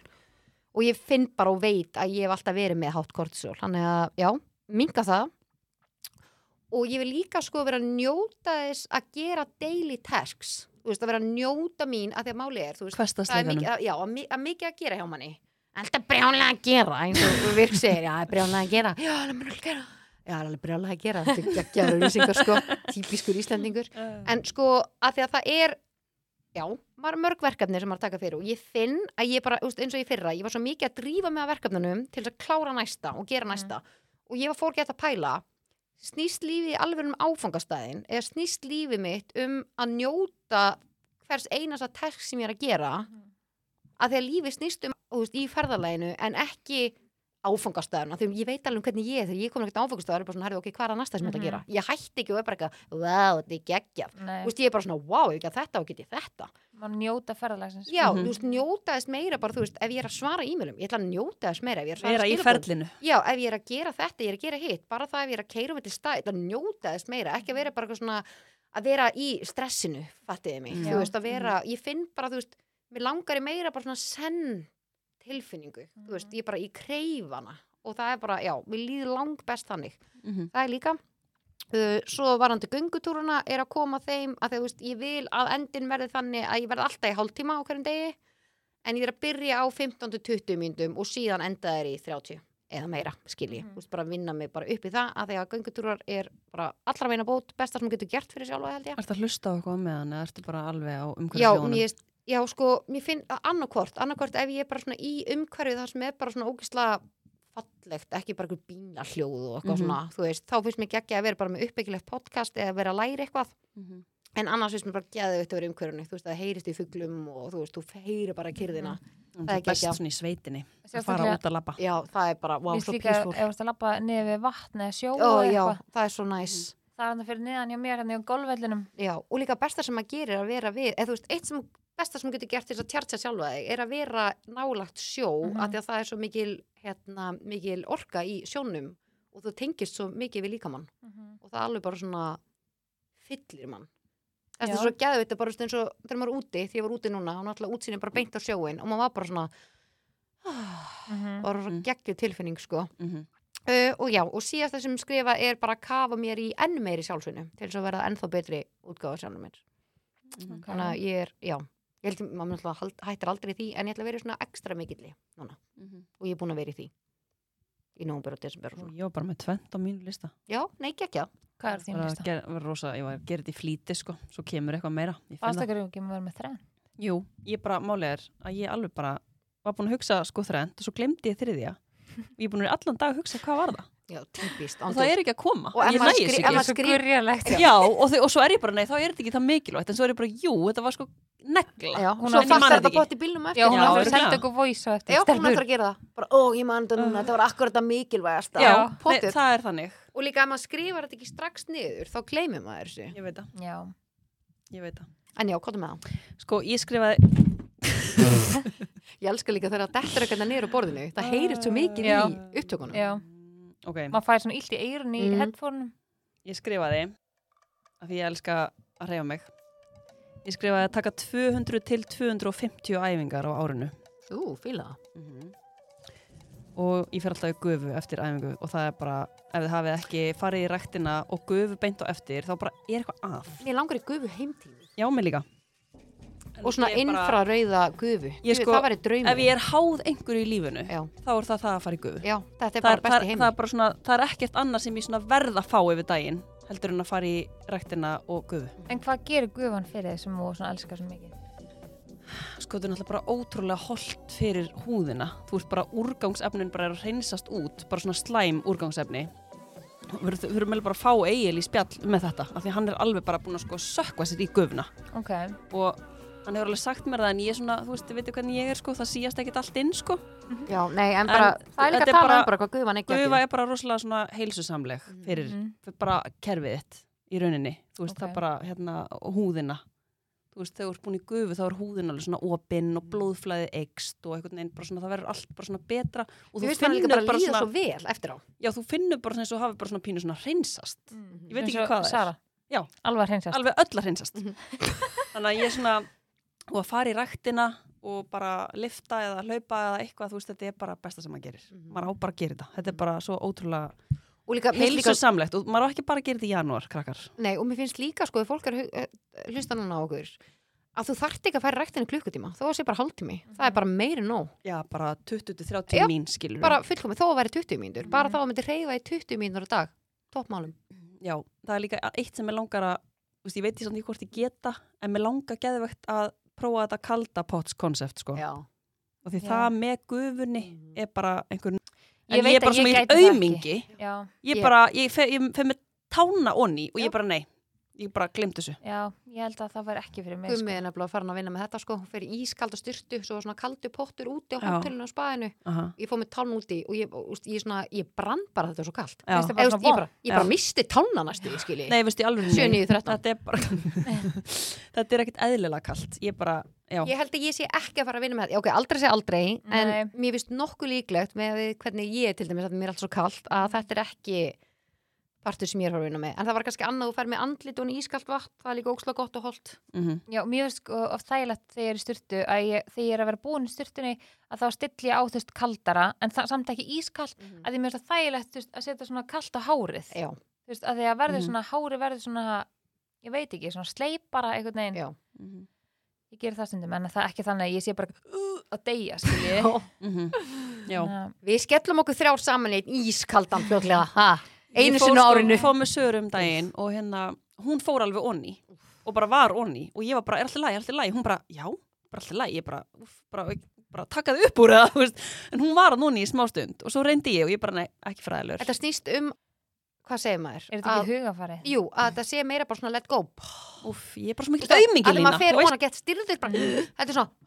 [SPEAKER 5] Og ég finn bara og veit að ég hef alltaf verið með hátt kortisol. Þannig að, já, minga það. Og ég vil líka sko vera að njóta þess að gera daily tasks. Þú veist, að vera að njóta mín að því að máli er, þú veist, það er
[SPEAKER 4] Hversdagsleikanum.
[SPEAKER 5] mikið, að, já, að, mi- að mikið að gera hjá manni. Alltaf brjánlega að gera, eins og virk segir, já, brjánlega að gera. Já, alveg brjánlega að gera. Já, alveg brjánlega að gera. Þetta er geggjaður lýsingar, sko. Típiskur Íslendingur. En sko, að því að það er já, maður er mörg verkefni sem maður er að taka fyrir og ég finn að ég bara, úst, eins og ég fyrra ég var svo mikið að drífa með að verkefnunum til þess að klára næsta og gera næsta og ég var fór gett að pæla snýst lífið alveg um áfangastæðin eða snýst lífið mitt um að njóta hvers einasta terk sem ég er að gera að því að lífið snýst um úst, í ferðalæginu en ekki áfangastæðuna, því ég veit alveg um hvernig ég er þegar ég komin ekkert áfangastæðar, bara svona, herðu, ok, hvað er að næsta sem ég ætla að gera? Ég hætti ekki og er bara eitthvað, wow, þetta er geggjað
[SPEAKER 6] Nei,
[SPEAKER 5] Þú veist, ég er bara svona, wow, ef ég get þetta og get ég þetta.
[SPEAKER 6] mann njóta ferðalagsins.
[SPEAKER 5] Já,
[SPEAKER 4] Mhm.
[SPEAKER 5] þú veist, njóta þess meira bara, þú veist, ef ég er að svara e-mailum, ég ætla að njóta þess meira, ef ég er að svara
[SPEAKER 4] Vera í
[SPEAKER 5] skilaboðum.
[SPEAKER 4] ferlinu.
[SPEAKER 5] Já, ef ég er að gera þetta, ég er að gera hitt, bara það ef ég er að keira um þetta stað, ég ætla að njóta þess meira, ekki að vera bara eitthvað svona, að vera í stressinu, fattiði mig,
[SPEAKER 4] Mhm.
[SPEAKER 5] þú
[SPEAKER 6] Já.
[SPEAKER 5] veist, að vera, ég finn bara, þú veist, mér langar í meira bara svona senn tilfinningu, þú veist, ég er bara í kreifana og það er bara, já, mér líður lang best þannig
[SPEAKER 4] Mhm.
[SPEAKER 5] það er líka uh, svo varandi göngutúruna er að koma þeim að þegar veist, ég vil að endin verði þannig að ég verði alltaf í hálftíma á hverjum degi en ég er að byrja á 15-20 mínútum og síðan enda þeir í 30 eða meira, skilji, mm. veist, bara vinna mig bara upp í það að þegar göngutúrar er bara allra meina bót, besta sem þú getur gert fyrir sjálfa held ég
[SPEAKER 4] Ertu að hlusta á eitthvað með hann eða ertu bara alveg á
[SPEAKER 5] já,
[SPEAKER 4] umhverfisjónum?
[SPEAKER 5] mér, já, sko, mér finn annarkvort, annarkvort ef ég er bara svona í umhverfið þar sem er bara svona ógisla fallegt, ekki bara einhver bílahljóð og eitthvað
[SPEAKER 4] Mhm.
[SPEAKER 5] svona, þú veist, þá finnst mér geggja að vera bara með uppbyggilegt podcast eða vera að læra eitthvað
[SPEAKER 4] Mhm.
[SPEAKER 5] en annars finnst mér bara geðið að vera í umhverfinu, þú veist, það heyrist í fuglum og þú veist, þú heyrir bara kyrðina
[SPEAKER 4] Það
[SPEAKER 5] það
[SPEAKER 4] er
[SPEAKER 5] er
[SPEAKER 4] best
[SPEAKER 5] geggjað.
[SPEAKER 4] svona í sveitinni. Að fara
[SPEAKER 6] Sérstaklega,
[SPEAKER 4] út að labba.
[SPEAKER 5] já, það er bara, wow,
[SPEAKER 6] víst
[SPEAKER 5] svo
[SPEAKER 6] líka, ef
[SPEAKER 5] písfól
[SPEAKER 6] þú ert að labba niður við vatn eða
[SPEAKER 5] ó,
[SPEAKER 6] sjó eða
[SPEAKER 5] já,
[SPEAKER 6] eitthvað.
[SPEAKER 5] það er svo næs
[SPEAKER 6] Það er hann fyrir niðan hjá mér, hann er á golfvellinum.
[SPEAKER 5] Já, og líka besta sem maður gerir er að vera við, eða þú veist, eitt sem besta sem þú getur gert til þess að tjartja sjálfa þig er að vera nálagt sjó
[SPEAKER 6] Mhm.
[SPEAKER 5] af því að það er svo mikil, hérna, mikil orka í sjónum og þú tengist svo mikið við líkamann og það alveg bara svona fyllir mann. Það er
[SPEAKER 6] Já.
[SPEAKER 5] svo geðveit að bara þú veist, eins og þegar maður er úti, því ég var úti núna og náttúrulega útsýnir bara beint á sjóin og maður var bara svona, ah,
[SPEAKER 6] Mhm.
[SPEAKER 5] bara svo
[SPEAKER 4] Mhm.
[SPEAKER 5] geggjuð tilfinning sko.
[SPEAKER 4] Mhm.
[SPEAKER 5] Uh, og já, og síðast það sem skrifa er bara að kafa mér í enn meiri sjálfsvinnu til þess að verða ennþá betri útgáfa sjálfum mér.
[SPEAKER 4] Mhm.
[SPEAKER 6] Ok.
[SPEAKER 5] þannig að ég er, já ég held að maður náttúrulega hald- hættir aldrei í því en ég ætla að vera í svona ekstra mikilli núna
[SPEAKER 4] Mhm.
[SPEAKER 5] og ég er búin að vera í því í nómber og desember og
[SPEAKER 4] Og
[SPEAKER 5] svona
[SPEAKER 4] Ég var bara með tvent á mínu lista.
[SPEAKER 5] já, nei, ekki
[SPEAKER 6] Hvað er þín
[SPEAKER 4] Bara
[SPEAKER 6] lista?
[SPEAKER 4] ger- var rosa, ég var að gera þetta í flýti sko, svo kemur eitthvað meira. Ég finn það.
[SPEAKER 6] Fastakar eru ekki með að vera með þrenn.
[SPEAKER 4] Jú, ég bara, málið er að ég alveg bara var búin að hugsa sko þrend og svo glemdi ég þriðja. Ég er búin að vera allan dag að hugsa hvað var það.
[SPEAKER 5] já, típist
[SPEAKER 4] Og það er ekki að koma.
[SPEAKER 5] Og ef
[SPEAKER 4] ég
[SPEAKER 5] maður
[SPEAKER 4] nægis
[SPEAKER 5] skri-
[SPEAKER 4] ekki.
[SPEAKER 5] ef maður- Skrif-
[SPEAKER 6] gurjalegt.
[SPEAKER 4] Já, og, þau, og svo er ég bara, nei, þá er þetta ekki það mikilvægt. En svo er ég bara, jú, þetta var sko negla.
[SPEAKER 5] já,
[SPEAKER 6] hún
[SPEAKER 5] svo
[SPEAKER 6] á-
[SPEAKER 5] fast
[SPEAKER 6] ég
[SPEAKER 4] man
[SPEAKER 5] er
[SPEAKER 4] þetta
[SPEAKER 5] þetta
[SPEAKER 4] ekki.
[SPEAKER 5] bótt í bílnum eftir
[SPEAKER 6] Já,
[SPEAKER 4] Já,
[SPEAKER 6] hún er að
[SPEAKER 4] örugglega.
[SPEAKER 6] senda okkur voice á eftir.
[SPEAKER 5] já, hún ætlar
[SPEAKER 6] Stelpur.
[SPEAKER 5] að gera það bara, ó, ég man þetta núna, þetta var akkurat að mikilvægasta
[SPEAKER 4] Já,
[SPEAKER 6] Já,
[SPEAKER 4] nei,
[SPEAKER 5] pottet.
[SPEAKER 4] það er þannig.
[SPEAKER 5] og líka ef maður skrifar þetta ekki strax niður þá gleymir maður þessu
[SPEAKER 4] Ég veit það,
[SPEAKER 6] Já.
[SPEAKER 4] ég veit það.
[SPEAKER 5] en já, hvað er með það?
[SPEAKER 4] Sko, ég skrifaði,
[SPEAKER 5] ég elska líka þegar það dettur eitthvað niður á borðinu það heyrist svo mikið
[SPEAKER 6] Já.
[SPEAKER 5] í upptökunum
[SPEAKER 6] Já,
[SPEAKER 4] Mm, ok,
[SPEAKER 6] maður fær svona illt í eirun í
[SPEAKER 5] Mhm.
[SPEAKER 6] headphone-um.
[SPEAKER 4] ég skrifaði, af því ég elska að reyfa mig. Ég skrifaði að taka 200 til 250 æfingar á árinu.
[SPEAKER 5] ú, fíla það
[SPEAKER 4] og ég fer alltaf í gufu eftir æfingu og það er bara, ef þið hafið ekki farið í ræktina og gufu beint á eftir þá bara er eitthvað að.
[SPEAKER 5] mér langar í gufu heimtími
[SPEAKER 4] Já, mig líka.
[SPEAKER 5] og svona
[SPEAKER 4] Ég er bara-
[SPEAKER 5] infrarauða gufu
[SPEAKER 4] Ég
[SPEAKER 5] Guð,
[SPEAKER 4] sko-
[SPEAKER 5] það væri draumur
[SPEAKER 4] Ef ég er háð einhverju í lífinu,
[SPEAKER 5] Já.
[SPEAKER 4] þá er það það að fara í gufu.
[SPEAKER 5] Já, þetta
[SPEAKER 4] það,
[SPEAKER 5] er bara
[SPEAKER 4] er, það,
[SPEAKER 5] besti
[SPEAKER 4] er,
[SPEAKER 5] heim
[SPEAKER 4] það er bara svona, það er ekkert annað sem ég svona verð að fá yfir daginn heldur en að fara í ræktina og gufu.
[SPEAKER 6] En hvað gerir gufan fyrir þið sem þú svona elskar svo mikið?
[SPEAKER 4] sko þetta er náttúrulega bara ótrúlega holdt fyrir húðina þú ert bara úrgangsefnin bara er að hreinsast út bara svona slæm úrgangsefni við erum- við erum meðlega bara að fá Egil í spjall með þetta af því að hann er alveg bara búin að sko sökva sér í gufna
[SPEAKER 6] ok,
[SPEAKER 4] og hann hefur alveg sagt mér það en ég er svona, þú veist, veitir hvernig ég er sko það síast ekkert allt inn sko
[SPEAKER 5] Já, nei, en bara,
[SPEAKER 4] En
[SPEAKER 5] það er líka
[SPEAKER 4] þetta
[SPEAKER 5] að
[SPEAKER 4] er
[SPEAKER 5] tala
[SPEAKER 4] bara-
[SPEAKER 5] um bara hvað gufan ekki
[SPEAKER 4] gufa er bara rosalega svona heilsusamleg fyrir,
[SPEAKER 6] Mhm.
[SPEAKER 4] fyrir bara kerfið þitt í rauninni, þú veist, það
[SPEAKER 6] Ok.
[SPEAKER 4] er bara hérna húðina, þú veist, þegar þú ert búin í gufu þá er húðin alveg svona opinn og blóðflæðið eikst og einhvern veginn bara svona það verður allt bara svona betra og
[SPEAKER 5] Þú
[SPEAKER 4] þú
[SPEAKER 5] veist hann líka
[SPEAKER 4] finnur
[SPEAKER 5] bara
[SPEAKER 4] bara
[SPEAKER 5] líða
[SPEAKER 4] svona
[SPEAKER 5] svo vel eftir á
[SPEAKER 4] já, þú finnur bara svona eins og hafi bara svona pínu svona hreinsast ég veit
[SPEAKER 6] Eins
[SPEAKER 4] ekki
[SPEAKER 6] og
[SPEAKER 4] hvað það
[SPEAKER 6] Sara.
[SPEAKER 4] er Já.
[SPEAKER 6] alveg að hreinsast
[SPEAKER 4] alveg öll að hreinsast þannig að ég svona og að fara í ræktina og bara lifta eða hlaupa eða eitthvað, þú veist, þetta er bara besta sem maður gerir maður á bara að gera þetta, þetta er bara svo ótrúlega
[SPEAKER 5] Og líka, mér finnst
[SPEAKER 4] heilsu
[SPEAKER 5] líka
[SPEAKER 4] samlegt og maður á ekki bara að gera þetta í janúar, krakkar
[SPEAKER 5] Nei, og mér finnst líka, sko, ef fólk er að hu- eh, hlusta núna á okkur að þú þarft ekki að færa ræktinu klukkutíma þó að sé bara hálftími, það er bara meiri nóg
[SPEAKER 4] Já, bara 20-30
[SPEAKER 5] Já,
[SPEAKER 4] mín skilur
[SPEAKER 5] bara fullkomið, þó að væri 20 mínútur bara þá að myndi reyfa í 20 mínútur á dag toppmálum,
[SPEAKER 4] Já, það er líka eitt sem ég langar að þú veist, ég veit ég samt ekki hvort ég geta en mér langar geðvegt að prófa þetta kalda pots koncept sko
[SPEAKER 5] já,
[SPEAKER 4] og því
[SPEAKER 6] Já.
[SPEAKER 4] það með gufunni er bara einhvern
[SPEAKER 6] Ég
[SPEAKER 4] en ég
[SPEAKER 6] veit
[SPEAKER 4] er bara
[SPEAKER 6] að ég
[SPEAKER 4] svona
[SPEAKER 6] gæti það
[SPEAKER 4] í aumingi
[SPEAKER 6] já,
[SPEAKER 4] ég
[SPEAKER 5] Ég-
[SPEAKER 4] bara, ég fer, ég fer með tána onni og ég bara nei, ég bara glemt þessu
[SPEAKER 6] já, ég held að það væri ekki fyrir mig sko.
[SPEAKER 5] gummið er nefnilega farin að vinna með þetta sko, hún fer í ískalda styrtu svo svona kaldu pottur úti á
[SPEAKER 4] Já.
[SPEAKER 5] hótelinu og spaðinu
[SPEAKER 4] Aha.
[SPEAKER 5] ég fóð með táln úti og ég, og, úst, ég, svona, ég brann bara þetta er svo kalt
[SPEAKER 4] Já.
[SPEAKER 5] Eða,
[SPEAKER 6] Bara
[SPEAKER 5] úst,
[SPEAKER 6] svona
[SPEAKER 5] ég, bara, ég bara
[SPEAKER 4] Já.
[SPEAKER 5] misti tálna næstu ég skilji,
[SPEAKER 4] Nei, veistu, í alveg
[SPEAKER 5] 7.9.13.
[SPEAKER 4] Þetta er bara Þetta er ekkert eðlilega kalt Ég bara, já,
[SPEAKER 5] ég held að ég sé ekki að fara að vinna með þetta ok, aldrei sé aldrei,
[SPEAKER 6] Nei.
[SPEAKER 5] en mér finnst nokkuð líklegt með að við- hvernig ég til dæmis að mér er allt svo kalt, að þetta er ekki partur sem ég er að fara að vinna með en það var kannski annað að fara með andlit og ískalt vatn það er líka óksla gott og holt
[SPEAKER 4] mhm,
[SPEAKER 6] Já, mér finnst sko oft þægilegt þegar ég er í styrtu að ég, þegar ég er að vera búin í styrtunni að þá stilli ég á þú veist kaldara en það, samt ekki ískalt mm að því mér finnst það þægilegt þú veist, að setja svona kalt á hárið
[SPEAKER 5] já,
[SPEAKER 6] þú veist að því að verður
[SPEAKER 4] Mhm.
[SPEAKER 6] svona hári verður svona ég veit ekki, svona sleipara einhvern veginn
[SPEAKER 5] já,
[SPEAKER 4] mhm,
[SPEAKER 6] ég ger það stundum en það er ekki þannig að ég sé bara uh, að deyja skilji Ehm,
[SPEAKER 4] mhm Já
[SPEAKER 5] við skellum okkur þrjár saman í einn ískaldan fljóðlega, ha, einu
[SPEAKER 4] Ég fór
[SPEAKER 5] sinni á
[SPEAKER 4] sko-
[SPEAKER 5] árinu
[SPEAKER 4] fór með Söru um daginn og hérna, hún fór alveg onni og bara var onni og ég var bara, er alltaf læg, er alltaf læg hún bara, já, bara alltaf læg ég bara, úff, bara, ég bara takkaði upp úr það þú veist. en hún var onni í smá stund og svo reyndi ég og ég bara, nei, ekki fræðilegur
[SPEAKER 5] þetta snýst um, hvað segir maður
[SPEAKER 6] er þetta ekki hugafari?
[SPEAKER 5] Jú, að þetta sé meira bara svona let go
[SPEAKER 4] Úff, ég er bara svo mikil aumingi
[SPEAKER 5] Allir
[SPEAKER 4] lína Mm.
[SPEAKER 5] maður fer og hann að geta styrðu þetta bara Þetta er svona,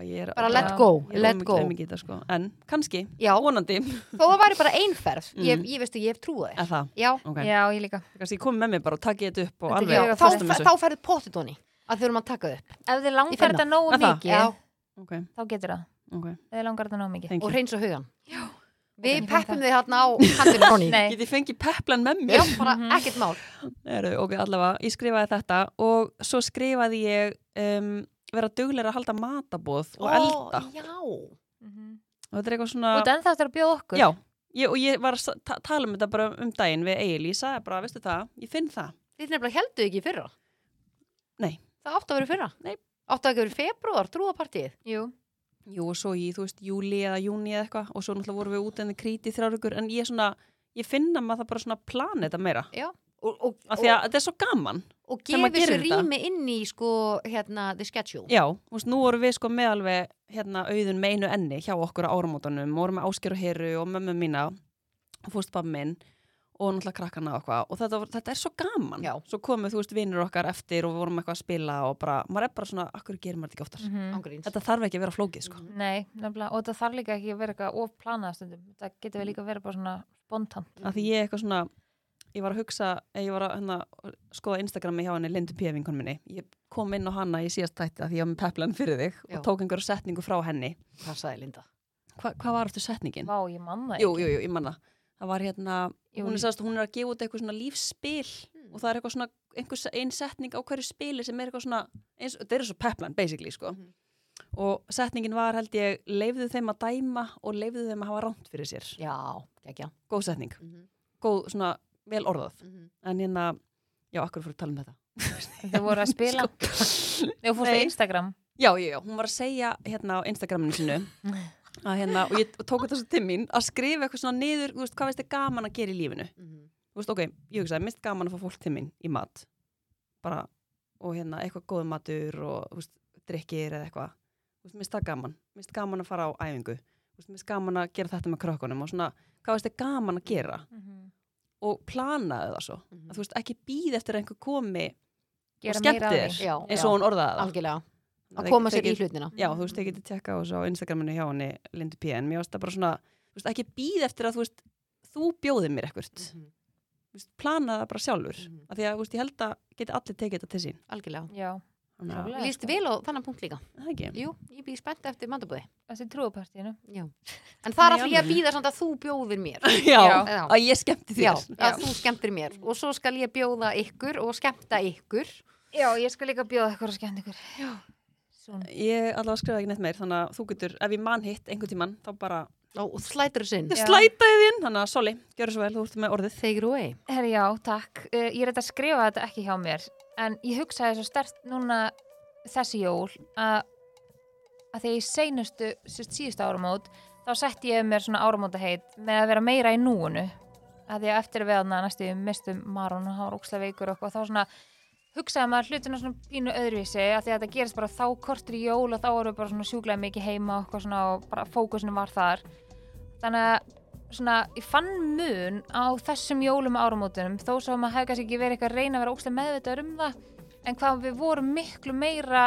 [SPEAKER 5] bara let
[SPEAKER 6] Já,
[SPEAKER 5] go,
[SPEAKER 4] ég er
[SPEAKER 5] let go
[SPEAKER 4] aumingi þetta sko, en kannski,
[SPEAKER 5] Já,
[SPEAKER 4] vonandi
[SPEAKER 5] þó að væri bara einferð Ég,
[SPEAKER 4] Mhm.
[SPEAKER 5] ég veistu, ég hef trúið
[SPEAKER 4] eða
[SPEAKER 5] þér
[SPEAKER 4] það,
[SPEAKER 5] Já,
[SPEAKER 4] ok,
[SPEAKER 6] Já, ég líka
[SPEAKER 4] kannski ég kom með mér bara og takki þetta upp og
[SPEAKER 6] Þetta er
[SPEAKER 4] alveg um
[SPEAKER 6] ég að
[SPEAKER 5] þá,
[SPEAKER 6] fara-
[SPEAKER 4] festum
[SPEAKER 5] þá færðu pottit honni að þurfum að taka þau
[SPEAKER 6] Ef þið
[SPEAKER 5] Ég finn
[SPEAKER 6] langar þetta nógu
[SPEAKER 4] Er það?
[SPEAKER 6] mikið
[SPEAKER 5] Já,
[SPEAKER 4] ok,
[SPEAKER 6] þá getur það
[SPEAKER 4] ok,
[SPEAKER 6] Ef þið langar þetta nógu mikið
[SPEAKER 4] thank
[SPEAKER 5] og
[SPEAKER 4] you
[SPEAKER 5] hreins og hugan
[SPEAKER 6] Ég
[SPEAKER 5] Við
[SPEAKER 6] finn
[SPEAKER 5] peppum
[SPEAKER 6] það.
[SPEAKER 5] þið hérna á handinu honni
[SPEAKER 6] Nei, Mhm.
[SPEAKER 4] Getið fengið peplan með mér
[SPEAKER 5] Já, bara ekkert mál
[SPEAKER 4] Eru, ok, allavega, ég skrifaði þetta og svo skrifaði ég um, vera duglega að halda matabóð og
[SPEAKER 5] Ó,
[SPEAKER 4] elda
[SPEAKER 5] Já,
[SPEAKER 6] Mhm.
[SPEAKER 4] og þetta er eitthvað svona
[SPEAKER 6] Þú ert ennþá eftir að bjóða okkur
[SPEAKER 4] já, ég, og ég var að sa- ta tala um þetta bara um daginn við Egil, ég sagði bara, veistu það, ég finn það
[SPEAKER 5] þið nefnilega heldu ekki í fyrra
[SPEAKER 4] Nei.
[SPEAKER 5] Það átti að vera í fyrra
[SPEAKER 4] Nei.
[SPEAKER 5] Átti að vera í februar, trúapartíð
[SPEAKER 6] Jú,
[SPEAKER 4] Jú, og svo í, þú veist, júli eða júni eða eitthvað og svo náttúrulega vorum við út enn kríti þrjárugur en ég svona, ég finn að maður það bara svona plani þetta meira,
[SPEAKER 5] Og, og,
[SPEAKER 4] af því að þetta er svo gaman
[SPEAKER 5] og
[SPEAKER 4] Þegar maður
[SPEAKER 5] gefið svo
[SPEAKER 4] gerir þetta.
[SPEAKER 5] rými inn í sko, hérna, the schedule
[SPEAKER 4] Já, þú veist, nú vorum við sko með alveg hérna auðun með einu enni hjá okkur á áramótanum og vorum með Ásker og Heru og mömmu mína og fórstbam minn og náttúrulega krakkana og eitthvað og þetta, var- þetta er svo gaman
[SPEAKER 5] Já.
[SPEAKER 4] svo komu, þú veist, vinnur okkar eftir og við vorum eitthvað að spila og bara, maður er bara svona, akkur gerir maður þetta ekki oftar
[SPEAKER 6] Mhm.
[SPEAKER 5] ángríns
[SPEAKER 4] Þetta þarf ekki að vera flókið, sko
[SPEAKER 6] Nei, nefnilega, og það þarf líka ekki að vera eitthvað ofplanað stundum, það getur við líka að vera bara svona spontant.
[SPEAKER 5] Mhm.
[SPEAKER 4] af því ég er eitthvað svona ég var að hugsa, eh, ég var að hana, skoða Instagrami hjá henni Lindu Pjöfinkon minni ég kom inn á hana í síðast tætti af því ég var með peplan fyrir þig
[SPEAKER 5] Já.
[SPEAKER 4] og tók einhverju setningu frá henni
[SPEAKER 5] passaði Linda
[SPEAKER 4] Hva, hvað var eftir setningin?
[SPEAKER 6] Vá, ég mann það
[SPEAKER 4] Jú, jú, jú, ég manna það var hérna,
[SPEAKER 6] Jú, Hmm.
[SPEAKER 4] hún
[SPEAKER 6] ég-
[SPEAKER 4] er, sást, hún er að gefa út eitthvað svona lífsspil og það er eitthvað svona einhver, ein setning á hverju spili sem er eitthvað svona eins, þetta er svo peplan basically sko
[SPEAKER 6] Hmm.
[SPEAKER 4] og setningin var held ég leifðu þeim að dæma og leifðu þeim að hafa rámt fyrir sér
[SPEAKER 5] Já, ekki já
[SPEAKER 4] góð setning,
[SPEAKER 5] Mhm,
[SPEAKER 4] góð svona vel orðað en hérna, já, akkur fyrir að tala um þetta
[SPEAKER 6] ekki. Þau voru að spila, þau fórst á
[SPEAKER 4] Sko- Nei.
[SPEAKER 6] Instagram.
[SPEAKER 4] já, já, já, hún var að segja hérna á Instagraminu sinu að hérna, og ég tók þetta svo til mín að skrifa eitthvað svona niður, þú veist, hvað veist er gaman að gera í lífinu
[SPEAKER 5] mhm,
[SPEAKER 4] þú veist, ok, ég hugsaði, mist gaman að fá fólk til mín í mat bara, og hérna, eitthvað góð matur og, þú veist, drikkir eða eitthvað Þú veist, mér finnst það gaman, mér finnst gaman að fara á æfingu Þú veist, mér finnst gaman að gera þetta með krökkunum og svona, hvað veist þið gaman að gera og planaði það svo
[SPEAKER 5] Mm. mhm.
[SPEAKER 4] að þú veist, ekki býð eftir að einhver komi og skemmti þér
[SPEAKER 5] Já,
[SPEAKER 4] eins
[SPEAKER 5] já.
[SPEAKER 4] og hún orðaði það
[SPEAKER 5] algjörlega,
[SPEAKER 4] Þeir-
[SPEAKER 5] að koma
[SPEAKER 4] þeir
[SPEAKER 5] sér í
[SPEAKER 4] get-
[SPEAKER 5] hlutina
[SPEAKER 4] Já, þú veist, ég geti tjekka á þessu á Instagraminu hjá henni Lindu P. En mér varst það bara svona, þú veist, ekki býð eftir að þú veist, þú bjóðið mér ekkert. Þú veist, planaði það bara sjálfur. Mm
[SPEAKER 5] Mhm.
[SPEAKER 4] Af því að, þú veist, ég held að geti allir tekið þetta til sín.
[SPEAKER 5] algjörlega,
[SPEAKER 6] Já,
[SPEAKER 4] Þannig að-
[SPEAKER 6] Klárlega,
[SPEAKER 5] líst
[SPEAKER 6] sko.
[SPEAKER 5] vel á þannan punkt líka
[SPEAKER 4] Það er ekki.
[SPEAKER 5] Jú, ég býð spennt eftir mandabúði
[SPEAKER 6] þessi trúapartíinu
[SPEAKER 5] Já. En það er
[SPEAKER 4] Nei,
[SPEAKER 5] alltaf ég að
[SPEAKER 4] alveg.
[SPEAKER 5] býða samt að þú bjóðir mér
[SPEAKER 4] Já,
[SPEAKER 5] Já.
[SPEAKER 4] að ég skemmti þér.
[SPEAKER 5] Já, að þú skemmtir mér og svo skal ég bjóða ykkur og skemmta ykkur
[SPEAKER 6] Já, ég skal líka bjóða ykkur að skemmt ykkur Svona.
[SPEAKER 4] Ég allavega skrifaði ekki neitt meir, þannig að þú getur, ef ég man hitt einhvern tíman, þá bara
[SPEAKER 5] og og slætur sinn
[SPEAKER 6] Já.
[SPEAKER 4] slætaði þín, þannig að soli, gjörðu svo vel, þú ert með orðið.
[SPEAKER 5] Take it away
[SPEAKER 6] Herri, já, takk. Uh, ég er þetta að skrifa þetta ekki hjá mér, en ég hugsaði svo stert núna þessi jól að, að þegar ég seinustu sérst síðustu áramót, þá setti ég mér svona áramótaheit með að vera meira í núinu. Að því að eftir að veðna næstu við mistum marun og hann var ókslega veikur og eitthvað, þá svona hugsaði maður hlutina svona pínu öðruvísi að því að þetta gerist bara þá kortur í jól og þá erum við bara svona sjúklega mikið heima og eitthvað svona og bara fókusinu var þar. Þannig að svona, ég fann mun á þessum jólum og áramótunum þó svo að maður hefði kannski ekki verið eitthvað að reyna að vera ógstlega meðvitaður um það en hvað við vorum miklu meira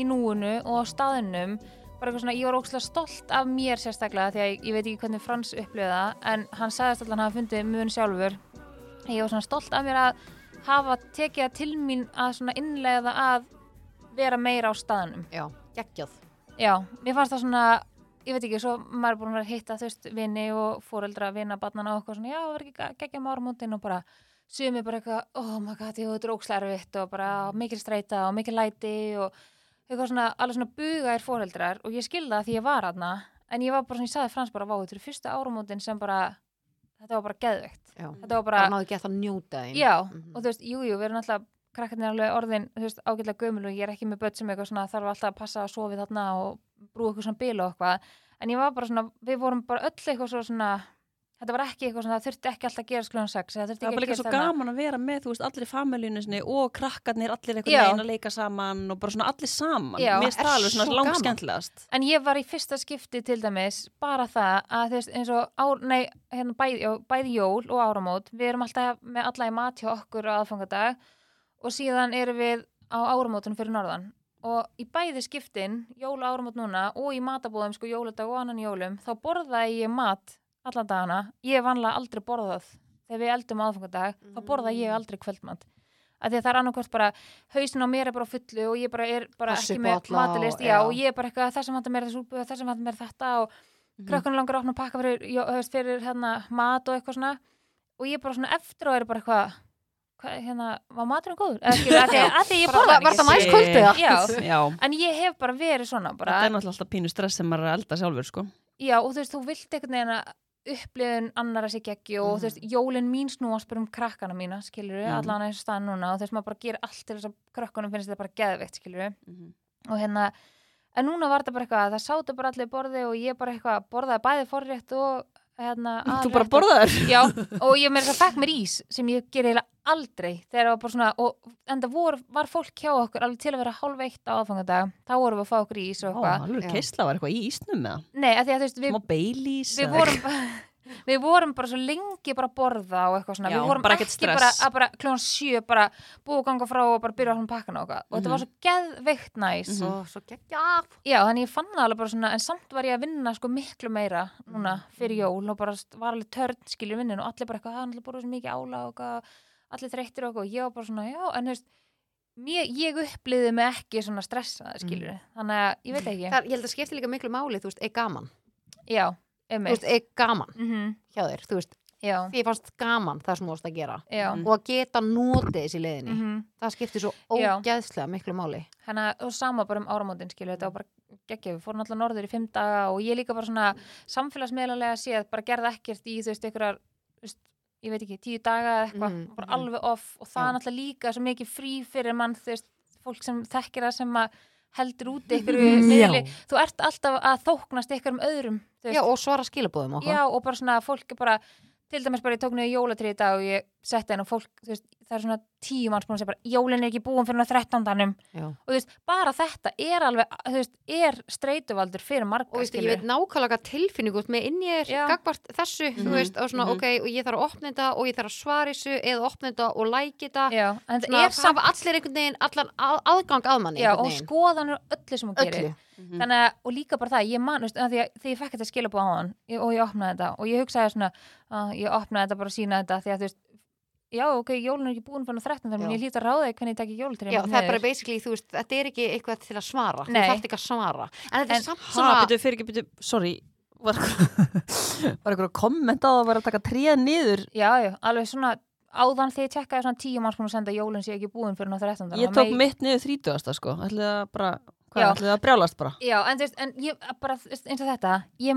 [SPEAKER 6] í núinu og á staðinum bara eitthvað svona, ég var ógstlega stolt af mér sérstaklega því að ég, ég veit ekki hvernig Frans upplifði það en hann sagðist allan að hafa fundið mun sjálfur ég var svona stolt af mér að hafa tekið það til mín að svona innlega það að vera meira á staðinum
[SPEAKER 5] Já, geggjað
[SPEAKER 6] Já, mér fannst það svona, ég veit ekki, svo maður er búin að vera að hitta þú veist vini og fóreldra, vina, barnana og eitthvað svona, já, það var ekki geggja mármóndin og bara sumi bara eitthvað, oh my god, ég þetta er ókslarfitt og bara mikil streita og mikil læti og eitthvað svona, alveg svona bugaðir fóreldrar og ég skilði það því ég var aðna, en ég var bara svona, ég saði frans bara, vá, þetta eru fyrsta áramóndin sem bara, þetta var bara geðveikt,
[SPEAKER 5] Já,
[SPEAKER 6] þetta var bara,
[SPEAKER 5] bara náðu ekki að það njóta þeim
[SPEAKER 6] Já,
[SPEAKER 5] Mhm.
[SPEAKER 6] og þú veist, jú, jú, við erum alltaf krakkarnir alveg orðin, þú veist, ágætlega gömul og ég er ekki með börn sem eitthvað svona þarf alltaf að passa að sofi þarna og brúa eitthvað svona bíl og eitthvað en ég var bara svona, við vorum bara öll eitthvað svo svona þetta var ekki eitthvað svona, það þurfti ekki alltaf að gera sklun 6 það
[SPEAKER 4] Það
[SPEAKER 6] þurfti
[SPEAKER 4] var bara
[SPEAKER 6] ekki
[SPEAKER 4] líka
[SPEAKER 6] að
[SPEAKER 4] svo
[SPEAKER 6] gera þarna
[SPEAKER 4] gaman að vera með, þú veist, allir í familínu sinni og krakkarnir, allir einhvern
[SPEAKER 6] Já.
[SPEAKER 4] veginn að leika saman og bara svona allir saman.
[SPEAKER 6] Já.
[SPEAKER 4] Mér finnst
[SPEAKER 5] Er
[SPEAKER 4] það alveg
[SPEAKER 5] svo
[SPEAKER 4] svona
[SPEAKER 5] gaman.
[SPEAKER 4] langskemmtilegast.
[SPEAKER 6] en ég var í fyrsta skipti til dæmis bara það að þú veist eins og ár, nei, hérna, bæði, já, bæði jól og áramót við erum alltaf með alla í mat hjá okkur á aðfangadag og síðan erum við á áramótunum fyrir norðan og í bæði skiptin, jól og áramót núna og í matabóðum sko jóladag og annan jólum þá borðaði ég mat alla dagana, ég hef vanlega aldrei borðað þegar við eldum á aðfangadag þá borðaði ég aldrei kvöldmat að því að það er annarkvort bara, hausin á mér er bara á fullu og ég bara er bara
[SPEAKER 5] Passa upp
[SPEAKER 6] ekki
[SPEAKER 5] á
[SPEAKER 6] með
[SPEAKER 5] alla og-
[SPEAKER 6] matalist,
[SPEAKER 5] já.
[SPEAKER 6] já, og ég er bara eitthvað þessum vantar mér þessu útbúð, þessum vantar mér þetta og
[SPEAKER 5] Mhm.
[SPEAKER 6] mm. langar að opna pakka fyrir, já, þú veist, fyrir hérna, mat og eitthvað svona og ég bara svona eftir og er bara eitthvað hvað, hérna, var maturinn góður? Eða skilur, að því að því að ég
[SPEAKER 5] Bara,
[SPEAKER 6] borða
[SPEAKER 5] var, var það mæs kvöldið það?
[SPEAKER 6] Já,
[SPEAKER 4] Já.
[SPEAKER 6] en ég hef bara verið svona bara,
[SPEAKER 4] Þetta er náttúrulega alltaf pínu stress sem maður er að elda sjálfur, sko.
[SPEAKER 6] já, og þú veist, þú vilt einhvern veginn að upplifun annara sig ekki og þú veist, jólin mín snúast bara um krakkana mína, skilur við,
[SPEAKER 4] Mhm.
[SPEAKER 6] allan þessu stað núna og þú veist, maður bara gerir allt til þess að krakkanum finnst þetta bara geðveikt, skilur við
[SPEAKER 4] Mhm.
[SPEAKER 6] og hérna, en núna var þetta bara eitthvað að það sátu bara allir borði og ég bara eitthvað borðaði bæði forrétt og hérna,
[SPEAKER 4] Þú
[SPEAKER 5] Ah,
[SPEAKER 6] aðalrétt
[SPEAKER 4] bara
[SPEAKER 6] og-
[SPEAKER 4] borðaður.
[SPEAKER 6] Já, og ég meira þess að fekk mér ís sem ég gerði eiginlega aldrei þegar það var bara svona, og enda vor, var fólk hjá okkur alveg til að vera hálf eitt á aðfangandag þá vorum við að fá okkur ís og eitthvað
[SPEAKER 4] alveg
[SPEAKER 5] Já.
[SPEAKER 4] keisla var eitthvað í ísnum með það.
[SPEAKER 6] Nei, að því að þú veist, við,
[SPEAKER 4] Má beilís.
[SPEAKER 6] við vorum bara Við vorum bara svo lengi bara að borða og eitthvað svona,
[SPEAKER 4] Já,
[SPEAKER 6] við vorum
[SPEAKER 4] bara
[SPEAKER 6] ekki
[SPEAKER 4] ekkert
[SPEAKER 6] bara
[SPEAKER 4] stress.
[SPEAKER 6] að bara kljóðan sjö bara búið að ganga frá og bara byrja að hlum pakkana og eitthvað og þetta var svo geðveikt næs
[SPEAKER 5] Svo, svo geggjað
[SPEAKER 6] Já, þannig ég fann það alveg bara svona, en samt var ég að vinna sko miklu meira núna fyrir jól og bara st- var alveg törn skilur vinnin og allir bara eitthvað, hann allir búið svo mikið ála og eitthvað, allir þreyttir og eitthvað og ég var bara svona, já, en þú veist, mér, ég upplýði mig ekki svona stressaði skilur, þannig að ég veit ekki,
[SPEAKER 5] Það, ég held að skipti líka miklu máli, þú veist, er gaman
[SPEAKER 6] já,
[SPEAKER 5] Þú veist,
[SPEAKER 6] einmitt,
[SPEAKER 5] er gaman
[SPEAKER 6] mm
[SPEAKER 5] hjá þér, þú veist,
[SPEAKER 6] já,
[SPEAKER 5] því fannst gaman það sem þú varst að gera
[SPEAKER 6] já,
[SPEAKER 5] og að geta notið þessi leiðinni
[SPEAKER 6] mhm.
[SPEAKER 5] það skiptir svo
[SPEAKER 6] Já.
[SPEAKER 5] ógeðslega miklu máli
[SPEAKER 6] Þannig að og sama bara um áramótin skilju, þetta var bara geggjum, við fórum alltaf norður í fimm daga og ég líka bara svona samfélagsmiðlanlega séð, bara gerði ekkert í þú veist einhverjar, þú veist, ég veit ekki, tíu daga eða eitthvað,
[SPEAKER 5] Mhm,
[SPEAKER 6] bara
[SPEAKER 5] mhm.
[SPEAKER 6] alveg off og það
[SPEAKER 5] Já.
[SPEAKER 6] er náttúrulega líka svo mikið frí fyrir mann, þú veist, fólk sem þekkir það sem að heldur út ykkur miðli, þú ert alltaf að þóknast ykkur um öðrum, þú
[SPEAKER 5] já, og svara skilabóðum okkur
[SPEAKER 6] Já, og bara svona fólk er bara, til dæmis bara ég tók niður jólatrið í dag og ég setta inn og fólk, þú veist, það er svona tíu manns búin að segja bara, jólin er ekki búin fyrir hann 13. -danum."
[SPEAKER 5] Já.
[SPEAKER 6] og þú veist, bara þetta er alveg, þú veist, er streituvaldur fyrir marga,
[SPEAKER 5] og veist, ég veit nákvæmlega hvað tilfinningu þú ert með inn ég er
[SPEAKER 6] Já.
[SPEAKER 5] gagbart þessu þú veist, og svona,
[SPEAKER 4] mhm.
[SPEAKER 5] ok, og ég þarf að opna þetta og ég þarf að svara þessu eða opna þetta og lækja þetta
[SPEAKER 6] Já, en
[SPEAKER 5] svona,
[SPEAKER 6] það er samt
[SPEAKER 5] hafa allir einhvern veginn allan að, aðgang að manni
[SPEAKER 6] já,
[SPEAKER 5] einhvern
[SPEAKER 6] og
[SPEAKER 5] veginn.
[SPEAKER 6] skoðanur öllu sem hún gerir
[SPEAKER 5] öllu
[SPEAKER 4] Mhm.
[SPEAKER 6] þannig að, og líka bara það, ég man, veist, að því að þegar ég fekk þetta skilabóð á hann ég, og ég opnaði þetta og ég hugsaði svona að ég opnaði þetta bara að sína þetta því að þú veist, já ok, jólun er ekki búin fyrir 13 þannig
[SPEAKER 5] Já.
[SPEAKER 6] að ég hlýta ráðið hvernig ég tekja jólutrið
[SPEAKER 5] Já, það er bara basically, þú veist, þetta er ekki eitthvað til að svara,
[SPEAKER 6] Nei.
[SPEAKER 5] þú þarft ekki að svara en þetta
[SPEAKER 6] En-
[SPEAKER 5] er samt
[SPEAKER 4] Svona,
[SPEAKER 5] svona
[SPEAKER 4] byrju, fyrir ekki, byrju, sorry Var var eitthvað komment á að vera að taka tréð niður
[SPEAKER 6] já, já, alveg svona áðan þegar ég tekkaði svona tíu manns búin að senda að jólun sé ekki búin fyrir 13
[SPEAKER 4] Ég tók mitt niður þrítugasta sko Ætlið það bara, hvað,
[SPEAKER 6] Já.
[SPEAKER 4] ætlið það að brjálast bara
[SPEAKER 6] já, en þú veist, en ég bara, þú veist, eins og þetta ég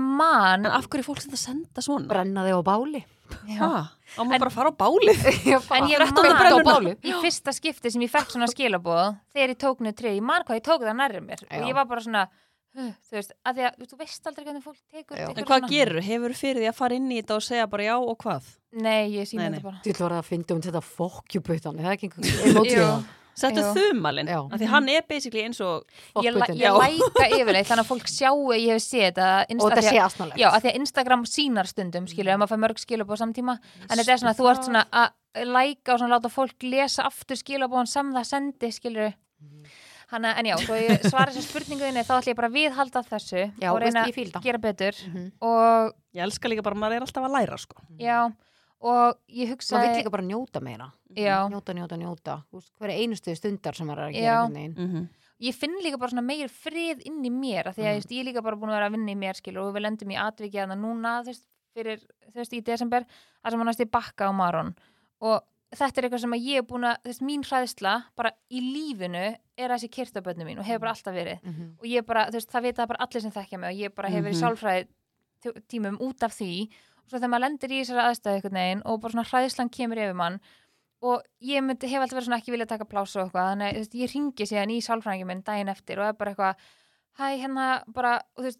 [SPEAKER 4] En
[SPEAKER 6] man
[SPEAKER 4] af hverju er fólk sem það senda svona?
[SPEAKER 5] brenna þig á báli
[SPEAKER 6] Já.
[SPEAKER 4] Ha, á maður bara að fara á bálið
[SPEAKER 6] En ég
[SPEAKER 4] Þrettán
[SPEAKER 6] man
[SPEAKER 4] brennuna.
[SPEAKER 6] í fyrsta skipti sem ég fekk svona skilabóð þegar ég tók niður trið, ég man hvað ég tók það nærri mér
[SPEAKER 5] Já.
[SPEAKER 6] og ég var bara svona huh, þú veist, að því að þú veist aldrei hvernig fólk tekur
[SPEAKER 5] Já.
[SPEAKER 6] tekur
[SPEAKER 4] En hvað
[SPEAKER 6] svona-
[SPEAKER 4] gerur? Hefur fyrir því að fara inn í þetta og segja bara já og hvað?
[SPEAKER 6] Nei, ég sína
[SPEAKER 4] Nei, nei.
[SPEAKER 6] þetta bara
[SPEAKER 5] Þú ætlar að finna um þetta fokkjubutan, það er ekki einhver emótið
[SPEAKER 6] Jú.
[SPEAKER 5] það.
[SPEAKER 4] Settu
[SPEAKER 6] Já.
[SPEAKER 4] þumalinn,
[SPEAKER 5] Já.
[SPEAKER 4] af því hann er basically eins og
[SPEAKER 6] Ég, la-
[SPEAKER 5] Fokkbutan.
[SPEAKER 6] ég læka yfirleitt, þannig að fólk sjáu að ég hef séð þetta
[SPEAKER 5] Og
[SPEAKER 6] Insta-
[SPEAKER 5] þetta
[SPEAKER 6] því
[SPEAKER 5] sé
[SPEAKER 6] að-
[SPEAKER 5] aðsnalegt.
[SPEAKER 6] Já, að því að Instagram sínar stundum, skilur, ef maður fær mörg skilabóð samtíma en þetta er svona að þú ert svona að læka og svona láta fólk lesa aftur skilabóðan sem það sendi, skilur Hanna, en já, svo ég svara þessu spurninguðinni þá ætlum ég bara að viðhalda þessu
[SPEAKER 5] Já,
[SPEAKER 6] og
[SPEAKER 5] veist,
[SPEAKER 6] reyna
[SPEAKER 5] ég fíl það.
[SPEAKER 6] gera betur
[SPEAKER 5] Mhm.
[SPEAKER 6] og
[SPEAKER 4] Ég elska líka bara, maður er alltaf að læra sko
[SPEAKER 6] já og ég
[SPEAKER 5] Maður vill
[SPEAKER 6] hugsaði
[SPEAKER 5] líka bara njóta meira.
[SPEAKER 6] Mhm. já,
[SPEAKER 5] Njóta, njóta, njóta. Þú veist, Hver er einustu stundar sem maður er að
[SPEAKER 6] Já.
[SPEAKER 5] gera einhvern veginn.
[SPEAKER 4] Mhm.
[SPEAKER 6] ég finn líka bara svona meir frið inn í mér af því að mm. ég er líka bara búin að vera að vinna í mér skilur og við lendum í atvikið hana núna þú veist, fyrir, þú veist, í desember þar sem hann næst í bakka á Maron og þetta er eitthvað sem að ég er búin að þú veist, mín hræðsla bara í lífinu er þessi kyrtabönnu mín og hefur bara alltaf verið
[SPEAKER 5] Mhm.
[SPEAKER 6] og ég bara, þú veist, það vita bara allir sem þekkja mig og ég bara hefur mm
[SPEAKER 4] Mhm.
[SPEAKER 6] -hmm. sjálfræði t- tímum út af því og svo þegar maður lendir í þessari aðstæði einhvern veginn og bara svona hræðslan kemur yfir mann og ég myndi, hef alltaf verið svona ekki vilja taka plásu og eitthvað, þannig að þú veist, ég ringi síðan í sálfræðingin minn daginn eftir og er bara eitthvað hæ, hérna, bara, og þú veist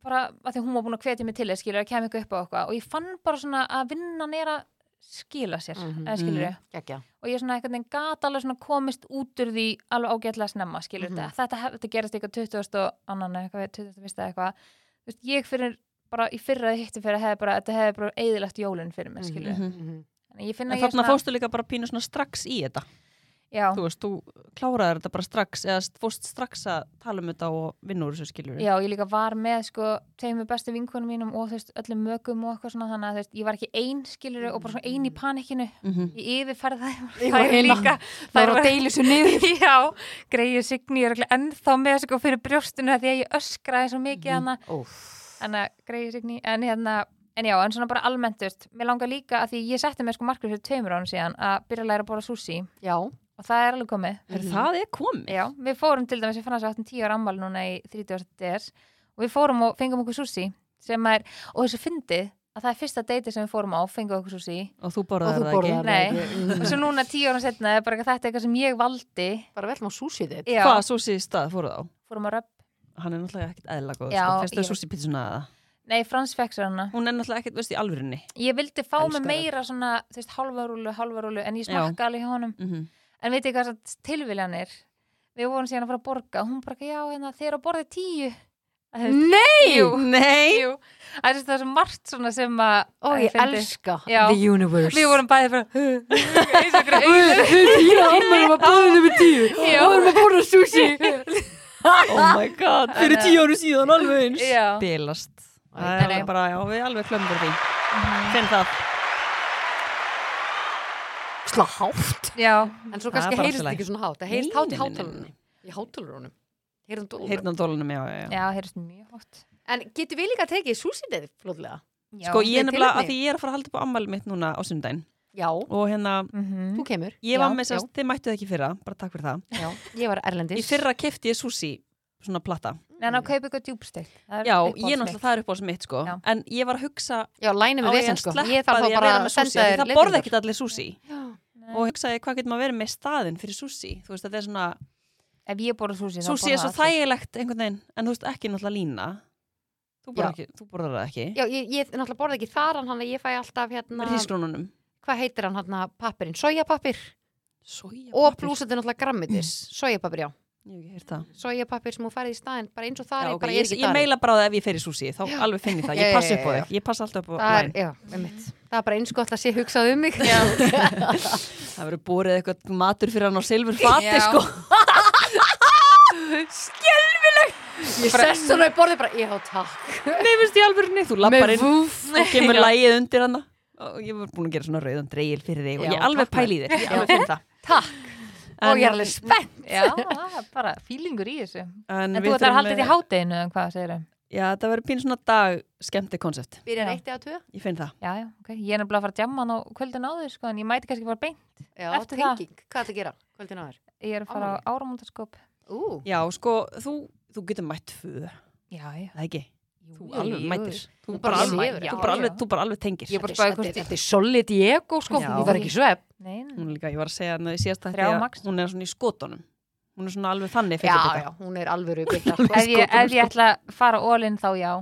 [SPEAKER 6] bara, að því hún var búin að hvetja mig til þess skilur, að kemja eitthvað upp á eitthvað og ég fann bara svona að vinnan er að skila sér mm
[SPEAKER 5] Mhm.
[SPEAKER 6] -hmm. skilur ég
[SPEAKER 5] Gekkja.
[SPEAKER 6] og ég svona einhvern veginn gat alveg svona komist út úr því alveg ágætlega snemma, skilur
[SPEAKER 5] Mhm.
[SPEAKER 6] þetta þetta, hef- þetta gerist eitthvað 20 og annan eitthvað, við 21 eða eitthvað Þú veist, ég fyrir bara í fyrra eða hitti fyrir að hefði bara, þetta hefði bara eðilagt jólun fyrir mig, skilur mm
[SPEAKER 4] Mhm.
[SPEAKER 5] Mhm.
[SPEAKER 6] -hmm. ég finna
[SPEAKER 4] En
[SPEAKER 6] að ég
[SPEAKER 4] þarna fórstu líka bara pínu svona strax í þetta
[SPEAKER 6] já,
[SPEAKER 4] Þú veist, þú kláraðir þetta bara strax eða fórst strax að tala um þetta og vinna úr þessu skilur
[SPEAKER 6] já, ég líka var með sko, tegum við bestu vinkunum mínum og þú veist, öllum mögum og eitthvað svona þannig að þú veist, ég var ekki ein, skilur og bara svona
[SPEAKER 4] Mhm.
[SPEAKER 6] ein í panikinu ég yfirferði það,
[SPEAKER 5] Ég var eina. Það er að deilu svo niður.
[SPEAKER 6] Já, greiði signi, ég er örugglega ennþá með sko fyrir brjóstinu af því að ég öskraði svo mikið hana,
[SPEAKER 5] Mm, Óf.
[SPEAKER 6] hana greiði signi, en hérna, en já, en svona bara almennt, þú veist, mér langar líka að því ég setti mig sko margur fyrir tveimur ánum síðan að byrja að læra að bóra sushi
[SPEAKER 5] Já.
[SPEAKER 6] og það er alveg komið.
[SPEAKER 5] Mm.
[SPEAKER 4] Það er komið
[SPEAKER 6] Já, við fórum til dæmis, við fannum þess að 10 ára ammali núna í 30. des og við fórum og fengum okkur sushi sem er, og þessu fyndið að það er fyrsta deiti sem við fórum á, fengum okkur sushi
[SPEAKER 4] Og þú
[SPEAKER 5] Og
[SPEAKER 4] borðaðir
[SPEAKER 5] þú
[SPEAKER 4] það
[SPEAKER 5] borðar
[SPEAKER 4] ekki
[SPEAKER 6] Nei.
[SPEAKER 5] það ekki.
[SPEAKER 6] og
[SPEAKER 5] Mhm.
[SPEAKER 6] svo núna 10 ára setna er bara eitthvað- þetta er eitthvað sem ég valdi
[SPEAKER 5] Bara vel má súsið þitt.
[SPEAKER 6] Já,
[SPEAKER 4] Hvað svo síðið stað fóruð á?
[SPEAKER 6] fórum á röpp
[SPEAKER 4] Hann er náttúrulega ekkert eðla góð
[SPEAKER 6] Já,
[SPEAKER 4] sko. Fyrst
[SPEAKER 6] ég-
[SPEAKER 4] að súsi pítsuna aða
[SPEAKER 6] Nei, Frans fekk sér hana.
[SPEAKER 4] Hún er náttúrulega ekkert, veist, í alvörinni
[SPEAKER 6] Ég vildi fá
[SPEAKER 4] Elskar
[SPEAKER 6] mig meira svona, þú veist, halvarúlu, halvarúlu, en ég smakka alveg hjá honum.
[SPEAKER 4] mm -hmm.
[SPEAKER 6] En veit ég hvað þessar tilviljanir? Við vorum síðan að fara að borga og hún bara, já, hérna, þeir eru að borða tíu.
[SPEAKER 5] Nei!
[SPEAKER 6] Jú,
[SPEAKER 4] Nei
[SPEAKER 6] jú. Það er svo margt svona sem að...
[SPEAKER 5] Ó, ég
[SPEAKER 6] fyndi.
[SPEAKER 5] elska
[SPEAKER 6] Já.
[SPEAKER 5] the universe.
[SPEAKER 6] Við vorum bæði bara... eins og greið.
[SPEAKER 5] Tíu ámælum að bóða nummer tíu.
[SPEAKER 6] Já.
[SPEAKER 5] Og vorum að bóða sushi.
[SPEAKER 4] Oh my god, fyrir tíu áru síðan alveg eins
[SPEAKER 6] Já.
[SPEAKER 4] Bilast Það er
[SPEAKER 5] Æ,
[SPEAKER 6] nei, nei.
[SPEAKER 4] alveg bara, já, við alveg klömmur því Finn það
[SPEAKER 5] Slá hátt.
[SPEAKER 6] Já,
[SPEAKER 5] En svo
[SPEAKER 4] Það er
[SPEAKER 5] kannski
[SPEAKER 4] bara
[SPEAKER 5] heyrist
[SPEAKER 4] allt í
[SPEAKER 5] þetta
[SPEAKER 4] lagi.
[SPEAKER 5] ekki svona hátt. Það heyrist
[SPEAKER 4] Nei,
[SPEAKER 5] hátt í
[SPEAKER 4] nei, nei, nei,
[SPEAKER 5] háttalunum. Í háttalunum. Heyrðan dólunum.
[SPEAKER 4] Heyrðan dólunum, já, já, já
[SPEAKER 6] já, heyrðist mjög hótt.
[SPEAKER 5] En getur við líka að tekið súsítið flóðlega?
[SPEAKER 4] Sko, ég er
[SPEAKER 5] með
[SPEAKER 4] nefnilega, að
[SPEAKER 5] tilefni.
[SPEAKER 4] því ég er að fara að halda upp á ammæli mitt núna á sundaginn
[SPEAKER 5] Já.
[SPEAKER 4] Og hérna,
[SPEAKER 5] Þú
[SPEAKER 6] Mhm.
[SPEAKER 5] kemur.
[SPEAKER 4] ég
[SPEAKER 5] Já,
[SPEAKER 4] var með
[SPEAKER 5] já,
[SPEAKER 4] sérst, þið mættuð ekki í fyrra, bara takk fyrir það
[SPEAKER 5] Já, ég var erlendis.
[SPEAKER 4] Í fyrra kefti ég sushi, svona platta
[SPEAKER 6] Nei, ná, kaup eitthvað djúbsteikt. Það er
[SPEAKER 4] Já,
[SPEAKER 6] uppáhalds
[SPEAKER 4] ég er náttúrulega, það er upp á þessu mitt, sko
[SPEAKER 6] Já.
[SPEAKER 4] En ég var að hugsa,
[SPEAKER 5] Já, læni
[SPEAKER 4] á
[SPEAKER 5] með
[SPEAKER 4] ég
[SPEAKER 5] vesen
[SPEAKER 4] að
[SPEAKER 5] sko.
[SPEAKER 4] sleppa því
[SPEAKER 5] Ég þarf
[SPEAKER 4] að
[SPEAKER 5] þá bara
[SPEAKER 4] vera
[SPEAKER 5] að
[SPEAKER 4] með sushi
[SPEAKER 5] senda
[SPEAKER 4] af því
[SPEAKER 5] þér
[SPEAKER 4] Það borða
[SPEAKER 5] leiðbeiningar.
[SPEAKER 4] ekkit allir sushi
[SPEAKER 5] Já.
[SPEAKER 6] mitt.
[SPEAKER 4] Og hugsaði, hvað getur maður verið með í staðinn fyrir sushi Þú veist, þetta er svona,
[SPEAKER 6] Ef ég borða súsi, þá
[SPEAKER 4] sushi er svo
[SPEAKER 6] borða allir.
[SPEAKER 4] þægilegt einhvern veginn En þú veist, ekki náttúrulega lína Þú borðar
[SPEAKER 5] Já.
[SPEAKER 4] ekki- þú borðar það ekki
[SPEAKER 5] Já, ég, ég náttúrulega borða ekki þar en hann að ég fæ alltaf hérna
[SPEAKER 4] Rísgrónunum
[SPEAKER 5] hvað heitir hann hann pappirinn, sojapappir
[SPEAKER 4] Soja
[SPEAKER 5] og pluss þetta er náttúrulega grammitis sojapappir, já,
[SPEAKER 4] Ég hef ekki heyrt það.
[SPEAKER 5] sojapappir sem hún farið í staðin bara eins og
[SPEAKER 4] Já,
[SPEAKER 5] það er,
[SPEAKER 4] ok,
[SPEAKER 5] bara
[SPEAKER 4] ég, ég
[SPEAKER 5] þar.
[SPEAKER 4] meila bara á það ef ég fer í súsi, þá alveg finn ég það.
[SPEAKER 5] Já,
[SPEAKER 4] Ég
[SPEAKER 5] já,
[SPEAKER 4] passa upp á
[SPEAKER 5] já,
[SPEAKER 4] þig. Ég passa alltaf upp á
[SPEAKER 5] það er,
[SPEAKER 4] læn.
[SPEAKER 5] já, einmitt. það er bara eins gott að sé hugsað um mig
[SPEAKER 4] Það verður borið eitthvað matur fyrir hann á silfur fati, sko.
[SPEAKER 5] ég sest svona í borði bara, já, takk
[SPEAKER 4] Nei, finnst ég alveg niður. Þú lappar
[SPEAKER 5] með
[SPEAKER 4] inn
[SPEAKER 5] vúf
[SPEAKER 4] og kemur lægið undir hann. Og ég var búin að gera svona rauðan dreigil fyrir þig og
[SPEAKER 5] Já,
[SPEAKER 4] ég alveg
[SPEAKER 5] takk, maður.
[SPEAKER 4] pæli í þér. Ég alveg finn það.
[SPEAKER 5] Takk. og ég er alveg spennt
[SPEAKER 6] Já, það er bara fílingur í þessu. En,
[SPEAKER 4] við
[SPEAKER 6] þú ætlar að
[SPEAKER 4] þurfum
[SPEAKER 6] halda þetta í hátteginu en hvað segir þau?
[SPEAKER 4] Já, það verður pín svona dag skemmti koncept.
[SPEAKER 5] byrjar
[SPEAKER 6] Já.
[SPEAKER 5] eitt eða tvö
[SPEAKER 4] Ég finn það.
[SPEAKER 6] Já, já, ok. Ég er nefnilega að fara að djamma hann á kvöldin áður, sko, en ég mæti kannski bara beint.
[SPEAKER 5] já,
[SPEAKER 6] Eftir það.
[SPEAKER 5] tenging, hvað er það að gera, kvöldin áður
[SPEAKER 6] Ég er að fara á áramóndaskop.
[SPEAKER 5] ú,
[SPEAKER 4] Já, sko, þú, þú getur mætt föðu,
[SPEAKER 6] Já, já.
[SPEAKER 4] það ekki? Þú
[SPEAKER 5] jú,
[SPEAKER 4] alveg
[SPEAKER 5] jú.
[SPEAKER 4] mætir. Þú
[SPEAKER 5] Hún bara
[SPEAKER 4] bara alveg,
[SPEAKER 5] sefur.
[SPEAKER 4] þú
[SPEAKER 5] Já,
[SPEAKER 4] bara
[SPEAKER 5] já.
[SPEAKER 4] alveg, þú bara alveg tengir.
[SPEAKER 5] ég er bara
[SPEAKER 6] Þetta er-
[SPEAKER 5] spæði hvort þetta er solid í ego, sko,
[SPEAKER 4] Já.
[SPEAKER 5] ég þarf ekki svepp
[SPEAKER 6] Nei, nei.
[SPEAKER 4] Hún er líka, ég var að segja hann að ég síðast
[SPEAKER 6] Þrjá
[SPEAKER 4] þetta
[SPEAKER 6] max.
[SPEAKER 4] hún er svona í skotunum. Hún er svona alveg þannig
[SPEAKER 5] já,
[SPEAKER 4] fyrir þetta.
[SPEAKER 5] já, hún er sko alvöru bytta
[SPEAKER 6] Ef ég, ef ég ætla að fara ólinn þá já.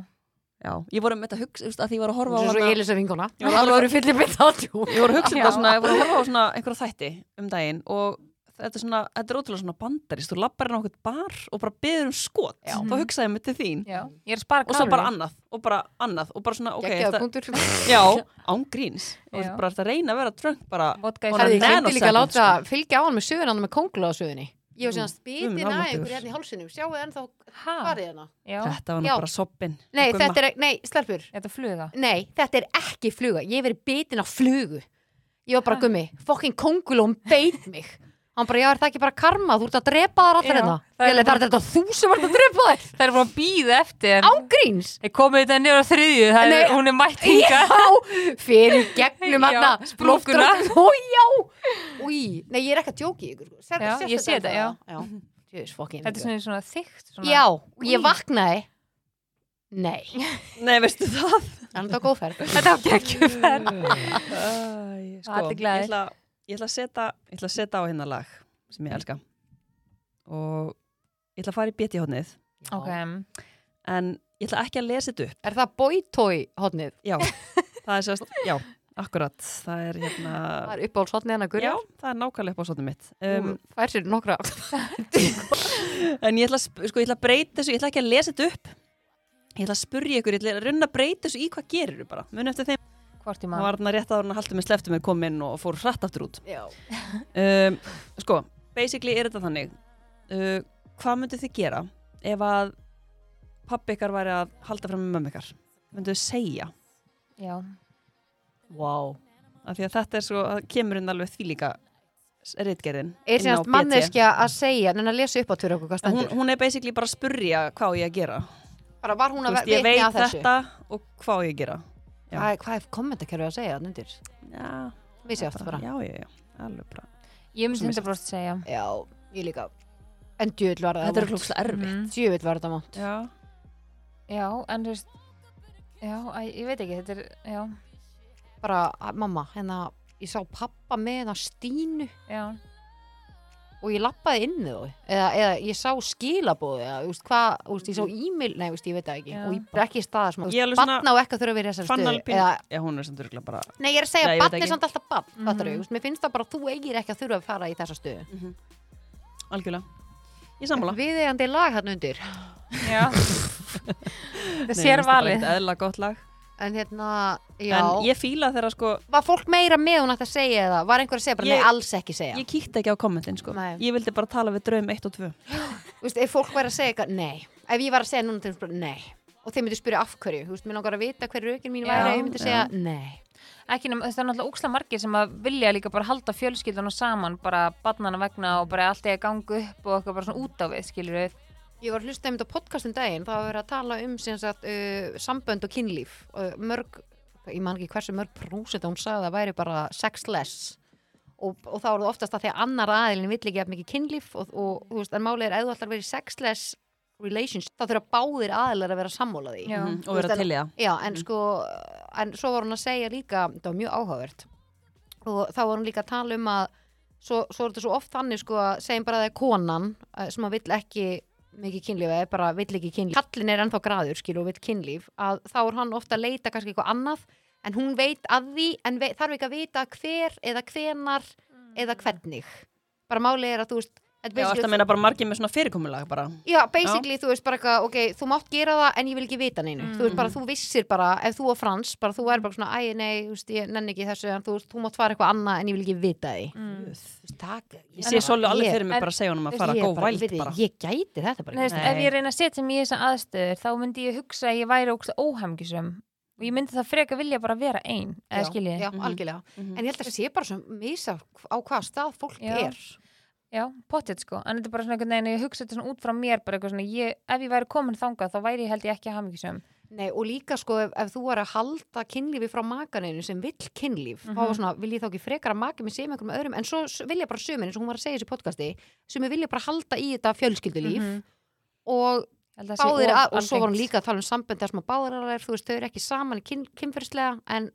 [SPEAKER 4] Já, ég voru með þetta hugsa, þú veist, að því ég var að horfa á
[SPEAKER 5] Svo svo
[SPEAKER 4] hana-
[SPEAKER 5] Elisa vingona
[SPEAKER 4] Já.
[SPEAKER 5] Alvöru fyllir mitt á tjú
[SPEAKER 4] Ég voru að hugsa
[SPEAKER 6] Já.
[SPEAKER 4] þetta svona, ég voru að horfa á svona einhverja þætti um daginn og þetta er svona, þetta er ótrúlega svona bandarist, þú lappar inn á okkur bar og bara beður um skot,
[SPEAKER 5] Já. Mhm.
[SPEAKER 4] þá hugsaði ég mig til þín
[SPEAKER 6] já. Ég er að spara
[SPEAKER 4] og svo
[SPEAKER 6] kaloríur.
[SPEAKER 4] bara annað, og bara annað og bara svona, ok,
[SPEAKER 5] Gekkjaður
[SPEAKER 4] þetta,
[SPEAKER 5] punktur
[SPEAKER 4] já, án gríns og
[SPEAKER 6] Já.
[SPEAKER 4] bara þetta reyna að vera dröng bara, sko.
[SPEAKER 6] Vodka í
[SPEAKER 4] Og
[SPEAKER 5] Herði,
[SPEAKER 6] saman.
[SPEAKER 5] ég glemdi líka að
[SPEAKER 4] nanosecond,
[SPEAKER 5] láta fylgja á hann með söguna hann með kóngla á sögunni Ég var síðan
[SPEAKER 4] Guð minn
[SPEAKER 5] spýtin að
[SPEAKER 4] almáttugur.
[SPEAKER 5] einhverju hérna í hálsinum Sjáu ennþá
[SPEAKER 6] Ha?
[SPEAKER 5] farið hérna
[SPEAKER 6] Já,
[SPEAKER 4] þetta var nú
[SPEAKER 5] Já.
[SPEAKER 4] bara soppin
[SPEAKER 5] Nei, þetta er, nei, stelpur
[SPEAKER 6] þetta er fluga.
[SPEAKER 5] Nei, þetta er ekki fluga, ég hef verið bitin á flugu Ég var bara gummi, fokkin kóngul og hún beit mig Hann bara, já, er það ekki bara karma, þú ert að drepa þar allar
[SPEAKER 6] Já,
[SPEAKER 5] hérna
[SPEAKER 6] það er
[SPEAKER 5] Ég leit, Það er þetta þú sem ert að drepa þær
[SPEAKER 6] Það er bara að býða eftir. en-
[SPEAKER 5] Ángríns
[SPEAKER 6] Ég komið þetta niður á þriðju, það
[SPEAKER 5] Nei.
[SPEAKER 6] er, hún er mætt hinga.
[SPEAKER 5] Já, fyrir gegnum
[SPEAKER 6] Já,
[SPEAKER 5] hann
[SPEAKER 6] sprunguna.
[SPEAKER 5] Ó, já Új, nei, ég er ekki að djóki ykkur sko. Sér-
[SPEAKER 6] Já,
[SPEAKER 5] sérst
[SPEAKER 6] ég sé þetta,
[SPEAKER 5] ennþá? já. Jöfis, fokkin
[SPEAKER 6] Þetta er svona, svona þykkt. Svona.
[SPEAKER 5] Já, og
[SPEAKER 6] Új.
[SPEAKER 5] ég vaknaði Nei,
[SPEAKER 4] Nei, veistu það?
[SPEAKER 5] hann er það góðferð
[SPEAKER 6] Þetta var geggjum ferð.
[SPEAKER 4] Æ, sko,
[SPEAKER 6] Allir
[SPEAKER 4] ég
[SPEAKER 6] glaðir.
[SPEAKER 4] ætla, ég ætla að setja ég ætla að setja á hérna lag sem ég elska og ég ætla að fara í beti hóðnið
[SPEAKER 6] Ok,
[SPEAKER 4] en ég ætla ekki að lesa þetta upp
[SPEAKER 5] Er það boytoy hodnið?
[SPEAKER 4] Já, það er sérst, já, akkurat, það er hérna,
[SPEAKER 5] Það er uppáhalds hodnið hann að
[SPEAKER 4] já,
[SPEAKER 5] gurja
[SPEAKER 4] það er nákvæmlega upp á svona mitt. Um,
[SPEAKER 5] Það er sér nokkra
[SPEAKER 4] en ég ætla, að sp- sko, ég ætla að breyta þessu, ég ætla ekki að lesa þetta upp, ég ætla að spurja ykkur, ég ætla að runna að breyta þessu í hvað gerir þú bara, muni eftir þeim.
[SPEAKER 6] hvort í
[SPEAKER 4] Það
[SPEAKER 6] maður.
[SPEAKER 4] var þarna rétt að hann haldið með sleftum er komin og fór hratt aftur út.
[SPEAKER 5] Já.
[SPEAKER 4] Um, sko, basically er þetta þannig, uh, hvað myndu þið gera ef að pappi ykkar væri að halda fram með mömmu ykkar? Myndu þið segja?
[SPEAKER 6] Já,
[SPEAKER 5] Wow.
[SPEAKER 4] Af því að þetta er svo, það kemur inn alveg þvílíka reitgerðin.
[SPEAKER 5] Er
[SPEAKER 4] inn á
[SPEAKER 5] sérst
[SPEAKER 4] BT.
[SPEAKER 5] manneskja að segja en að lesa upp á tverju okkur hvað
[SPEAKER 4] Hún,
[SPEAKER 5] stendur
[SPEAKER 4] hún er basically bara að spurja hvað á ég að gera.
[SPEAKER 5] Bara var hún
[SPEAKER 4] Þú
[SPEAKER 5] að
[SPEAKER 4] veist,
[SPEAKER 5] vitni
[SPEAKER 4] ég veit
[SPEAKER 5] að þessu
[SPEAKER 4] þetta og hvað á ég að gera. já.
[SPEAKER 5] Hvað hvað er kommentarkerfið að segja þannig undir?
[SPEAKER 4] Já,
[SPEAKER 5] Vissi aftur bara
[SPEAKER 4] Já, já, já, alveg bara.
[SPEAKER 6] ég myndi
[SPEAKER 4] Sem er
[SPEAKER 6] 100% segja.
[SPEAKER 5] Já, ég líka En djöðl var
[SPEAKER 4] Þetta
[SPEAKER 5] það
[SPEAKER 4] er klokkslega erfitt.
[SPEAKER 6] Mm.
[SPEAKER 5] Djöðl var það mátt
[SPEAKER 4] Já.
[SPEAKER 6] Já, en þú veist, já, æ, ég veit ekki, þetta er, já,
[SPEAKER 5] Bara, að- mamma, hérna Ég sá pappa með hérna Stínu
[SPEAKER 6] já.
[SPEAKER 5] og ég lappaði inn með þau eða, eða ég sá skilabóði eða, þú veist, hvað, þú veist, ég sá e-mail nei, þú veist, ég veit það ekki
[SPEAKER 6] Já.
[SPEAKER 5] og ég bara ekki í staða sem
[SPEAKER 4] Ég er alveg svona-
[SPEAKER 5] batna og ekki að þurfa að vera í þessari
[SPEAKER 4] Fann
[SPEAKER 5] stöðu
[SPEAKER 4] alveg pín.
[SPEAKER 5] eða,
[SPEAKER 4] Já, hún er samt örgulega bara,
[SPEAKER 5] nei, ég er að
[SPEAKER 4] Nei,
[SPEAKER 5] segja,
[SPEAKER 4] ég veit
[SPEAKER 5] batn
[SPEAKER 4] ekki.
[SPEAKER 5] er samt alltaf batn mm
[SPEAKER 6] Mhm.
[SPEAKER 5] -hmm. veist, mér finnst það bara að þú eigir ekki að þurfa að fara í þessa stöðu
[SPEAKER 4] algjörlega. Ég sammála.
[SPEAKER 5] við eigandi lag hann undir
[SPEAKER 6] Já Það sér valið
[SPEAKER 4] Það er eðla gott lag.
[SPEAKER 5] en hérna, já,
[SPEAKER 4] En ég fíla þegar sko,
[SPEAKER 5] var fólk meira með hún ætti að segja eða var einhver að segja bara,
[SPEAKER 4] Ég-
[SPEAKER 5] nei, alls ekki segja
[SPEAKER 4] ég kíkti ekki á kommentin sko.
[SPEAKER 5] Nei.
[SPEAKER 4] Ég vildi bara tala við draum 1 og 2.
[SPEAKER 5] Þú veist, ef fólk væri að segja eitthvað, nei ef ég var að segja núna til þess bara, nei og þeir myndu spyrja af hverju, þú veist, mér langar að vita hver rökin mín
[SPEAKER 6] Já,
[SPEAKER 5] væri, ef ég myndi
[SPEAKER 4] já.
[SPEAKER 5] segja, nei
[SPEAKER 6] Ekki nema, það er náttúrulega óksla margir sem að vilja líka bara halda fjölskyldunum saman bara barnana vegna og bara allt eða gangu upp og eitthvað bara svona út á við, skilur við
[SPEAKER 5] Ég var að hlusta einmitt á podcastum daginn, það var verið að tala um sem sagt, uh, sambönd og kynlíf og mörg, ég man ekki hversu mörg prósit hún sagði að það væri bara sexless og, og þá er það oftast að því að annar aðilin vill ekki að mikið kynlíf og, og þú veist, en málið er að þú ætlar að vera í sexless relationship, þá þurfa báðir aðilar að vera sammála því.
[SPEAKER 6] Já,
[SPEAKER 4] Mhm, Og vera
[SPEAKER 5] Þú veist,
[SPEAKER 4] til í það. Mhm.
[SPEAKER 5] Já, en sko, en svo var hún að segja líka, það var mjög áhugavert og þá var hún líka að tala um að svo, svo er þetta svo oft þannig sko að segjum bara að það er konan eh, sem að vill ekki mikið kynlíf eða bara vill ekki kynlíf kallin er ennþá graður skil og vill kynlíf að þá er hann ofta að leita kannski eitthvað annað en hún veit að því en vei, þarf ekki að vita hver eða hvenar eða hvernig bara málið er að þú veist þetta er
[SPEAKER 4] Já,
[SPEAKER 5] basically-
[SPEAKER 4] þetta meina bara margir með svona fyrirkomulag bara.
[SPEAKER 5] Já, basically, þú veist bara eitthvað, ok, þú mátt gera það en ég vil ekki vita neinu. Þú veist bara, þú vissir bara, ef þú og Frans, bara þú er bara svona, æ, nei, þú veist, ég nenni ekki þessu, en þú veist, þú mátt fara eitthvað annað en ég vil ekki vita því.
[SPEAKER 6] Mm.
[SPEAKER 5] Þú veist, takk.
[SPEAKER 4] Ég sé svolítið alveg fyrir mig
[SPEAKER 6] en-
[SPEAKER 4] bara að segja honum að fara
[SPEAKER 5] ég,
[SPEAKER 4] góð væld
[SPEAKER 5] við-
[SPEAKER 4] bara.
[SPEAKER 5] Ég gæti þetta
[SPEAKER 6] Nei,
[SPEAKER 5] bara.
[SPEAKER 6] þú veist,
[SPEAKER 5] ekki.
[SPEAKER 6] ef ég reyna að setja mig í þessa aðstöður þá myndi ég hugsa að ég væri ógst óhamgisum og ég myndi það frekar vilja bara vera ein eða
[SPEAKER 5] Já,
[SPEAKER 6] skiljið,
[SPEAKER 5] Já, algjörlega.
[SPEAKER 4] Mhm.
[SPEAKER 5] En ég held að það sé bara svona misa á hvaða stað fólk
[SPEAKER 6] Já.
[SPEAKER 5] er.
[SPEAKER 6] já, pottet sko en þetta er bara svona einhvern veginn, ég hugsa þetta svona út frá mér bara eitthvað svona, ég, ef ég væri komin þangað þá væri ég held ég ekki hamgisum
[SPEAKER 5] Nei, og líka sko, ef, ef þú er að halda kynlífi frá makaninu sem vill kynlíf, þá
[SPEAKER 4] Mhm.
[SPEAKER 5] var svona, vil ég þá ekki frekar að maka mig sem einhverjum öðrum, en svo s- vilja bara sömur, eins og hún var að segja í þessu podcasti, sömur vilja bara halda í þetta fjölskyldulíf
[SPEAKER 4] Mhm.
[SPEAKER 6] Mhm.
[SPEAKER 5] og báðir að, og svo var hún líka að tala um sambönd þar sem að báðir að er, þú veist, þau eru ekki saman í kyn, kynferðslega en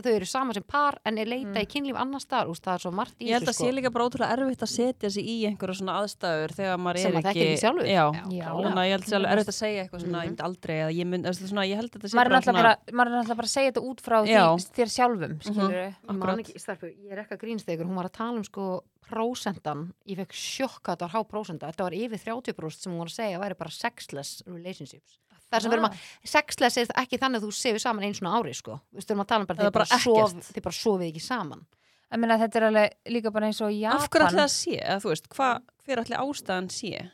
[SPEAKER 5] þau eru saman sem par en er leita
[SPEAKER 6] Mm.
[SPEAKER 5] í kynlíf annars staðar, úst, það er svo margt í
[SPEAKER 4] Ég held
[SPEAKER 5] þessu sko.
[SPEAKER 4] að
[SPEAKER 6] sko.
[SPEAKER 4] sé líka bara ótrúlega erfitt að setja sig í einhverja svona aðstæður þegar maður
[SPEAKER 5] Sem
[SPEAKER 4] er
[SPEAKER 5] maður
[SPEAKER 4] ekki...
[SPEAKER 5] þekkir ekki sjálfur.
[SPEAKER 4] Já,
[SPEAKER 5] Já,
[SPEAKER 4] já. Þannig að ég held að sé alveg erfitt að segja eitthvað svona,
[SPEAKER 5] Mhm.
[SPEAKER 4] ég myndi aldrei eða ég myndi, þú veist, svona, ég held að þetta sé
[SPEAKER 6] maður er náttúrulega bara, maður er náttúrulega bara að segja þetta út frá því,
[SPEAKER 4] Já.
[SPEAKER 6] þér sjálfum
[SPEAKER 5] Mhm.
[SPEAKER 6] skilur
[SPEAKER 5] Ég man
[SPEAKER 4] Akkurat.
[SPEAKER 5] ekki, starfu, ég er ekki að grínst þegar hún var að tala um sko prósendan, ég fekk sjokka þetta var há prósenda, þetta var yfir 30 próst sem hún var að segja að væri bara sexless relationships þar sem við erum að, sexless er ekki þannig að þú sefur saman eins og ári sko, við erum að tala um bara,
[SPEAKER 4] Það er
[SPEAKER 5] þið bara,
[SPEAKER 4] bara
[SPEAKER 5] sof,
[SPEAKER 4] ekkert.
[SPEAKER 5] þið bara sofið ekki saman
[SPEAKER 6] ég meina þetta er alveg líka bara eins og í
[SPEAKER 4] Af hverju ætli
[SPEAKER 6] Japan
[SPEAKER 4] það sé, eða þú veist, hvað, hver ætli ástæðan sé?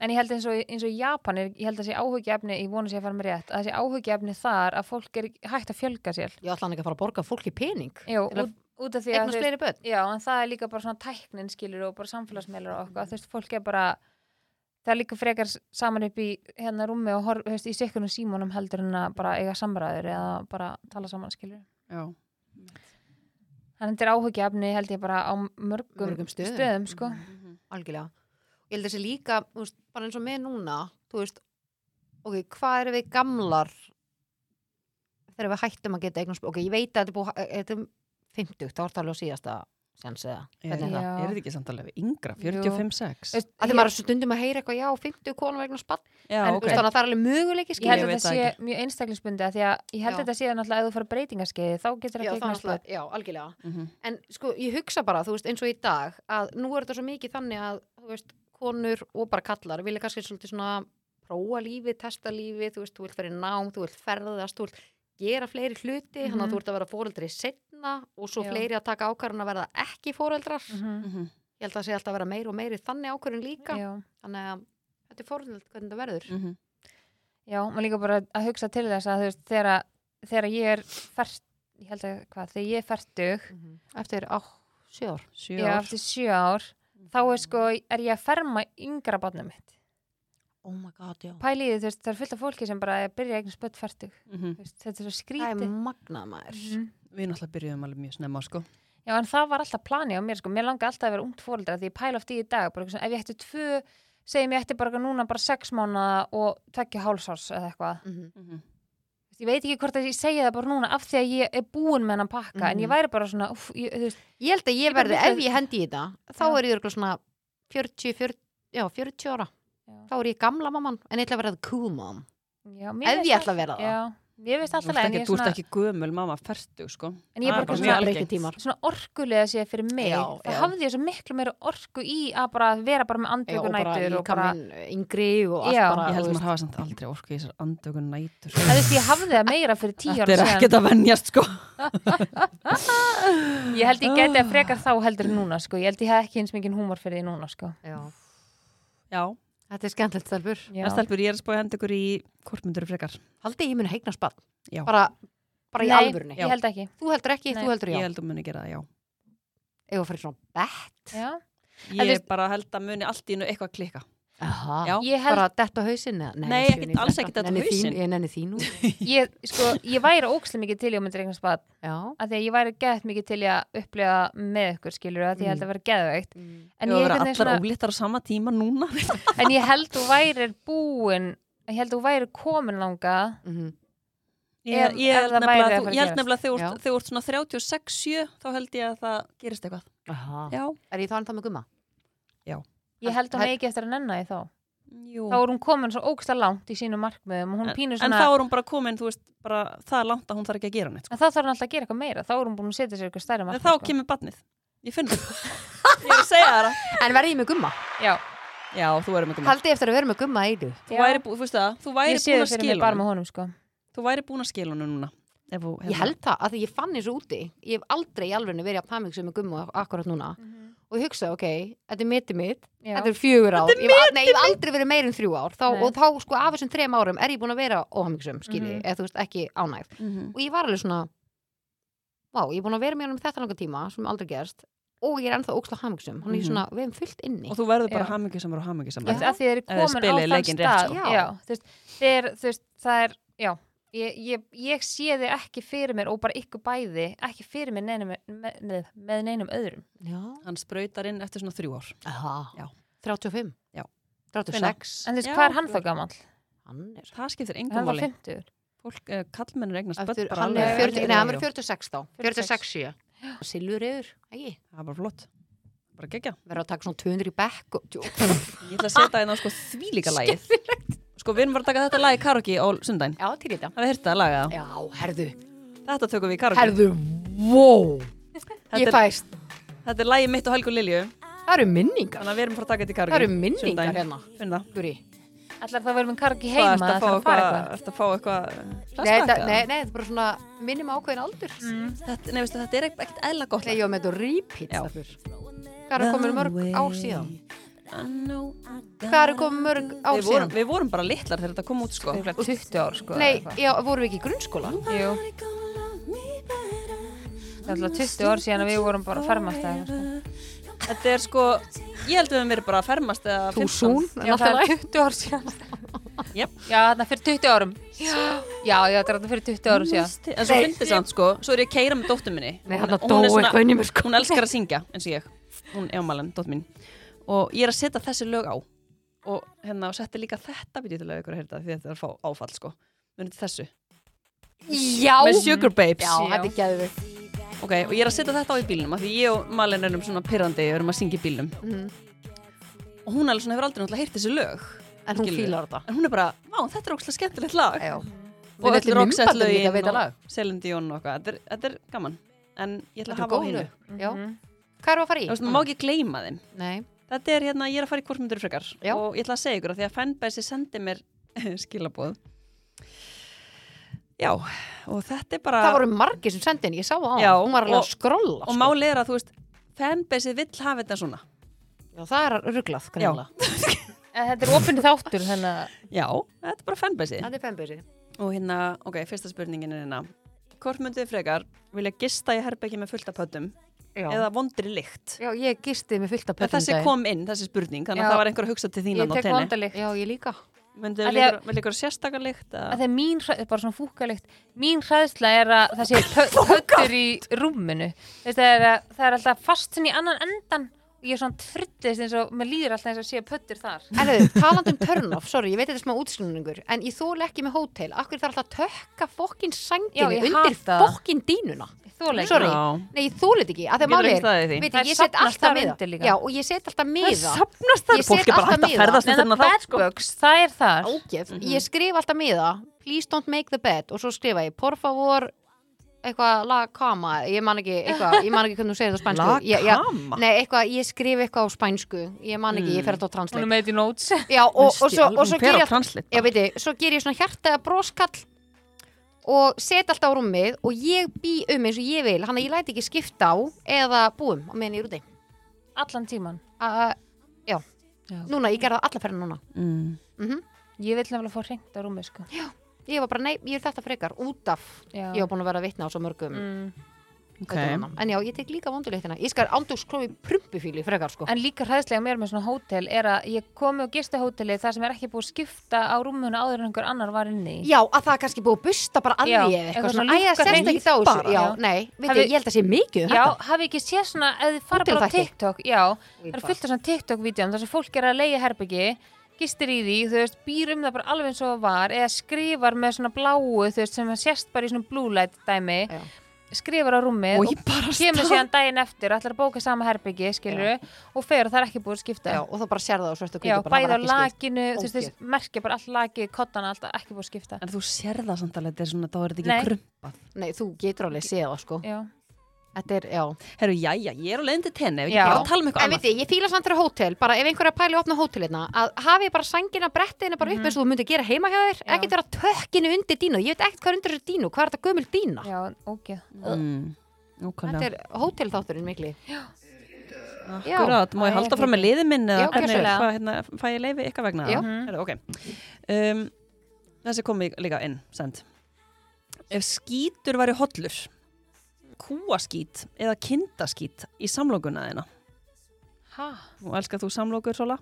[SPEAKER 6] en ég held eins og, eins og í Japan er, ég held að sé áhugjefni, ég vona að sé að fara með rétt að þessi áhugjefni þar að fólk er hægt að fjölga sér
[SPEAKER 5] ég ætla hann ekki að fara að borga fólki pening
[SPEAKER 6] Jú,
[SPEAKER 5] til að
[SPEAKER 6] út, út af því að
[SPEAKER 5] eignast
[SPEAKER 6] þú veist-
[SPEAKER 5] fleiri börn
[SPEAKER 6] já, en það er líka bara svona tæknin skilur og bara samfélagsmeilur og
[SPEAKER 5] Mhm.
[SPEAKER 6] okkur þú veist, fólk er bara það er líka frekar s- saman upp í hérna rúmi og horf, þú veist, í sikkunum símónum heldur en að bara eiga samræður eða bara tala saman skilur
[SPEAKER 4] Já.
[SPEAKER 6] þannig þetta er áhugjefni held ég bara á mörgum,
[SPEAKER 5] Mörgum stöðum. Mm.
[SPEAKER 6] sko
[SPEAKER 4] Mhm.
[SPEAKER 5] algjörlega ég held að þessi líka, þú veist, bara eins og með núna þú veist, ok, hvað erum við gamlar þegar við hættum að geta eignast ok, ég veit að þetta er búið, að- þetta er 50 þá er það alveg á síðasta sens eða
[SPEAKER 4] Er,
[SPEAKER 5] hvernig er það?
[SPEAKER 6] Já.
[SPEAKER 4] er þetta ekki samt alveg yngra,
[SPEAKER 6] Jú.
[SPEAKER 4] 45-6?
[SPEAKER 6] Veist,
[SPEAKER 5] að því maður er svo stundum að heyra eitthvað já, 50 konum vegna spann
[SPEAKER 4] Já,
[SPEAKER 6] en-
[SPEAKER 4] ok.
[SPEAKER 5] okay. þannig að það er alveg möguleiki
[SPEAKER 6] ég held
[SPEAKER 4] Ég
[SPEAKER 6] að
[SPEAKER 4] veit
[SPEAKER 6] þetta
[SPEAKER 4] það
[SPEAKER 6] sé
[SPEAKER 4] ekki.
[SPEAKER 6] mjög einstaklingsbundi af því að ég held
[SPEAKER 5] Já.
[SPEAKER 6] að þetta sé náttúrulega að þú fara breytingarskeið þá getur
[SPEAKER 5] já,
[SPEAKER 6] ekki
[SPEAKER 5] það er
[SPEAKER 6] eignast börn.
[SPEAKER 5] alltaf- já, algjörlega
[SPEAKER 4] Mhm.
[SPEAKER 5] en sko, ég hugsa bara, þú veist, eins og í dag að nú er þetta svo mikið þannig að þú veist, konur og bara kallar vilja kannski svolítið svona prófa lífið testa lífið, þú veist, þú vilt vera í nám þú vilt ferðast, þú vilt gera fleiri hluti þannig
[SPEAKER 6] Mhm.
[SPEAKER 5] að þú ert að vera fóreldri setna og svo
[SPEAKER 6] Já.
[SPEAKER 5] fleiri að taka ákvarðan að verða ekki fóreldrar
[SPEAKER 6] Mhm.
[SPEAKER 4] Mhm.
[SPEAKER 5] ég held að það sé alltaf að vera meiri og meiri þannig ákvarðan Mm. líka
[SPEAKER 6] Já.
[SPEAKER 5] þannig að þetta er fóreldralt hvernig þetta verður
[SPEAKER 4] Mhm.
[SPEAKER 6] Já, maður líka bara að hugsa til þess að þú veist, þegar, að- þegar ég er fært, ég held að hvað, þegar ég er færtug,
[SPEAKER 5] eftir á sjö ár
[SPEAKER 4] Sjö
[SPEAKER 6] ég er
[SPEAKER 4] ár.
[SPEAKER 6] eftir sjö ár, þá er sko, er ég að ferma yngra barnum mitt.
[SPEAKER 5] oh my god, já
[SPEAKER 6] Pæliði, þú veist, það er fullt af fólki sem bara er að byrja eigin spött færtug.
[SPEAKER 4] Mhm.
[SPEAKER 6] Þetta er
[SPEAKER 5] það
[SPEAKER 6] svo
[SPEAKER 5] er
[SPEAKER 6] skrítið.
[SPEAKER 5] magnað maður
[SPEAKER 6] Mhm.
[SPEAKER 4] Við náttúrulega byrjuðum alveg mjög snemma, sko.
[SPEAKER 6] Já, en það var alltaf planið á mér, sko, mér langi alltaf að vera ungt fóreldra því ég pæla oft í í dag, bara eitthvað svona, ef ég ætti tvö, segjum ég ætti bara eitthvað núna bara sex mánuða og tvekja hálsárs eða eitthvað.
[SPEAKER 5] Mhm.
[SPEAKER 6] Þú veist, Ég veit ekki hvort að ég segja það bara núna af því að ég er búin með hennan pakka, en ég
[SPEAKER 5] Mhm.
[SPEAKER 6] væri bara svona, uff, ég, þú veist,
[SPEAKER 5] Ég held að ég
[SPEAKER 6] bara
[SPEAKER 5] verði,
[SPEAKER 6] hugsa-
[SPEAKER 5] ef ég hendi í þetta þá
[SPEAKER 6] Já.
[SPEAKER 5] er ég örgulega svona 40, 40, já, 40 ára
[SPEAKER 6] Já.
[SPEAKER 5] þá er ég gamla mamman en ég ætla að verða cool mom
[SPEAKER 6] Já, mér
[SPEAKER 5] ef
[SPEAKER 6] finnst
[SPEAKER 5] ég ætla að vera það
[SPEAKER 6] Já, ég veist
[SPEAKER 4] Þú
[SPEAKER 6] alltaf
[SPEAKER 4] ert
[SPEAKER 6] leið, en
[SPEAKER 4] ekki,
[SPEAKER 6] ég
[SPEAKER 4] þú ert
[SPEAKER 6] svona,
[SPEAKER 4] ekki gömul mamma færtug, sko.
[SPEAKER 6] en
[SPEAKER 4] Það
[SPEAKER 6] ég er
[SPEAKER 4] er bara
[SPEAKER 6] bara
[SPEAKER 4] mjög
[SPEAKER 6] svona,
[SPEAKER 4] algengt.
[SPEAKER 5] leikir tímar
[SPEAKER 6] svona orkulega sé fyrir mig
[SPEAKER 5] Já,
[SPEAKER 6] þá
[SPEAKER 5] já.
[SPEAKER 6] hafði ég svo miklu meira orku í að bara vera bara með
[SPEAKER 5] Já, og bara
[SPEAKER 6] andvökunætur og
[SPEAKER 5] líka
[SPEAKER 6] bara,
[SPEAKER 5] minn yngri og allt
[SPEAKER 6] Já.
[SPEAKER 5] bara
[SPEAKER 4] Ég held
[SPEAKER 5] þú
[SPEAKER 4] að maður
[SPEAKER 5] veist.
[SPEAKER 4] hafa samt aldrei orku í þessar andökun nætur.
[SPEAKER 6] en þú veist, ég hafði það meira fyrir tíu
[SPEAKER 4] Þetta
[SPEAKER 6] ára
[SPEAKER 4] er ekkert
[SPEAKER 6] síðan
[SPEAKER 4] að venjast, sko.
[SPEAKER 6] ég held ég
[SPEAKER 4] Ah.
[SPEAKER 6] geti að frekar þá heldur en núna sko, ég held ég hef ekki eins mikið húmor fyrir því núna sko
[SPEAKER 5] Já.
[SPEAKER 4] Já.
[SPEAKER 5] Þetta er skemmtilegt stelpur
[SPEAKER 6] Já.
[SPEAKER 4] En stelpur, ég er að spóið henda ykkur í kortmyndur frekar.
[SPEAKER 5] Haldið ég muni heigna spann
[SPEAKER 4] Já.
[SPEAKER 5] bara, bara í
[SPEAKER 6] Nei,
[SPEAKER 5] alvörunni
[SPEAKER 6] ég held ekki
[SPEAKER 5] Þú heldur ekki,
[SPEAKER 6] Nei.
[SPEAKER 5] þú heldur já
[SPEAKER 4] Ég
[SPEAKER 5] Ég
[SPEAKER 4] held að muni gera það, já.
[SPEAKER 5] held fyrir svona bett
[SPEAKER 6] Já. En þú
[SPEAKER 4] Ég
[SPEAKER 6] veist-
[SPEAKER 4] bara held að muni allt í nú eitthvað klikka.
[SPEAKER 5] Aha.
[SPEAKER 4] Já.
[SPEAKER 6] Ég held-
[SPEAKER 5] Bara dett á hausinn eða?
[SPEAKER 4] Nei,
[SPEAKER 5] ég sé
[SPEAKER 4] ekkit-
[SPEAKER 5] neitt
[SPEAKER 4] alls
[SPEAKER 5] þetta.
[SPEAKER 4] ekkit detta á
[SPEAKER 5] Nenni þín-
[SPEAKER 4] hausinn.
[SPEAKER 5] Ég nenni þín út
[SPEAKER 6] ég, sko, ég væri ókslega mikið til í að myndir eignast bad
[SPEAKER 5] Já
[SPEAKER 6] af því að ég væri gett mikið til í að upplega með ykkur skilur af því ég
[SPEAKER 4] Mm.
[SPEAKER 6] held að vera geðveikt
[SPEAKER 5] Mm.
[SPEAKER 4] En
[SPEAKER 6] ég
[SPEAKER 4] ég verið
[SPEAKER 6] einhvern veginn
[SPEAKER 4] allar svona... ólittar á sama tíma núna.
[SPEAKER 6] en ég held þú værir búin ég held þú værir komin langað
[SPEAKER 5] Mhm.
[SPEAKER 4] Ég,
[SPEAKER 6] Ef-
[SPEAKER 4] ég,
[SPEAKER 6] ef
[SPEAKER 4] held
[SPEAKER 6] það
[SPEAKER 4] nefnilega
[SPEAKER 6] væri að
[SPEAKER 4] að
[SPEAKER 6] fara
[SPEAKER 4] þú-
[SPEAKER 6] að
[SPEAKER 4] ég held
[SPEAKER 6] gerast.
[SPEAKER 4] nefnilega að þegar
[SPEAKER 5] Já.
[SPEAKER 4] þú- þegar þú ert svona 36-7 þá held ég að það gerist eitthvað.
[SPEAKER 5] Aha.
[SPEAKER 4] Já.
[SPEAKER 5] Er ég þá ennþá með gumma?
[SPEAKER 6] Ég held hún
[SPEAKER 5] Hel-
[SPEAKER 6] eigi eftir að nenna því þá.
[SPEAKER 4] Jú.
[SPEAKER 6] þá er hún komin svo ógsta langt í sínum markmiðum og hún pínur
[SPEAKER 4] en
[SPEAKER 6] svona
[SPEAKER 4] þá er hún bara komin, þú veist, bara það langt að hún þarf ekki að gera neitt sko.
[SPEAKER 6] en þá þarf hún alltaf að gera eitthvað meira þá er hún búin að setja sér eitthvað stærri
[SPEAKER 4] en
[SPEAKER 6] markmið
[SPEAKER 4] þá
[SPEAKER 6] sko.
[SPEAKER 4] kemur badnið, ég finn það ég er að segja það
[SPEAKER 5] En verði ég með gumma?
[SPEAKER 6] já,
[SPEAKER 4] já, þú erum ekki með
[SPEAKER 5] Haldi ég eftir að vera með gumma eilu?
[SPEAKER 4] þú væri, bú, þú veist það, þú væri
[SPEAKER 6] ég sé
[SPEAKER 4] búin
[SPEAKER 6] það
[SPEAKER 4] að
[SPEAKER 6] fyrir mig
[SPEAKER 4] skila
[SPEAKER 6] bara
[SPEAKER 4] honum
[SPEAKER 6] með honum sko.
[SPEAKER 4] þú væri búin að skila honum núna ef þú,
[SPEAKER 5] Ég held það, af því ég fann eins og úti Ég hef aldrei í alveg verið að pamiksa með gumma akkurat núna Og ég hugsaði, ok, þetta er mitti mitt
[SPEAKER 6] Já.
[SPEAKER 5] Þetta er fjögur ár ég, hef al- Nei, ég hef aldrei verið meir en þrjú ár þá,
[SPEAKER 6] Nei.
[SPEAKER 5] Og þá, sko, af þessum þrem árum er ég búin að vera óhamiksum, skilji, eða þú veist, ekki ánægð
[SPEAKER 4] Mhm.
[SPEAKER 5] Og ég var alveg svona Vá, ég er búin að vera með hann um þetta langa tíma sem aldrei gerst og ég er ennþá óksla hamiksum hann er
[SPEAKER 4] Mhm.
[SPEAKER 5] svona, við hefum fullt inni
[SPEAKER 4] og þú verður bara
[SPEAKER 6] Já.
[SPEAKER 4] hamingjusamur og hamingjusamur
[SPEAKER 6] að að þið eru
[SPEAKER 4] Ef þið
[SPEAKER 6] komin á
[SPEAKER 4] spilið
[SPEAKER 6] þann
[SPEAKER 4] leikinn rétt,
[SPEAKER 6] stað
[SPEAKER 5] sko.
[SPEAKER 6] já.
[SPEAKER 5] Já.
[SPEAKER 6] þú veist, þeir, þú veist, það er já, ég, ég, ég sé þið ekki fyrir mér og bara ykkur bæði ekki fyrir mér neinum, með, með, með neinum öðrum
[SPEAKER 5] Já,
[SPEAKER 4] hann sprautar inn eftir svona þrjú ár Já.
[SPEAKER 5] Aha. 35
[SPEAKER 4] Já.
[SPEAKER 5] 36
[SPEAKER 6] en þú veist,
[SPEAKER 4] Já,
[SPEAKER 6] hvað er hann
[SPEAKER 4] þú-
[SPEAKER 6] þá gammal?
[SPEAKER 5] Hann er
[SPEAKER 4] það skiptir
[SPEAKER 6] hann
[SPEAKER 4] engum
[SPEAKER 6] var
[SPEAKER 4] máli
[SPEAKER 6] 50
[SPEAKER 4] fólk, uh, kallmennur eignast
[SPEAKER 5] Eftir,
[SPEAKER 4] börn bara
[SPEAKER 5] hann
[SPEAKER 4] alveg-
[SPEAKER 5] er
[SPEAKER 6] alveg-
[SPEAKER 5] 40,
[SPEAKER 6] alveg-
[SPEAKER 5] nei, hann verður 46 þá
[SPEAKER 6] 46.
[SPEAKER 5] 46, 7 Silfur yfir, ægi
[SPEAKER 4] það var bara flott bara gegja
[SPEAKER 5] Verður að taka svona 200 í bekk og, djú,
[SPEAKER 4] ég ætla að setja hérna sko þvílíka lagið sko við erum bara að taka þetta lagið karaoke á sundaginn
[SPEAKER 5] Já, til í þetta
[SPEAKER 4] hafið hýrt það lagið það?
[SPEAKER 5] Já, herðu
[SPEAKER 4] þetta tökum við í karaoke
[SPEAKER 5] Herðu, wow
[SPEAKER 4] þetta,
[SPEAKER 5] Ég
[SPEAKER 4] er,
[SPEAKER 5] fæst
[SPEAKER 4] þetta er lagið mitt og Helgu Lilju
[SPEAKER 5] Það eru minningar
[SPEAKER 4] þannig að við erum bara að taka þetta í karaoke
[SPEAKER 5] Það eru minningar
[SPEAKER 4] sundaginn.
[SPEAKER 5] hérna.
[SPEAKER 4] Finn það
[SPEAKER 5] Guri.
[SPEAKER 6] allar það verður minn kargi
[SPEAKER 4] Hvað,
[SPEAKER 6] heima
[SPEAKER 4] ertu að
[SPEAKER 6] það
[SPEAKER 4] fá
[SPEAKER 6] þarf að fara
[SPEAKER 4] eitthvað-
[SPEAKER 6] eitthvað
[SPEAKER 4] ertu að fá eitthvað
[SPEAKER 5] Nei,
[SPEAKER 4] flashback,
[SPEAKER 5] þetta
[SPEAKER 4] eða?
[SPEAKER 5] nei, nei, þetta er bara svona minnum ákveðin aldur mm.
[SPEAKER 4] Þetta- nei, veistu, þetta er ekk- ekkert eðla gott
[SPEAKER 5] Þegar ég var með þetta repeat
[SPEAKER 4] Já.
[SPEAKER 5] stelpur. Hvað eru komin mörg ár síðan? Hvað
[SPEAKER 4] hvað
[SPEAKER 5] eru komin mörg ár
[SPEAKER 4] Við vorum,
[SPEAKER 5] síðan?
[SPEAKER 4] við vorum bara litlar þegar þetta kom út sko.
[SPEAKER 6] Örugglega 20 ár sko
[SPEAKER 5] Nei,
[SPEAKER 6] eða eitthvað.
[SPEAKER 5] já, vorum við ekki í grunnskóla?
[SPEAKER 6] Jú. það er allar 20 ár síðan að við vorum bara að fermast það sko.
[SPEAKER 4] Þetta er sko, ég held við höfum verið bara að fermast eða 15.
[SPEAKER 5] Túsún
[SPEAKER 6] já, það er 20 ár síðan
[SPEAKER 4] Jep.
[SPEAKER 6] já, þarna fyrir 20 árum já, já, þetta er þarna fyrir 20 árum síðan
[SPEAKER 4] En svo fyndið samt sko, svo er ég að keira með dóttur minni
[SPEAKER 5] Nei,
[SPEAKER 4] Hún-
[SPEAKER 5] hann
[SPEAKER 4] hún
[SPEAKER 5] dó
[SPEAKER 4] er svona-
[SPEAKER 5] eitthvað inn í mér sko
[SPEAKER 4] Hún elskar að syngja, eins og ég Hún er ámælan, dóttur mín Og ég er að setja þessi lög á Og hérna, og setti líka þetta Við getum lög ykkur að heyrta því þetta er að fá áfall sko Munið þessu
[SPEAKER 5] Já,
[SPEAKER 4] Með Sugar Babes
[SPEAKER 5] já, þetta er geðvig
[SPEAKER 4] Ok, og ég er að setja þetta á í bílnum af Því ég og Malin erum svona pirrandi Við erum að syngja í bílnum
[SPEAKER 5] Mhm.
[SPEAKER 4] Og hún alveg svona hefur aldrei náttúrulega heyrt þessi lög
[SPEAKER 5] En hún
[SPEAKER 4] Skilurðu?
[SPEAKER 5] fílar þetta
[SPEAKER 4] En hún er bara, vá, þetta er ókslega skemmtilegt lag
[SPEAKER 5] Já.
[SPEAKER 4] og
[SPEAKER 5] Við
[SPEAKER 4] öll
[SPEAKER 5] ætlum
[SPEAKER 4] Roxette
[SPEAKER 5] myndbandum líka að
[SPEAKER 4] lögin
[SPEAKER 5] veita lag.
[SPEAKER 4] og Celine Dion og eitthvað, þetta, er- þetta er gaman en ég ætla að
[SPEAKER 5] Þetta er
[SPEAKER 4] hafa á
[SPEAKER 5] góð
[SPEAKER 4] hinu
[SPEAKER 5] lög. Já. Hvað erum við að fara í?
[SPEAKER 4] þú veist, maður má ekki gleyma þeim
[SPEAKER 5] Nei.
[SPEAKER 4] þetta er hérna, ég er að fara í kvortmyndur frekar
[SPEAKER 5] Já.
[SPEAKER 4] og ég ætla að segja ykkur að því að fanbase sendi mér skilabóð já, og þetta er bara
[SPEAKER 5] Það voru sko. margir sem sendi henni, ég sá það á
[SPEAKER 4] Já,
[SPEAKER 5] hann. Hún var alveg
[SPEAKER 4] og-
[SPEAKER 5] að skrolla.
[SPEAKER 4] og málið er að þú veist fanbase vill hafa þetta svona
[SPEAKER 5] Já, það er rugglað, kannilega.
[SPEAKER 6] En þetta er ofinni þáttur þannig að
[SPEAKER 4] já, þetta er bara fanbase
[SPEAKER 5] er fennbyrði.
[SPEAKER 4] og hérna, ok, fyrsta spurningin er hérna kvortmyndur frekar vilja gista í herbeki með fullt af pöttum
[SPEAKER 5] Já.
[SPEAKER 4] eða vondri lykt
[SPEAKER 5] Já, ég gisti með fullt af
[SPEAKER 4] En
[SPEAKER 5] pötum
[SPEAKER 4] þessi kom inn, þessi spurning, þannig
[SPEAKER 6] Já.
[SPEAKER 4] að það var einhver að hugsa til þín
[SPEAKER 6] ég
[SPEAKER 4] þarna á
[SPEAKER 6] tek
[SPEAKER 4] tenni.
[SPEAKER 6] vondalikt
[SPEAKER 5] Já, ég líka.
[SPEAKER 4] Myndið
[SPEAKER 6] Af því að-
[SPEAKER 4] líkur, vel líkur sérstakalikt
[SPEAKER 6] að
[SPEAKER 4] að...
[SPEAKER 6] það er mín, hræ- bara svona fúkalikt mín hræðsla er að það sé pö- pöttur í rúminu Veist, það, er að, það er alltaf fast svona í annan endan og ég er svona tryllist eins og mér líður alltaf eins og sé pöttur þar
[SPEAKER 5] En þau, talandi um turn-off, sorry, ég veit þetta er smá útskilningur, en ég þóla ekki með hótel. Akkur þarf alltaf að tökka fokkin
[SPEAKER 6] Já,
[SPEAKER 5] sanginu
[SPEAKER 6] ég
[SPEAKER 5] undir
[SPEAKER 6] hata það.
[SPEAKER 5] fokkin dínuna.
[SPEAKER 6] þóla
[SPEAKER 5] Sorry,
[SPEAKER 4] Já.
[SPEAKER 5] nei, ég þóla þetta ekki. Að
[SPEAKER 4] Getur
[SPEAKER 5] það máli
[SPEAKER 4] ekki staðið í því.
[SPEAKER 5] er, veit,
[SPEAKER 6] Það
[SPEAKER 5] ég, ég set
[SPEAKER 6] safnast
[SPEAKER 5] alltaf
[SPEAKER 6] þar undir
[SPEAKER 5] miða.
[SPEAKER 6] líka.
[SPEAKER 5] Já, og ég set alltaf miða.
[SPEAKER 4] safnast
[SPEAKER 5] Ég
[SPEAKER 4] þar,
[SPEAKER 5] set
[SPEAKER 4] fólk er bara
[SPEAKER 5] alltaf
[SPEAKER 4] hægt að
[SPEAKER 5] miða.
[SPEAKER 4] ferðast
[SPEAKER 6] en
[SPEAKER 4] eftir
[SPEAKER 6] það
[SPEAKER 4] hennar þátt sko.
[SPEAKER 6] bedbugs, það er þar
[SPEAKER 5] ágæð,
[SPEAKER 4] Mhm.
[SPEAKER 5] ég skrif alltaf miða please don't make the bed og svo skrifa ég por favor eitthvað la cama, ég man ekki eitthvað, ég man ekki hvernig þú segir þetta á spænsku
[SPEAKER 4] La
[SPEAKER 5] Ég- já,
[SPEAKER 4] cama? Mm.
[SPEAKER 5] nei, eitthvað, ég skrif eitthvað á spænsku ég man ekki, ég fer þetta á
[SPEAKER 6] hún
[SPEAKER 5] translate
[SPEAKER 6] er með þetta í notes
[SPEAKER 5] já, og, og, svo, og svo
[SPEAKER 4] Hún fer
[SPEAKER 5] ger
[SPEAKER 4] á
[SPEAKER 5] ég alltaf-
[SPEAKER 4] translate.
[SPEAKER 5] já, veit ég, svo ger ég svona hjarta eða broskall og set alltaf á rúmið og ég bý um eins og ég vil hann að ég læti ekki skipta á eða búum á meðan ég er úti
[SPEAKER 6] allan tíman
[SPEAKER 5] uh, já.
[SPEAKER 6] Já.
[SPEAKER 5] núna, ég gerði það alla ferðina núna
[SPEAKER 4] Mm.
[SPEAKER 6] ég vil nefnilega fá hreint á rúmi sko.
[SPEAKER 5] ég var bara, nei, ég er þetta frekar út af
[SPEAKER 6] Já.
[SPEAKER 5] ég var búin að vera að vitna á svo mörgum
[SPEAKER 6] mm.
[SPEAKER 5] okay. en já, ég tek líka vonduleiktina ég skal andugskrói prumpufíli frekar sko
[SPEAKER 6] en líka hræðslega mér með svona hótel er að ég komi á gistahóteli þar sem er ekki búið að skipta á rúmuna áður en einhver annar var inni í.
[SPEAKER 5] já, að það er kannski búið að busta bara að
[SPEAKER 6] Já,
[SPEAKER 5] því eða
[SPEAKER 6] eitthvað
[SPEAKER 5] eitthvað
[SPEAKER 6] svona
[SPEAKER 5] svona, æja,
[SPEAKER 6] lúkka
[SPEAKER 5] sérst
[SPEAKER 6] hreint
[SPEAKER 5] ekki þá sko.
[SPEAKER 6] bara.
[SPEAKER 5] já,
[SPEAKER 6] Já.
[SPEAKER 5] nei, veit
[SPEAKER 6] Hafi-
[SPEAKER 5] ég, ég held að sé mikið um
[SPEAKER 6] Já,
[SPEAKER 5] þetta.
[SPEAKER 6] hafi ekki séð svona, ef þið fara bara á
[SPEAKER 5] Hótelþætti.
[SPEAKER 6] TikTok, já,
[SPEAKER 5] Í
[SPEAKER 6] það eru
[SPEAKER 5] bara.
[SPEAKER 6] fullt af svona TikTok-vídeum þar sem fólk er að leiða herbyggi, gistir í því, þú veist, býr um það bara alveg eins og það var, eða skrifar með svona bláu, þú veist, sem að sérst bara í svona blue light dæmi,
[SPEAKER 5] Já.
[SPEAKER 6] skrifar á rúmið
[SPEAKER 4] og ég bara
[SPEAKER 6] kemur
[SPEAKER 4] stað-
[SPEAKER 6] síðan daginn eftir og ætlar að bóka sama herbyggi, skilur og fer og það er ekki búið að skipta
[SPEAKER 5] Já, og þá bara sér það á svörtu
[SPEAKER 6] Já,
[SPEAKER 5] kvítu bara, það
[SPEAKER 6] bæði á
[SPEAKER 5] var ekki skipt.
[SPEAKER 6] lakinu, þú veist,
[SPEAKER 5] Ógeð.
[SPEAKER 6] þess merkja bara all lakið, kottana, alltaf ekki búið að skipta
[SPEAKER 4] en þú sér það samt alveg, þetta er svona, þá er þetta
[SPEAKER 6] Nei.
[SPEAKER 4] ekki krumpað
[SPEAKER 5] Nei, þú getur alveg séð það sko
[SPEAKER 6] Já,
[SPEAKER 5] Þetta er, já
[SPEAKER 4] herru, jæja, ég er á leiðin til tenni, við
[SPEAKER 6] Já.
[SPEAKER 4] ekki bara að tala um eitthvað
[SPEAKER 5] En veit
[SPEAKER 4] annað
[SPEAKER 5] þið, ég fíla samt þeirra hótel, bara ef einhverja pæli opna hótelina að hafi bara sængina brettinu bara upp eins og þú myndir gera heima hjá þér,
[SPEAKER 6] Mm. Já.
[SPEAKER 5] ekkert vera tökkinu undir dínu, ég veit ekkert hvað er undir þessu dínu, hvað er þetta gömul dína?
[SPEAKER 6] já, ógeð
[SPEAKER 4] mm,
[SPEAKER 5] Þetta
[SPEAKER 4] nákvæmlega.
[SPEAKER 5] er hótelþátturinn mikli. Já.
[SPEAKER 4] Akkurat, má ég
[SPEAKER 6] Æ,
[SPEAKER 4] halda fram með liðið minn eða
[SPEAKER 5] Já,
[SPEAKER 4] hvernig,
[SPEAKER 6] gjörsamlega.
[SPEAKER 4] hvað, hérna, fæ ég leiði ykkar vegna?
[SPEAKER 5] Já.
[SPEAKER 4] Heru, okay. um, þessi kom í- líka inn, send. Ef skítur væri hollur, kúaskít eða kindaskít í samlokuna þina,
[SPEAKER 6] Hæ?
[SPEAKER 4] og elskar þú samlokur svola,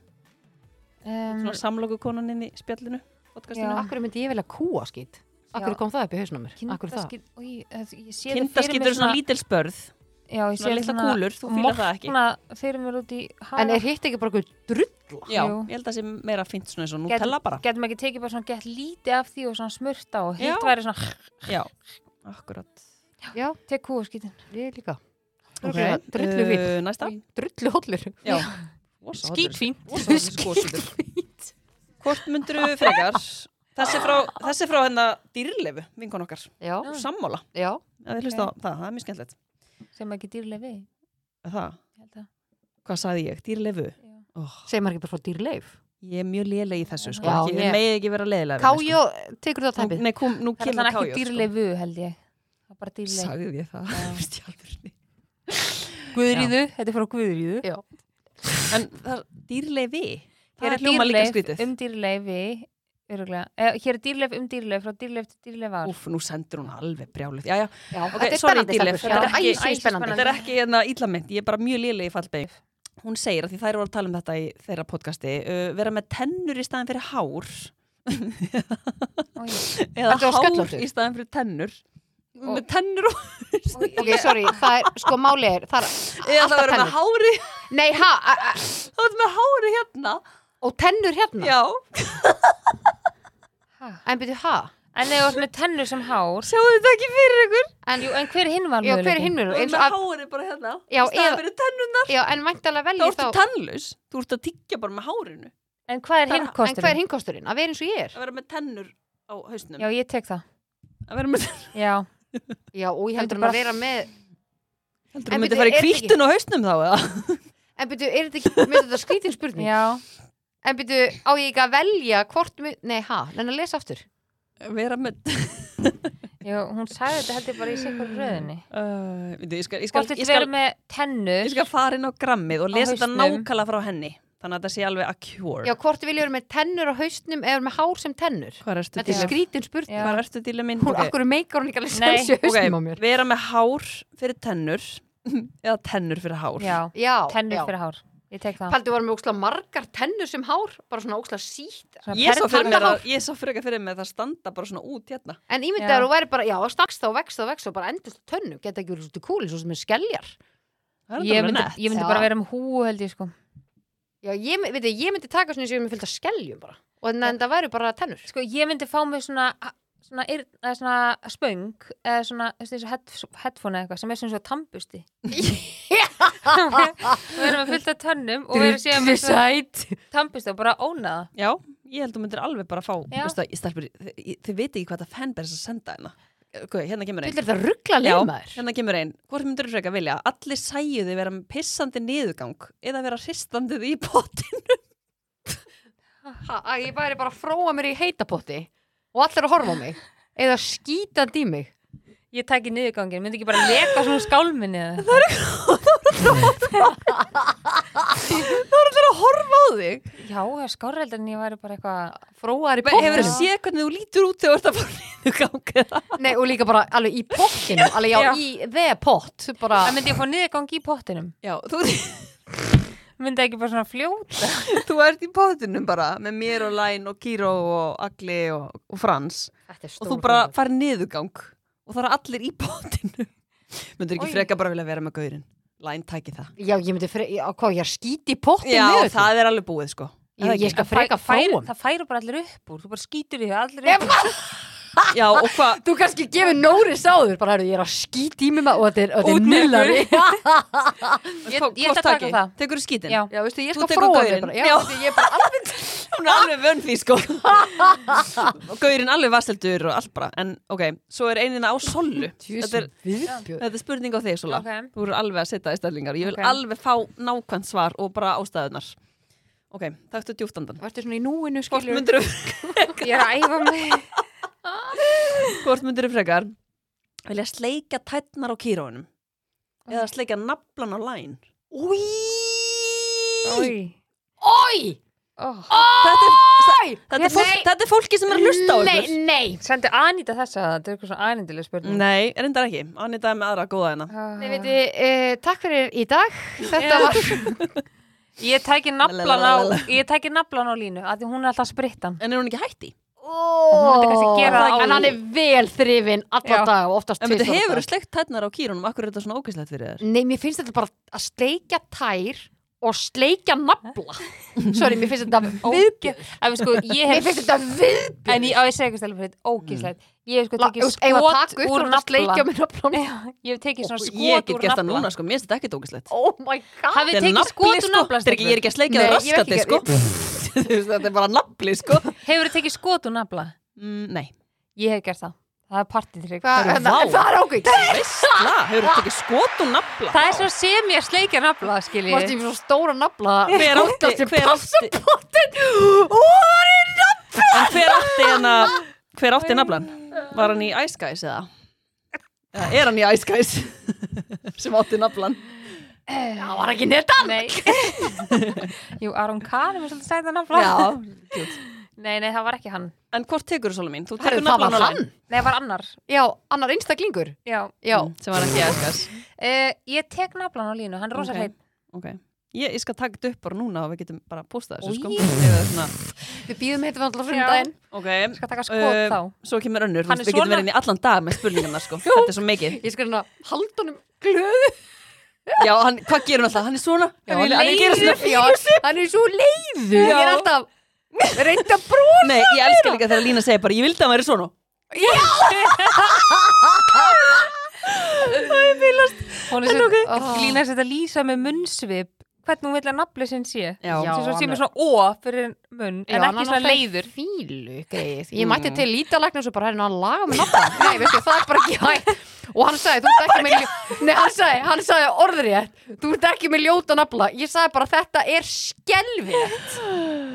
[SPEAKER 6] Um,
[SPEAKER 4] svona samlokukonan inn í spjallinu, podcastinu.
[SPEAKER 6] Já.
[SPEAKER 5] Akkur myndi ég velja kúa skýt? Akkur
[SPEAKER 6] Já.
[SPEAKER 5] kom það upp í hausnum mér? Akkur það?
[SPEAKER 6] Kindaskýt, új, ég sé
[SPEAKER 4] Kindaskítur er svona lítil spörð,
[SPEAKER 6] já, ég sé
[SPEAKER 4] svona litla kúlur, þú fílar það ekki.
[SPEAKER 6] Morgna fyrir mér út í
[SPEAKER 5] En er hitt ekki bara einhver drulla?
[SPEAKER 4] Já,
[SPEAKER 6] Jú.
[SPEAKER 4] ég held að það sé meira fínt svona eins og
[SPEAKER 6] Gætum-
[SPEAKER 4] Nutella bara.
[SPEAKER 6] Getum ekki tekið bara svona gett lítið af því og svona smurt á
[SPEAKER 4] Já.
[SPEAKER 6] og hitt væri svona
[SPEAKER 4] Já, akkurat.
[SPEAKER 5] Já,
[SPEAKER 6] tek kúaskítin
[SPEAKER 5] ég líka. eh,
[SPEAKER 4] Ok,
[SPEAKER 5] Okay. Drullu
[SPEAKER 4] uh,
[SPEAKER 5] fíl.
[SPEAKER 4] Næsta.
[SPEAKER 5] Drullu hollur.
[SPEAKER 4] Já.
[SPEAKER 5] Skítfínt.
[SPEAKER 4] Skítfínt Hvort myndur við frekar Þessi frá, þessi frá hennar dýrleifu vinkon okkar,
[SPEAKER 5] Já,
[SPEAKER 4] ah. sammála
[SPEAKER 5] já.
[SPEAKER 4] að við hlusta á það, það er mjög skemmtilegt
[SPEAKER 6] sem ekki dýrlega við ég
[SPEAKER 4] það,
[SPEAKER 6] held að-
[SPEAKER 4] Hvað sagði ég? Dýrleifu?
[SPEAKER 6] Já.
[SPEAKER 4] Oh,
[SPEAKER 5] Segir maður ekki bara frá dýrleif?
[SPEAKER 4] ég er mjög léleg í þessu sko.
[SPEAKER 5] Já,
[SPEAKER 4] ég,
[SPEAKER 5] ég-
[SPEAKER 4] ég megi ekki vera leiðilega
[SPEAKER 5] Kájó, tekur það
[SPEAKER 4] sko.
[SPEAKER 5] tæpið?
[SPEAKER 4] Nei, kom, nú
[SPEAKER 6] Það er
[SPEAKER 4] kemur
[SPEAKER 6] alltaf
[SPEAKER 4] kájó
[SPEAKER 6] ekki dýrlega við held ég Það er bara
[SPEAKER 4] sko.
[SPEAKER 6] dýrlega
[SPEAKER 4] Sagði ég það?
[SPEAKER 6] Já.
[SPEAKER 4] Veist ég alveg.
[SPEAKER 6] Guðríðu, þetta er frá Guðríðu
[SPEAKER 5] Já.
[SPEAKER 4] en það er dýrleifi Það er
[SPEAKER 6] Hér er
[SPEAKER 4] hljóma líka
[SPEAKER 6] dýrleif
[SPEAKER 4] skrítið
[SPEAKER 6] um dýrleif við öruglega, eh, hér er dýrleif um dýrleif frá dýrleif til dýrleif ár
[SPEAKER 4] Úf, nú sendur hún alveg brjálið Já, já,
[SPEAKER 5] Já,
[SPEAKER 4] Ok,
[SPEAKER 5] þetta er
[SPEAKER 4] sorry,
[SPEAKER 5] spennandi.
[SPEAKER 4] dýrleif.
[SPEAKER 5] stelpur. Þetta er
[SPEAKER 4] Þetta er
[SPEAKER 5] æsi
[SPEAKER 6] æsispennandi.
[SPEAKER 5] spennandi.
[SPEAKER 4] Þetta er ekki hérna íllamynd, ég er bara mjög liðlega í fallbeig. Hún segir að því þær voru að tala um þetta í þeirra podcasti, uh, vera með tennur í staðin fyrir hár
[SPEAKER 6] Oj,
[SPEAKER 4] eða
[SPEAKER 5] Ertu á
[SPEAKER 4] hár
[SPEAKER 5] sköllóttu?
[SPEAKER 4] í staðin fyrir tennur.
[SPEAKER 6] Og-
[SPEAKER 4] með tennur og
[SPEAKER 6] oj,
[SPEAKER 5] Ok, sorry, það er, sko, máli er, það er
[SPEAKER 4] eða það
[SPEAKER 5] alltaf
[SPEAKER 4] vera
[SPEAKER 5] tennur.
[SPEAKER 4] með hári,
[SPEAKER 5] Nei, ha, a, a,
[SPEAKER 4] það vera með hári hérna.
[SPEAKER 5] og tennur hérna?
[SPEAKER 4] Já,
[SPEAKER 6] ha.
[SPEAKER 5] En byrju, ha?
[SPEAKER 6] En þegar þú ert með tennur sem hár
[SPEAKER 4] sjáu þetta ekki fyrir ykkur.
[SPEAKER 5] En,
[SPEAKER 6] Jú, en hver hinn var
[SPEAKER 5] já, hver er
[SPEAKER 6] möguleikinn?
[SPEAKER 5] hinnur?
[SPEAKER 4] Vera með hári bara hérna,
[SPEAKER 5] Já,
[SPEAKER 4] í staðin
[SPEAKER 5] eða-
[SPEAKER 4] fyrir tennunar.
[SPEAKER 5] Já, en væntalega
[SPEAKER 4] Þá
[SPEAKER 5] veljið þá,
[SPEAKER 4] ertu tennlaus, þú ert að tyggja bara með hárinu.
[SPEAKER 6] En hvað er hinn
[SPEAKER 5] en hvað er
[SPEAKER 6] kosturinn?
[SPEAKER 5] hinkosturinn? Að vera eins og ég er?
[SPEAKER 4] Að vera með tennur á hausnum.
[SPEAKER 6] Já, ég tek það
[SPEAKER 4] Að vera með tennur.
[SPEAKER 6] Já,
[SPEAKER 5] Já, og ég
[SPEAKER 6] Þetta
[SPEAKER 5] heldur hann að
[SPEAKER 6] er bara-
[SPEAKER 5] vera með,
[SPEAKER 4] Heldur
[SPEAKER 5] En
[SPEAKER 4] þú myndi
[SPEAKER 5] bíddu,
[SPEAKER 4] fara í
[SPEAKER 5] er þetta ekki-
[SPEAKER 4] kvítun á hausnum þá eða?
[SPEAKER 5] en byrju, er þetta ekki, með þetta skrítin spurning?
[SPEAKER 6] já
[SPEAKER 5] En byrju, á ég ekki að velja hvort, mi- nei, ha, en að lesa aftur?
[SPEAKER 4] Vera með
[SPEAKER 6] Jú, hún sagði þetta held ég bara í sikkur röðinni
[SPEAKER 4] Uh, veitu, ég, skal, ég, skal,
[SPEAKER 6] Hvort
[SPEAKER 4] ég,
[SPEAKER 6] þetta
[SPEAKER 4] skal,
[SPEAKER 6] verið með tennur
[SPEAKER 4] ég skal fara inn á grammið og lesa þetta
[SPEAKER 6] hausnum.
[SPEAKER 4] nákvæmlega frá henni þannig að þetta sé alveg a cure
[SPEAKER 5] Já, hvort vil ég vera með tennur á hausnum eða með hár sem tennur?
[SPEAKER 4] hvað erstu
[SPEAKER 5] Þetta er
[SPEAKER 4] dýlið
[SPEAKER 5] skrítin spurning.
[SPEAKER 6] Já.
[SPEAKER 4] hvað erstu dýlið minn
[SPEAKER 5] Hún,
[SPEAKER 4] Ok,
[SPEAKER 5] akkur meikar hún ekki alveg
[SPEAKER 6] Nei,
[SPEAKER 5] sensi
[SPEAKER 4] ok,
[SPEAKER 5] hausnum á mér?
[SPEAKER 4] vera með hár fyrir tennur eða tennur fyrir hár
[SPEAKER 6] Já,
[SPEAKER 5] Já,
[SPEAKER 6] tennur
[SPEAKER 5] já.
[SPEAKER 6] fyrir hár Ég tek það
[SPEAKER 5] Paldi var með óksla margar tennur sem hár, bara svona óksla sítt.
[SPEAKER 6] Svona
[SPEAKER 4] ég sá
[SPEAKER 6] perl-
[SPEAKER 4] fyrir mér
[SPEAKER 5] tannahár.
[SPEAKER 4] að ég sá fyrir ekki fyrir mér að það standa bara svona út hérna
[SPEAKER 5] En
[SPEAKER 6] Já.
[SPEAKER 5] ímyndaður og væri bara, já, stakst þá, vext þá, vext þá, bara endist á tönnum, geta ekki verið svolítið kúli, svo sem er skelljar.
[SPEAKER 4] það
[SPEAKER 6] Ég
[SPEAKER 4] er
[SPEAKER 6] myndi,
[SPEAKER 4] þetta
[SPEAKER 6] ég myndi
[SPEAKER 5] Já.
[SPEAKER 6] bara vera um húu held ég sko
[SPEAKER 5] Já, ég, my- veit, þið, ég myndi taka svona eins og ég er með fylgta skelljum bara. Og en, en það væri bara tennur.
[SPEAKER 6] Sko, ég myndi fá mig svona svona, eyrn- eða svona spöng eða svona þú veist, þessu head- headphone eða eitthvað sem er svona svona tambusti og við erum að fullta tönnum og við erum síðan með svona
[SPEAKER 5] sæt.
[SPEAKER 6] tambusti og bara óna það
[SPEAKER 4] já, ég held að þú myndir alveg bara fá
[SPEAKER 6] Já.
[SPEAKER 4] veistu það, ég stelpur, þið, þið veit ekki hvað það fanbærs að senda hérna Ok, hérna kemur einn
[SPEAKER 5] Fylgir það ruggla leið maður.
[SPEAKER 4] hérna kemur einn hvort myndir þú freka vilja allir sæju þið vera með pissandi niðurgang eða vera hristandið í potin
[SPEAKER 5] Ha, að ég væri bara að fróa mér í heitapotti og allir að horfa á mig. Eða skýta í mig.
[SPEAKER 6] Ég tæki niðurgangin, myndi ekki bara leka svona úr skálminni eða eitthvað?
[SPEAKER 4] Það voru allir að horfa á þig
[SPEAKER 6] Já, það er skárreld en ég væri bara eitthvað
[SPEAKER 5] Fróaðar í
[SPEAKER 4] Hefur
[SPEAKER 5] pottinu.
[SPEAKER 4] þú séð hvernig þú lítur út þegar þú ert að fara niður ganga
[SPEAKER 5] Nei, og líka bara alveg í pottinu. Alveg já,
[SPEAKER 6] Já.
[SPEAKER 5] í the pot. Bara,
[SPEAKER 6] Það myndi ég fá niðurgang í pottinum
[SPEAKER 4] Já, þú,
[SPEAKER 6] Myndi ekki bara svona fljóta
[SPEAKER 4] þú ert í pottinum bara með mér og Læn og Kíró og Agli og, og Frans
[SPEAKER 5] Þetta er
[SPEAKER 4] og
[SPEAKER 5] stór
[SPEAKER 4] þú bara
[SPEAKER 5] hugmynd.
[SPEAKER 4] farið niðurgang og það eru allir í pottinum Myndur ekki
[SPEAKER 5] Oj.
[SPEAKER 4] freka bara vilja vera með gaurinn Læn tæki það
[SPEAKER 5] Já, ég myndi freka, já, hvað, ég er skýti í pottinu.
[SPEAKER 4] Já, það er alveg búið sko
[SPEAKER 5] Ég, ég skal freka
[SPEAKER 6] fæ- færi-
[SPEAKER 5] fróa mig.
[SPEAKER 6] Það færi bara allir upp úr, þú bara skýtur í þau allir upp úr
[SPEAKER 4] já, og hvað
[SPEAKER 5] Þú kannski gefur nóri sáður, bara herru, ég er að skýt í mig maður og þetta er, og þetta
[SPEAKER 4] Út
[SPEAKER 5] er
[SPEAKER 4] með
[SPEAKER 5] nillari.
[SPEAKER 6] Ég- ég ætla að taka það.
[SPEAKER 4] Tekur þú skítin?
[SPEAKER 6] Já.
[SPEAKER 5] Já, veistu, ég
[SPEAKER 4] Þú
[SPEAKER 5] skal
[SPEAKER 4] tekur
[SPEAKER 5] fróa
[SPEAKER 4] gaurinn.
[SPEAKER 5] þér bara. Já,
[SPEAKER 4] Já.
[SPEAKER 5] veistu, ég er bara alveg
[SPEAKER 4] Hún er alveg vönn því sko Og gaurinn alveg vasseldur og allt bara En ok, svo er einina á solu Þetta er,
[SPEAKER 5] tjúsum viðbjörn.
[SPEAKER 4] þetta er spurning á þig Sola
[SPEAKER 6] Ok.
[SPEAKER 4] Þú eru alveg að setja í stællingar Ég vil
[SPEAKER 6] Ok.
[SPEAKER 4] alveg fá nákvæmt svar og bara ástæðunar Ok, takktu djúftandan
[SPEAKER 5] Vartu svona í núinu,
[SPEAKER 4] Hvort
[SPEAKER 5] skilur?
[SPEAKER 4] myndirðu
[SPEAKER 6] Ég er að æfa mig
[SPEAKER 4] hvort myndir frekar Vilja sleika tætnar á kýrónum Eða sleika naflan á læn
[SPEAKER 6] Ói
[SPEAKER 5] Ói!
[SPEAKER 6] oh.
[SPEAKER 4] Þetta er,
[SPEAKER 5] Ói!
[SPEAKER 4] þetta, er fólk,
[SPEAKER 5] Nei.
[SPEAKER 4] þetta er fólki sem er að hlusta á
[SPEAKER 5] Nei,
[SPEAKER 4] ykkur
[SPEAKER 5] nei.
[SPEAKER 6] Sendi Anita þessa að þetta er eitthvað svona anindileg spurning
[SPEAKER 4] Nei, reyndar ekki Annið það með aðra góða hérna
[SPEAKER 6] Ah.
[SPEAKER 5] Nei, veitu, uh, takk fyrir í dag. Þetta var...
[SPEAKER 6] Ég tæki naflan á
[SPEAKER 4] Lalalala.
[SPEAKER 6] Ég tæki naflan á línu af Því hún er alltaf sprittan
[SPEAKER 4] En er hún ekki hætti?
[SPEAKER 6] Hún myndi kannski gera
[SPEAKER 5] en
[SPEAKER 6] það áður.
[SPEAKER 5] hann er vel þrifinn alla
[SPEAKER 6] Já.
[SPEAKER 5] daga og oftast
[SPEAKER 4] En þetta
[SPEAKER 5] tvisvar á
[SPEAKER 4] hefur
[SPEAKER 5] dag.
[SPEAKER 4] sleikt tætnar á kýrónum Akkur er þetta svona ógæslegt fyrir þér?
[SPEAKER 5] Nei, mér finnst þetta bara að sleikja tær og sleikja nafla. Sorry, mér finnst þetta viðbjörn.
[SPEAKER 6] Ef sko, ég
[SPEAKER 5] Mér
[SPEAKER 6] hef
[SPEAKER 5] finnst þetta viðbjörn.
[SPEAKER 6] En ég, á, ég segi eitthvað stelur fyrir Ógíslegt
[SPEAKER 4] Mm.
[SPEAKER 6] Ég hef sko tekið
[SPEAKER 5] Eða takk
[SPEAKER 6] skot
[SPEAKER 5] upp
[SPEAKER 6] úr
[SPEAKER 5] og sleikja
[SPEAKER 6] naflan
[SPEAKER 5] með naflan.
[SPEAKER 6] Já, Ég hef tekið svona
[SPEAKER 4] Ég
[SPEAKER 6] skot
[SPEAKER 4] get
[SPEAKER 6] úr
[SPEAKER 4] gert það núna
[SPEAKER 6] naflan
[SPEAKER 4] sko, mér finnst þetta ekkert ógæslegt
[SPEAKER 5] Oh my god.
[SPEAKER 6] Hafið
[SPEAKER 4] Þetta
[SPEAKER 6] þið
[SPEAKER 4] er
[SPEAKER 6] tekið skot
[SPEAKER 4] nafli sko,
[SPEAKER 6] úr naflan
[SPEAKER 4] Þetta er ekki- ég er ekki að sleika það
[SPEAKER 5] Nei,
[SPEAKER 6] stelpur?
[SPEAKER 5] ég veit
[SPEAKER 4] raskandi
[SPEAKER 5] ekki-
[SPEAKER 4] sko Þú veist, Þetta er bara nafli sko
[SPEAKER 6] Hefur þið tekið skot úr nafla?
[SPEAKER 4] Mm, Nei,
[SPEAKER 6] Ég hef gert það Það er partitrygg
[SPEAKER 5] Hva,
[SPEAKER 4] Heyrðu,
[SPEAKER 5] hérna,
[SPEAKER 4] vá.
[SPEAKER 5] en það er ákveð.
[SPEAKER 4] veistla, hefur þetta ekki skot og nafla
[SPEAKER 6] Það er svo sem ég að sleikja nafla, skilji
[SPEAKER 5] Mást ég fyrir svona stóra nafla.
[SPEAKER 4] Hver átti, hver átti
[SPEAKER 5] Pottin. Úr í
[SPEAKER 4] En hver átti hérna Hver átti naflan? Var hann í Ice Guys eða? eða er hann í Ice Guys sem átti naflan
[SPEAKER 5] Það var ekki netan.
[SPEAKER 6] Nei Jú, Aron Kahn er með svolítið sæta nafla
[SPEAKER 4] Já,
[SPEAKER 6] Nei, nei, það var ekki hann
[SPEAKER 4] en hvort tekur þú svolum mín? Þú
[SPEAKER 5] Herru,
[SPEAKER 4] tekur
[SPEAKER 5] það var
[SPEAKER 4] naflan á
[SPEAKER 5] hann.
[SPEAKER 4] hann
[SPEAKER 6] Nei, það var annar
[SPEAKER 5] Já, annar einstaklingur.
[SPEAKER 6] Já,
[SPEAKER 5] Já.
[SPEAKER 4] sem var ekki í Ice Guys
[SPEAKER 6] Uh, ég tek naflan á línu, hann er
[SPEAKER 4] Ok.
[SPEAKER 6] rosa hrein
[SPEAKER 4] okay. Ég, ég skal taka þetta upp bara núna og við getum bara postað þessu sko
[SPEAKER 6] Oj.
[SPEAKER 4] Ef það er svona-
[SPEAKER 5] Við býðum hérna fyrir
[SPEAKER 6] Já.
[SPEAKER 5] sundaginn.
[SPEAKER 4] Ok,
[SPEAKER 6] Skal taka skot
[SPEAKER 4] Eh,
[SPEAKER 6] þá
[SPEAKER 4] svo kemur önnur, þú
[SPEAKER 6] Hann
[SPEAKER 4] veist,
[SPEAKER 6] er
[SPEAKER 4] við getum
[SPEAKER 6] svona-
[SPEAKER 4] verið inn í allan dag með spurningarna sko, þetta er svo mikið
[SPEAKER 5] Ég skal hérna halda honum glöðu.
[SPEAKER 4] já, hann, hvað gerir hann alltaf, hann er svona já, hann, hann gerir svona
[SPEAKER 5] Já, hann er svo leiður.
[SPEAKER 4] Já.
[SPEAKER 5] Ég er alltaf reynd að brú.
[SPEAKER 4] nei, ég elska líka þegar Lína segir bara ég vildi að hann væri svona
[SPEAKER 6] Hún er svo, okay. Lína er sett að lýsa með munnsvip Hvernig hún vil að nafli sinn sé
[SPEAKER 4] já,
[SPEAKER 5] Já.
[SPEAKER 6] Svo sé
[SPEAKER 5] hann
[SPEAKER 6] með
[SPEAKER 5] er-
[SPEAKER 6] svona ó fyrir munn En ekki svona leiður
[SPEAKER 5] Fílu, greið. Ég mætti til lítalækna og svo bara hérna hann laga með nafn. Nei, veistu, það er bara ekki hægt. Og hann sagði, þú ert ekki með ljóta... Nei, hann sagði, hann sagði orðrétt, þú ert ekki með ljóta nafla. Ég sagði bara, þetta er skelvilegt.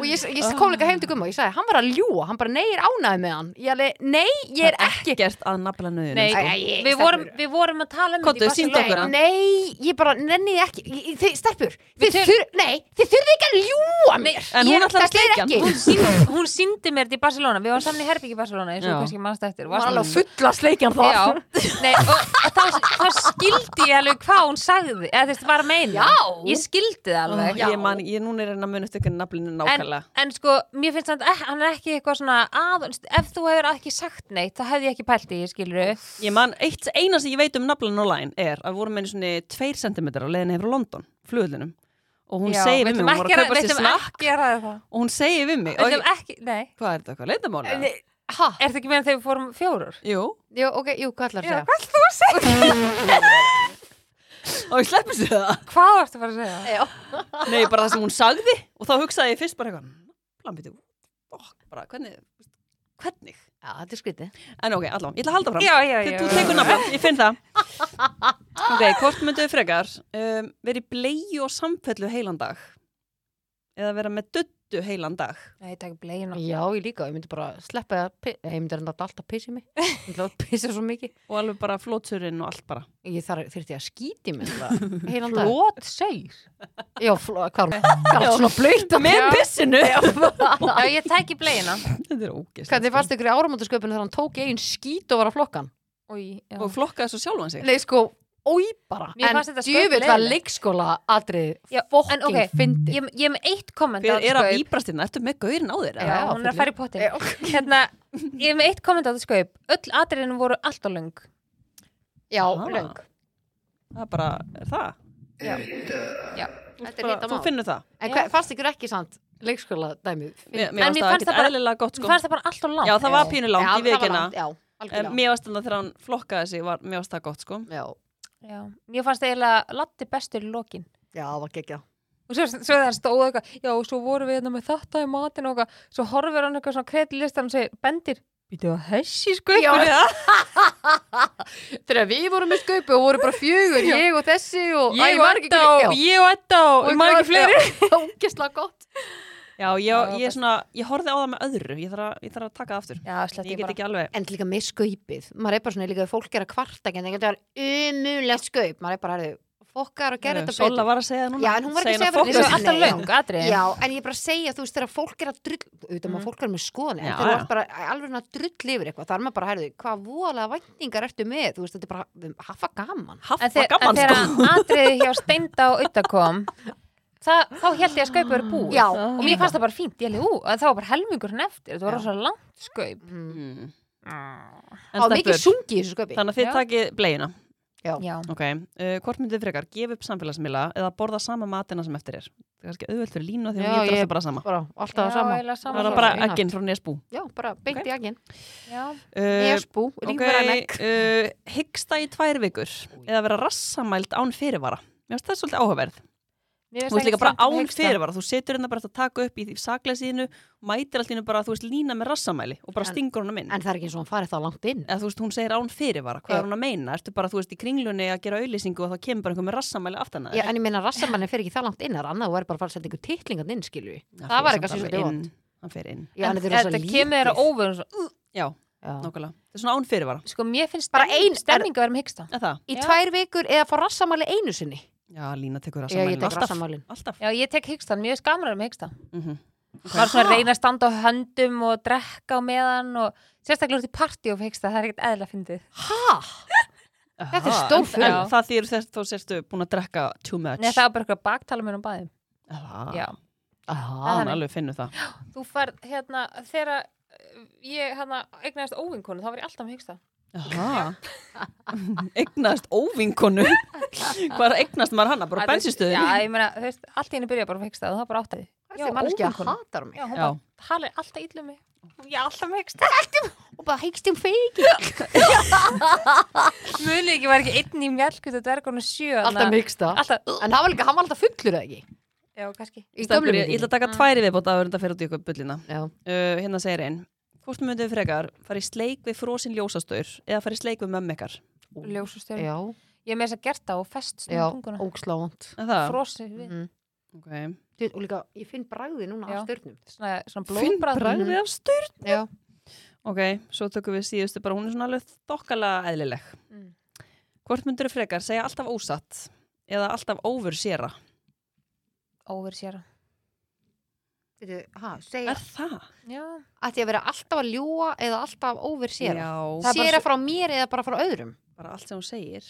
[SPEAKER 5] Og ég, ég kom líka heim til Gumma og ég sagði, hann var að ljúa, hann bara, nei, ég er ánæði með hann. Ég alveg, nei, ég er ekki...
[SPEAKER 4] gert að nafla sko. nöðinu
[SPEAKER 5] Æ,
[SPEAKER 6] Nei,
[SPEAKER 5] æ, ég-
[SPEAKER 6] við,
[SPEAKER 5] stelpur.
[SPEAKER 6] vorum, við vorum að tala um
[SPEAKER 4] Komdu,
[SPEAKER 6] þetta í
[SPEAKER 4] sýndu
[SPEAKER 6] Barcelona.
[SPEAKER 4] okkur hann.
[SPEAKER 5] Nei, ég bara nenni því ekki Ég- ég- Þið, stelpur, þið, þur, nei, þið þurfið ekki að ljúa mér
[SPEAKER 4] En hún
[SPEAKER 5] Ég-
[SPEAKER 4] ætlar að
[SPEAKER 5] þetta er
[SPEAKER 4] sleikja hann.
[SPEAKER 5] ekki.
[SPEAKER 6] Hún sýndi- Hún síndi mér þetta í Barcelona Við varum saman í Herbygg í Barcelona eins og
[SPEAKER 4] Já.
[SPEAKER 6] kannski mannst eftir
[SPEAKER 5] Hún var alveg
[SPEAKER 6] Varst-
[SPEAKER 5] fulla sleikjan það
[SPEAKER 6] Já, nei, og, og þá, þá skildi ég alveg hvað hún sagði eða þú veist, var að meina
[SPEAKER 5] Já.
[SPEAKER 6] Ég skildi það alveg
[SPEAKER 4] ég, man, ég núna er hann að munast ykkur naflinu
[SPEAKER 6] en,
[SPEAKER 4] nákvæmlega
[SPEAKER 6] en sko, mér finnst hann, hann er ekki eitthvað svona að, ef þú hefur ekki sagt neitt þá hefði ég ekki pælt í, skilur
[SPEAKER 4] ég man, eitt, eina sem ég veit um naflan online er að við vorum einu svona 2 cm á leiðinu hefur London, flugullinum og hún segir við mig, hún var að kaupa sér snakk
[SPEAKER 6] Veitum ekki að ræða það
[SPEAKER 4] og hún segir við mig, og
[SPEAKER 6] Veitum
[SPEAKER 4] ég,
[SPEAKER 6] ekki, nei
[SPEAKER 4] hvað er þetta, hvað leitamála?
[SPEAKER 5] Ha,
[SPEAKER 6] Er það ekki meðan þegar við fórum fjórur?
[SPEAKER 4] Jú,
[SPEAKER 5] jú, ok, jú, hvað ætlar að segja?
[SPEAKER 4] og ég sleppi sér það
[SPEAKER 6] Hvað varstu bara að segja?
[SPEAKER 5] Já.
[SPEAKER 4] Nei, bara það sem hún sagði og þá hugsaði ég fyrst bara eitthvað "Mm, Plambiti, okk, oh, bara hvernig Hvernig?
[SPEAKER 5] Já, þetta er skrítið
[SPEAKER 4] En ok, allan, ég ætla að halda fram
[SPEAKER 6] Já, já, já,
[SPEAKER 4] Þegar þú
[SPEAKER 6] já,
[SPEAKER 4] tekur
[SPEAKER 6] já.
[SPEAKER 4] nafn, ég finn það Ok, hvort mynduðu frekar um, verið bleið og samfellu heilan dag eða vera með duttu heilan dag
[SPEAKER 6] Nei, ég takk blegin
[SPEAKER 5] Já, ég líka, ég myndi bara sleppa að pi- Ég myndi reynda alltaf að pissa í mig Ég ætla að pissa svo mikið
[SPEAKER 4] og alveg bara flótsurinn og allt bara
[SPEAKER 5] Ég þarf, þyrfti að skíti mig bara Heilan dag
[SPEAKER 6] Flót seir
[SPEAKER 5] Já, fló, hvað er hún? Hvað er hún svona blöyt að
[SPEAKER 4] Með pissinu
[SPEAKER 6] Já, ég tæki blegina
[SPEAKER 4] Þetta er sko. ógist
[SPEAKER 5] Hvernig fannst ykkur í áramótasköpunum þegar hann tók eigin skít og var að flokkan?
[SPEAKER 6] Új, já.
[SPEAKER 4] Og flokkaði svo sjálfan sig
[SPEAKER 5] Nei, sko, ói bara
[SPEAKER 6] Mér
[SPEAKER 5] En
[SPEAKER 6] fannst þetta sköp
[SPEAKER 5] djöfitt var
[SPEAKER 6] leiðilegt.
[SPEAKER 5] leikskóla atrið
[SPEAKER 6] Já, en
[SPEAKER 5] Fokking
[SPEAKER 6] ok,
[SPEAKER 5] fyndi
[SPEAKER 6] Ég, ég er með eitt komment á
[SPEAKER 4] Hver
[SPEAKER 6] þetta
[SPEAKER 4] er að
[SPEAKER 6] skaup.
[SPEAKER 4] víbrastirna? Ertu með gaurin á þér?
[SPEAKER 6] Já,
[SPEAKER 4] eða?
[SPEAKER 5] Já,
[SPEAKER 6] hún er
[SPEAKER 5] fullu.
[SPEAKER 6] að fara í pottin Hérna, ég er með eitt komment á þetta skaup Öll atriðinu voru alltaf löng
[SPEAKER 5] Já,
[SPEAKER 4] Ah.
[SPEAKER 5] löng
[SPEAKER 4] Það er bara, er það?
[SPEAKER 6] Já, já
[SPEAKER 5] Þetta er
[SPEAKER 4] Bara,
[SPEAKER 5] hitt
[SPEAKER 4] þú
[SPEAKER 5] mál
[SPEAKER 4] finnur það
[SPEAKER 5] En hvað, fannst ykkur ekki sant leikskóla dæmið
[SPEAKER 4] Mér,
[SPEAKER 6] En
[SPEAKER 4] mér
[SPEAKER 6] mér
[SPEAKER 4] fannst
[SPEAKER 6] fannst
[SPEAKER 4] það
[SPEAKER 6] það
[SPEAKER 4] ekkert
[SPEAKER 6] bara-
[SPEAKER 4] eðlilega gott
[SPEAKER 6] Mér
[SPEAKER 4] sko.
[SPEAKER 6] fannst það bara alltaf langt
[SPEAKER 4] Já, það var pínu langt,
[SPEAKER 5] Já,
[SPEAKER 4] ég veit
[SPEAKER 5] það var
[SPEAKER 4] ekki
[SPEAKER 5] langt, Já,
[SPEAKER 4] En
[SPEAKER 5] algjörlega
[SPEAKER 4] mér varst þannig að þegar hann flokkaði sig var, Mér varst það gott sko
[SPEAKER 5] Já,
[SPEAKER 6] Já, ég fannst eiginlega Latti bestur í lokin
[SPEAKER 5] já, það var gekkja
[SPEAKER 6] og svo, svo þegar hann stóð eitthvað já, og svo vorum við hérna með þetta í matin og eitthvað svo horfir hann eitthvað svona kreitlistan og segir bendir, býtu að hessi sko
[SPEAKER 5] Já.
[SPEAKER 6] eitthvað
[SPEAKER 5] Þegar við vorum með sköpu og voru bara fjögur Ég og þessi og Æ,
[SPEAKER 6] ég
[SPEAKER 5] man
[SPEAKER 6] og
[SPEAKER 5] ekki
[SPEAKER 6] Edda
[SPEAKER 5] hvernig-
[SPEAKER 6] og
[SPEAKER 5] já.
[SPEAKER 6] ég og Edda og ég maður ekki fleiri
[SPEAKER 5] Já, Ógeðslega gott
[SPEAKER 4] Já,
[SPEAKER 6] Já,
[SPEAKER 4] ég, ég, svona, ég horfði á það með öðru Ég þarf að, ég þarf að taka það aftur
[SPEAKER 6] já, slett
[SPEAKER 4] Ég
[SPEAKER 6] ég
[SPEAKER 4] get
[SPEAKER 6] bara
[SPEAKER 4] ekki alveg
[SPEAKER 5] En líka með sköpið Maður er bara svona líka þegar fólk er að kvarta ekki En það er umulegt sköp Maður er bara að fokkar og gera þetta
[SPEAKER 4] Sola var að segja það núna
[SPEAKER 5] Já, en hún var ekki að segja
[SPEAKER 4] að
[SPEAKER 5] fyrir
[SPEAKER 6] það er
[SPEAKER 5] þessu.
[SPEAKER 4] fólk
[SPEAKER 6] alltaf
[SPEAKER 5] Nei,
[SPEAKER 6] löng, atrið
[SPEAKER 5] Já, en ég er bara að segja, þú veist, þegar fólk er að drull auðvitað maður fólk er með skoðan en
[SPEAKER 4] Mm. Já,
[SPEAKER 5] þegar
[SPEAKER 4] já.
[SPEAKER 5] þú ert bara alveg að drull yfir eitthvað þar er maður bara, herðu, hvað voðalega væntingar ertu með, þú veist, þetta er bara, við- hafa gaman
[SPEAKER 4] Haffa
[SPEAKER 6] en, þeir, en
[SPEAKER 4] gaman
[SPEAKER 6] þegar
[SPEAKER 4] sko
[SPEAKER 6] atriði hjá Steinda og Udda kom það, þá held ég að skaupa verið búið
[SPEAKER 5] Já,
[SPEAKER 6] og mér fannst það bara fínt, ég held, ú, en það var bara helmingurinn eftir þetta var rosa langt skaup
[SPEAKER 5] mm.
[SPEAKER 4] Mm. En
[SPEAKER 5] á mikið
[SPEAKER 4] stelpur,
[SPEAKER 5] sungi í þessu sköpi
[SPEAKER 4] þannig að þið
[SPEAKER 6] Já.
[SPEAKER 4] takið blegina
[SPEAKER 6] já,
[SPEAKER 4] Ok, uh, hvort myndið þið frekar, gefa upp samfélagsmiðla eða borða sama matina sem eftir er Það er kannski auðvelt fyrir línu af því að
[SPEAKER 5] Já,
[SPEAKER 4] hún getur
[SPEAKER 5] ég-
[SPEAKER 4] alltaf bara sama
[SPEAKER 5] bara, alltaf það sama
[SPEAKER 6] eiginlega sama
[SPEAKER 4] Það var
[SPEAKER 6] svar.
[SPEAKER 4] bara
[SPEAKER 5] Einhægt.
[SPEAKER 4] egginn frá Nesbú
[SPEAKER 5] Já, bara beint
[SPEAKER 4] Ok.
[SPEAKER 5] í aginn,
[SPEAKER 6] já,
[SPEAKER 4] uh,
[SPEAKER 5] nesbú,
[SPEAKER 4] Ok,
[SPEAKER 5] ringverðan egg
[SPEAKER 4] uh, hyggsta í tvær vikur eða vera rassamæld án fyrirvara Mér finnst það svolítið áhugaverð
[SPEAKER 6] Mér finnst
[SPEAKER 4] Þú veist
[SPEAKER 6] ekki
[SPEAKER 4] líka bara
[SPEAKER 6] slæmt um
[SPEAKER 4] án
[SPEAKER 6] hiksta.
[SPEAKER 4] fyrirvara Þú setur hérna bara eftir að taka upp í því sakleysinu mætir allt í hennu bara, þú veist, lína með rassamæli og bara
[SPEAKER 5] En-
[SPEAKER 4] stingur hún að minn
[SPEAKER 5] En það er ekki eins og hann farið þá langt inn
[SPEAKER 4] eða þú veist, hún segir án fyrirvara, hvað
[SPEAKER 5] Já.
[SPEAKER 4] er hún að meina? Ertu bara, þú veist, í kringlunni að gera auðlýsingu og þá kemur bara einhver með rassamæli aftan að
[SPEAKER 5] Já, en ég meina rassamannin fer ekki það langt inn það er annað, þú verður bara að fara að setja einhver titlingan inn, skilur
[SPEAKER 4] Hann
[SPEAKER 5] það var
[SPEAKER 4] fer
[SPEAKER 5] eitthvað
[SPEAKER 4] samt
[SPEAKER 5] sem
[SPEAKER 4] alveg
[SPEAKER 5] svolítið
[SPEAKER 4] inn. Hann fer inn,
[SPEAKER 5] Já, en
[SPEAKER 6] En
[SPEAKER 5] þetta er
[SPEAKER 6] þetta
[SPEAKER 5] rosa
[SPEAKER 6] kemur þér
[SPEAKER 5] lítið.
[SPEAKER 6] á óvörum
[SPEAKER 4] já,
[SPEAKER 5] Já.
[SPEAKER 4] nokkulega Þetta er svona án fyrirvara,
[SPEAKER 6] sko mér finnst
[SPEAKER 5] Bara
[SPEAKER 6] stemning-
[SPEAKER 5] ein-
[SPEAKER 6] stemning að vera með hyggsta
[SPEAKER 4] eða það?
[SPEAKER 5] Í
[SPEAKER 6] Já.
[SPEAKER 5] tvær vikur eða fá rassamanni einu sinni
[SPEAKER 4] Já, Lína tekur
[SPEAKER 5] Já,
[SPEAKER 4] rassamælin
[SPEAKER 5] ég tek
[SPEAKER 4] alltaf
[SPEAKER 5] rassamallin
[SPEAKER 4] Alltaf
[SPEAKER 6] já ég tek hyggstan, mér finnst gaman að vera með hyggsta
[SPEAKER 4] Mhm.
[SPEAKER 6] maður svona reyna að standa á höndum og drekka á meðan og sérstaklega út í partí og hyggsta, það er ekkert eðla fyndið
[SPEAKER 5] Þetta er
[SPEAKER 4] Aha,
[SPEAKER 5] stór
[SPEAKER 4] en-
[SPEAKER 5] furða.
[SPEAKER 4] en Það þýr þess þá sérstu búin að drekka too much
[SPEAKER 6] Nei, það er bara eitthvað baktala mér um bæðum
[SPEAKER 4] Já,
[SPEAKER 6] já,
[SPEAKER 5] Aha,
[SPEAKER 6] Það er
[SPEAKER 4] hann
[SPEAKER 6] þannig.
[SPEAKER 4] alveg finnur það
[SPEAKER 6] þú færð hérna þegar eh, ég hérna eignaðist óvinkonu, þá var ég alltaf með hyggsta
[SPEAKER 4] Aha. Eignast óvinkonu Hvað er að eignast maður hana? Bara á bensinstöðinu?
[SPEAKER 6] já, ég meina, þú veist, allt í henni byrja bara með hyggsta og það bara áttaði
[SPEAKER 5] Þessi manneskja hatar mig
[SPEAKER 6] já, hún
[SPEAKER 4] Já.
[SPEAKER 6] bara talir alltaf illa um mig ég er alltaf með hyggsta
[SPEAKER 5] og bara heikst um feiki
[SPEAKER 6] muni ekki, var ekki einn í mjölkutu dvergunu sjö
[SPEAKER 5] alltaf miksta
[SPEAKER 6] alltaf, uh,
[SPEAKER 5] en það var líka, hann var alltaf fullur eða ekki
[SPEAKER 6] já, kannski
[SPEAKER 5] í
[SPEAKER 4] Stelpur,
[SPEAKER 5] gömlu
[SPEAKER 4] Ég ég ætla
[SPEAKER 5] myndinni
[SPEAKER 4] að taka tværi viðbót að verða að fyrir út í ykkur bullina
[SPEAKER 5] Já.
[SPEAKER 4] uh, Hérna segir einn Hvort myndið frekar fara í sleik við frósin ljósastaur eða fara í sleik við mömmu ykkar?
[SPEAKER 6] ljósustjörn,
[SPEAKER 5] já,
[SPEAKER 6] ég er með þess að gert það og fest
[SPEAKER 5] já,
[SPEAKER 6] stundum tunguna
[SPEAKER 5] ógslánt
[SPEAKER 4] Er Það,
[SPEAKER 6] frosið við
[SPEAKER 5] mm.
[SPEAKER 4] okay.
[SPEAKER 5] og líka, ég finn bragði núna
[SPEAKER 6] Já.
[SPEAKER 5] af störnum
[SPEAKER 6] svona, svona
[SPEAKER 4] Finn
[SPEAKER 6] blóðbræð
[SPEAKER 4] bragðið af staur
[SPEAKER 5] já,
[SPEAKER 4] Ok, svo tökum við síðustu bara, hún er svona alveg þokkalega eðlileg.
[SPEAKER 6] Mm.
[SPEAKER 4] Hvort myndur frekar segja alltaf ósatt eða alltaf óvur séra?
[SPEAKER 6] óver sér
[SPEAKER 5] Veitu, ha, segja
[SPEAKER 4] Er það?
[SPEAKER 6] já,
[SPEAKER 5] ætti ég að vera alltaf að ljúa eða alltaf óver sér
[SPEAKER 4] Já,
[SPEAKER 6] Það- er bara
[SPEAKER 5] sér
[SPEAKER 6] svo-
[SPEAKER 5] frá mér eða bara frá öðrum
[SPEAKER 4] bara allt sem hún segir.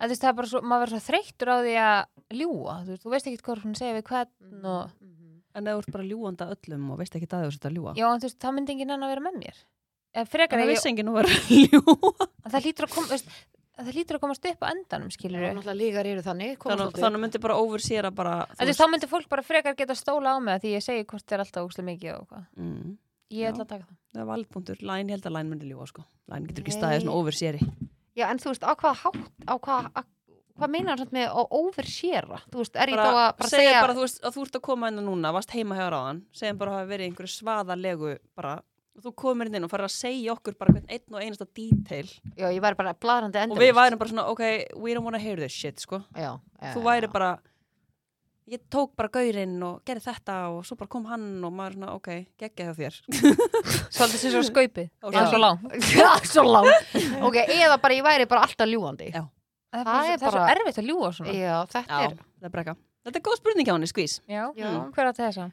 [SPEAKER 6] en þú veist það er bara svo maður verður svo þreyttur á því að ljúa þú veist, þú veist ekki hvað hún segir við hvern og,
[SPEAKER 5] Mhm.
[SPEAKER 4] En það er bara ljúanda öllum og veist ekki að það er þetta ljúa.
[SPEAKER 6] já, en þú veist, það myndi enginn enn að vera með mér en frekar
[SPEAKER 4] En það
[SPEAKER 6] ef ég,
[SPEAKER 4] vissi enginn hún var að ljúa.
[SPEAKER 6] en það lítur að koma veist, en það lítur að komast upp á endanum, skilur
[SPEAKER 5] og
[SPEAKER 6] við
[SPEAKER 5] náttúrulega lígar eru þannig koma
[SPEAKER 4] Þannig,
[SPEAKER 5] svolítið.
[SPEAKER 4] þannig myndi bara óvur séra bara...
[SPEAKER 6] en þú veist, þá myndi fólk bara frekar geta stóla á mig að því ég segi hvort það er alltaf óslega mikið og hvað
[SPEAKER 4] Mm,
[SPEAKER 6] ég
[SPEAKER 4] Já.
[SPEAKER 6] ætla að taka það
[SPEAKER 4] það er valpunktur. Læn, ég held að læn myndi ljúa sko. Læn getur ekki
[SPEAKER 5] Nei.
[SPEAKER 4] staðið svona óvur séri.
[SPEAKER 5] já, en þú veist, á hvað hátt á hvað, á, hvað meinar hann með að óver séra þú veist, er ég þá að
[SPEAKER 4] Bara,
[SPEAKER 5] bara
[SPEAKER 4] segja
[SPEAKER 5] segja
[SPEAKER 4] bara, þú veist, að þú ert að koma inn núna, varst heima hjá ráðan, segja bara að hafa verið í einhverju svaðalegu bara, og þú komir hérna inn inn og farir að segja okkur bara hvern einn og einasta detail
[SPEAKER 5] já, ég væri bara bladrandi endalaust.
[SPEAKER 4] og við værum bara svona, ok, we don't wanna hear this shit, sko.
[SPEAKER 5] Já, já,
[SPEAKER 4] þú
[SPEAKER 5] já,
[SPEAKER 4] væri
[SPEAKER 5] já.
[SPEAKER 4] bara, ég tók bara gaurinn og gerði þetta og svo bara kom hann og maður svona, ok, geggja hjá þér.
[SPEAKER 6] svolítið sem svo skaupið,
[SPEAKER 4] Og
[SPEAKER 6] það er
[SPEAKER 5] svo-
[SPEAKER 6] svo langt
[SPEAKER 5] Já, svo langt Ok, eða bara ég væri bara alltaf ljúandi Já,
[SPEAKER 4] Já.
[SPEAKER 6] það
[SPEAKER 5] Það
[SPEAKER 6] er
[SPEAKER 5] er
[SPEAKER 6] bara svo- það er svo
[SPEAKER 5] bara-
[SPEAKER 6] erfitt að ljúa svona
[SPEAKER 5] þetta er
[SPEAKER 4] það er brekka. Þetta er góð spurning hjá henni, skvís.
[SPEAKER 6] já, Mm.
[SPEAKER 5] Já.
[SPEAKER 6] hver átti þessa?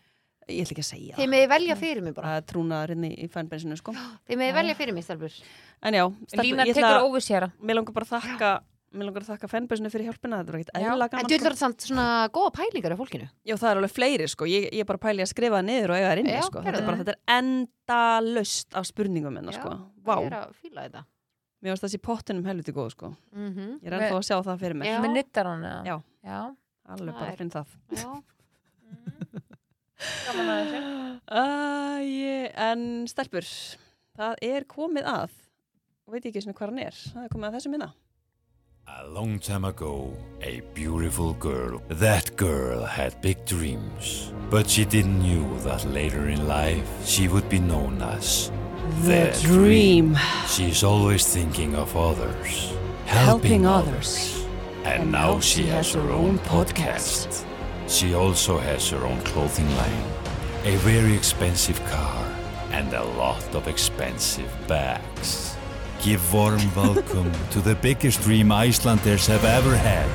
[SPEAKER 4] Ég ætla ekki að segja
[SPEAKER 5] Þið
[SPEAKER 4] það.
[SPEAKER 5] meði velja fyrir mig bara
[SPEAKER 4] Það er trúnaður inn í, í fanbensinu, sko.
[SPEAKER 5] Þið meði velja fyrir mig, stelpur
[SPEAKER 4] En já, stelpur,
[SPEAKER 6] Lína
[SPEAKER 4] ég
[SPEAKER 6] tekur
[SPEAKER 4] ætla,
[SPEAKER 6] óvisjara
[SPEAKER 4] mér langar bara að þakka, mér langar að þakka fanbensinu fyrir hjálpina, þetta var ekkert
[SPEAKER 6] Já.
[SPEAKER 4] eðlilega
[SPEAKER 5] En
[SPEAKER 4] gaman.
[SPEAKER 5] þú
[SPEAKER 4] sko.
[SPEAKER 5] ætlar samt svona góða pælingar af fólkinu
[SPEAKER 4] Já, það er alveg fleiri sko, ég, ég er bara pæli að skrifa það niður og eiga það inni
[SPEAKER 5] Já,
[SPEAKER 4] sko,
[SPEAKER 5] gerðu
[SPEAKER 4] þetta er,
[SPEAKER 6] það.
[SPEAKER 4] bara, þetta er endalaust af spurningum hennar
[SPEAKER 5] Já,
[SPEAKER 4] sko, vá,
[SPEAKER 5] Ég er að fíla þetta
[SPEAKER 4] mér varst þessi pottunum helviti góð sko,
[SPEAKER 5] mm -hmm.
[SPEAKER 4] ég er ennþá að sjá það fyrir mér,
[SPEAKER 5] Já.
[SPEAKER 6] með nittar hann
[SPEAKER 4] Já.
[SPEAKER 6] já.
[SPEAKER 4] alveg
[SPEAKER 5] Það
[SPEAKER 4] bara
[SPEAKER 5] er-
[SPEAKER 4] finn það.
[SPEAKER 5] Já,
[SPEAKER 6] gaman að þessu
[SPEAKER 4] Æ, ég- en stelpur, það er komið að, veit ég ekki svona hvað hann er, það er komið að þessum minna.
[SPEAKER 2] A long time ago, a beautiful girl. That girl had big dreams, but she didn't knew that later in life she would be known as the, She's always thinking of others, helping,
[SPEAKER 4] Helping
[SPEAKER 2] others. And, now, she has her own podcast. She also has her own clothing line, a very expensive car, and a lot of expensive bags. Give warm welcome to the biggest dream Icelanders have ever had.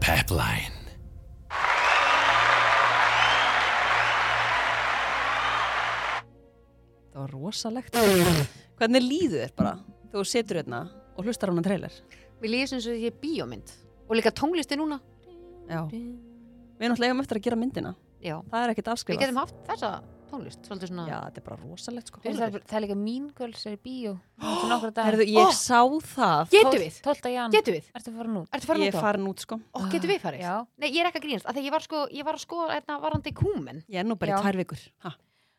[SPEAKER 2] Pepline.
[SPEAKER 4] Það var rosalegt. Hvernig líður þér bara þegar þú setur hérna og hlustar á hana trailer?
[SPEAKER 5] Mér líður sem þessi bíómynd og líka tónlisti núna
[SPEAKER 4] Já. Við erum alltaf eigum eftir að gera myndina.
[SPEAKER 5] Já,
[SPEAKER 4] Það er ekkert
[SPEAKER 5] við
[SPEAKER 4] afskrifað.
[SPEAKER 5] getum haft þessa tónlist svolítið svona
[SPEAKER 4] Já, þetta er bara rosalegt sko.
[SPEAKER 6] Fyrir Það er- það er líka Mean Girls er í bíó Eftir nokkra daga.
[SPEAKER 4] Herðu, ég
[SPEAKER 5] Ó!
[SPEAKER 4] sá það.
[SPEAKER 5] Getum við?
[SPEAKER 6] 12. jan
[SPEAKER 5] Getum við?
[SPEAKER 6] Ertu að fara nút?
[SPEAKER 5] Ertu farin
[SPEAKER 4] Ég
[SPEAKER 5] út
[SPEAKER 4] er
[SPEAKER 5] á?
[SPEAKER 4] farin út sko.
[SPEAKER 5] Ó, getum við farið?
[SPEAKER 6] Já.
[SPEAKER 5] Nei, ég er ekki að grínast, af því að ég var sko, ég var að skoða hérna varandi kúmen
[SPEAKER 4] Ég er nú bara
[SPEAKER 6] Já.
[SPEAKER 4] í tvær vikur. Ha,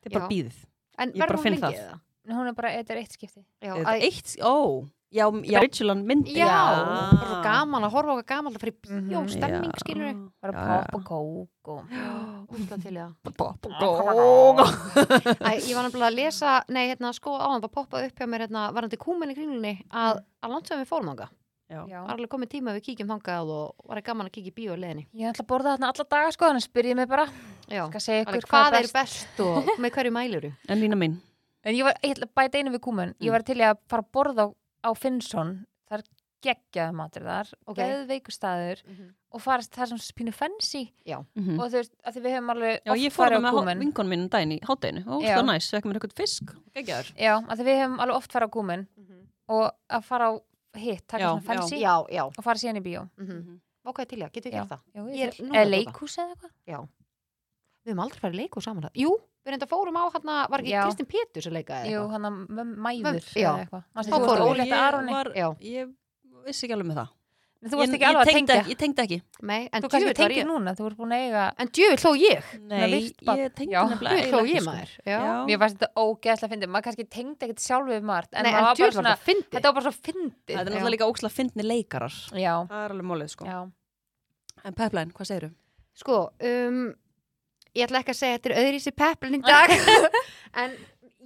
[SPEAKER 4] þetta er bara
[SPEAKER 5] Já.
[SPEAKER 4] bíðið.
[SPEAKER 5] En
[SPEAKER 4] Ég bara
[SPEAKER 5] verður hún
[SPEAKER 4] finn
[SPEAKER 5] lengi
[SPEAKER 4] það.
[SPEAKER 5] eða?
[SPEAKER 6] Hún er bara, þetta er eitt skipti
[SPEAKER 5] Já,
[SPEAKER 4] Er
[SPEAKER 5] að-
[SPEAKER 4] þetta Eitt, ó, já, já, Richulan myndi.
[SPEAKER 5] já, bara svo gaman að horfa okkar gaman að fara í bíó,
[SPEAKER 6] Mhm.
[SPEAKER 5] stemming skilur við
[SPEAKER 6] Bara
[SPEAKER 4] Já,
[SPEAKER 6] pop og kók og
[SPEAKER 5] Úrslag til í það
[SPEAKER 4] Pop og
[SPEAKER 6] Ó,
[SPEAKER 5] Æ, ég var nefnilega að lesa, nei, hérna, sko áðan bara poppaði upp hjá mér, hérna, varandi kúmen í kringlunni
[SPEAKER 4] Mm.
[SPEAKER 5] að, að langt sem við fórum þanga
[SPEAKER 6] Já.
[SPEAKER 5] var alveg komið tíma að við kíkjum þangað og var gaman að kíkja í bíó í leðinni
[SPEAKER 6] Ég ætla að borða þarna alla daga sko, þannig spyr ég mig bara
[SPEAKER 5] Já,
[SPEAKER 6] Skal segja
[SPEAKER 5] alveg
[SPEAKER 6] ykkur
[SPEAKER 5] hvað er best og með hverju mæluru
[SPEAKER 4] En lína mín,
[SPEAKER 6] En ég var, ég ætla að bæta einu við kúmen
[SPEAKER 5] Mm.
[SPEAKER 6] Ég var til í að fara að borða á, á Finnsson Það er geggjaði matur þar
[SPEAKER 5] Ok.
[SPEAKER 6] okay. Geðveiku staður Og fara þar sem spínu fensi
[SPEAKER 5] Mm.
[SPEAKER 4] Mhm.
[SPEAKER 6] Og þú veist, að því við höfum alveg
[SPEAKER 4] já,
[SPEAKER 6] oft
[SPEAKER 4] ég fór
[SPEAKER 6] farið á
[SPEAKER 4] með
[SPEAKER 6] Kúmen.
[SPEAKER 4] vinkonum minn um daginn í hátæinu og
[SPEAKER 6] Já.
[SPEAKER 4] það næs, við ekki mér eitthvað fisk. Gekkjaður.
[SPEAKER 6] Já, að því við höfum alveg oft farið á kúmen Og að fara á hitt, taka
[SPEAKER 4] Já,
[SPEAKER 6] svona fensi
[SPEAKER 5] Já, já,
[SPEAKER 6] Og fara síðan í bíó
[SPEAKER 5] mhm
[SPEAKER 4] Mhm.
[SPEAKER 5] Vá, hvað er til í það, getum við
[SPEAKER 6] Já.
[SPEAKER 5] gert það
[SPEAKER 6] Já,
[SPEAKER 5] Ég er
[SPEAKER 6] ég-
[SPEAKER 5] núna
[SPEAKER 6] Eða
[SPEAKER 5] að borða.
[SPEAKER 6] leikhús eða eitthvað
[SPEAKER 5] Við höfum aldrei farið í leikhús saman það Jú, við reynda fórum á hérna, var ekki
[SPEAKER 6] Já.
[SPEAKER 5] Kristinn Pétur sem leikaði
[SPEAKER 6] Jú,
[SPEAKER 5] eitthvað?
[SPEAKER 6] hann að mæður
[SPEAKER 5] Vömb- já.
[SPEAKER 6] eða eitthvað. Manstu,
[SPEAKER 5] Þá
[SPEAKER 6] Þú varst
[SPEAKER 5] fórum við.
[SPEAKER 6] ólétt að Aroni
[SPEAKER 4] var,
[SPEAKER 5] Já.
[SPEAKER 4] ég vissi ekki alveg með það.
[SPEAKER 6] Þú varst
[SPEAKER 4] Ég-
[SPEAKER 6] ekki
[SPEAKER 4] ég
[SPEAKER 6] alveg að
[SPEAKER 4] tengdi
[SPEAKER 6] tengja
[SPEAKER 4] ekki- Ég tengdi ekki.
[SPEAKER 5] Nei, en
[SPEAKER 6] Þú kannski
[SPEAKER 5] djöfull var
[SPEAKER 6] tengir Mm,
[SPEAKER 5] ég
[SPEAKER 6] núna, þú ert búin að eiga
[SPEAKER 5] En djöfull hló ég
[SPEAKER 4] Nei,
[SPEAKER 6] víst barn.
[SPEAKER 4] ég tengdi
[SPEAKER 6] Já.
[SPEAKER 4] nefnilega
[SPEAKER 5] Djöfull hló
[SPEAKER 4] eiginlega
[SPEAKER 5] ég
[SPEAKER 4] ekki, sko.
[SPEAKER 5] maður Já
[SPEAKER 6] Mér fannst þetta ógeðslega fyndið, maður kannski tengdi ekkert sjálf við margt en,
[SPEAKER 5] Nei,
[SPEAKER 6] maður
[SPEAKER 5] en
[SPEAKER 6] var bara
[SPEAKER 5] djöfull var
[SPEAKER 6] svona,
[SPEAKER 5] það fyndið
[SPEAKER 6] þetta var bara svo fyndið
[SPEAKER 4] Þetta er
[SPEAKER 5] Já.
[SPEAKER 4] náttúrulega líka ókslega fyndni leikarar.
[SPEAKER 6] Já,
[SPEAKER 4] Það er alveg mólið, sko.
[SPEAKER 6] já,
[SPEAKER 4] En Pepline, hvað segirðu?
[SPEAKER 5] Sko, um, ég ætla ekki að segja að þetta er öðrísi peplin í dag en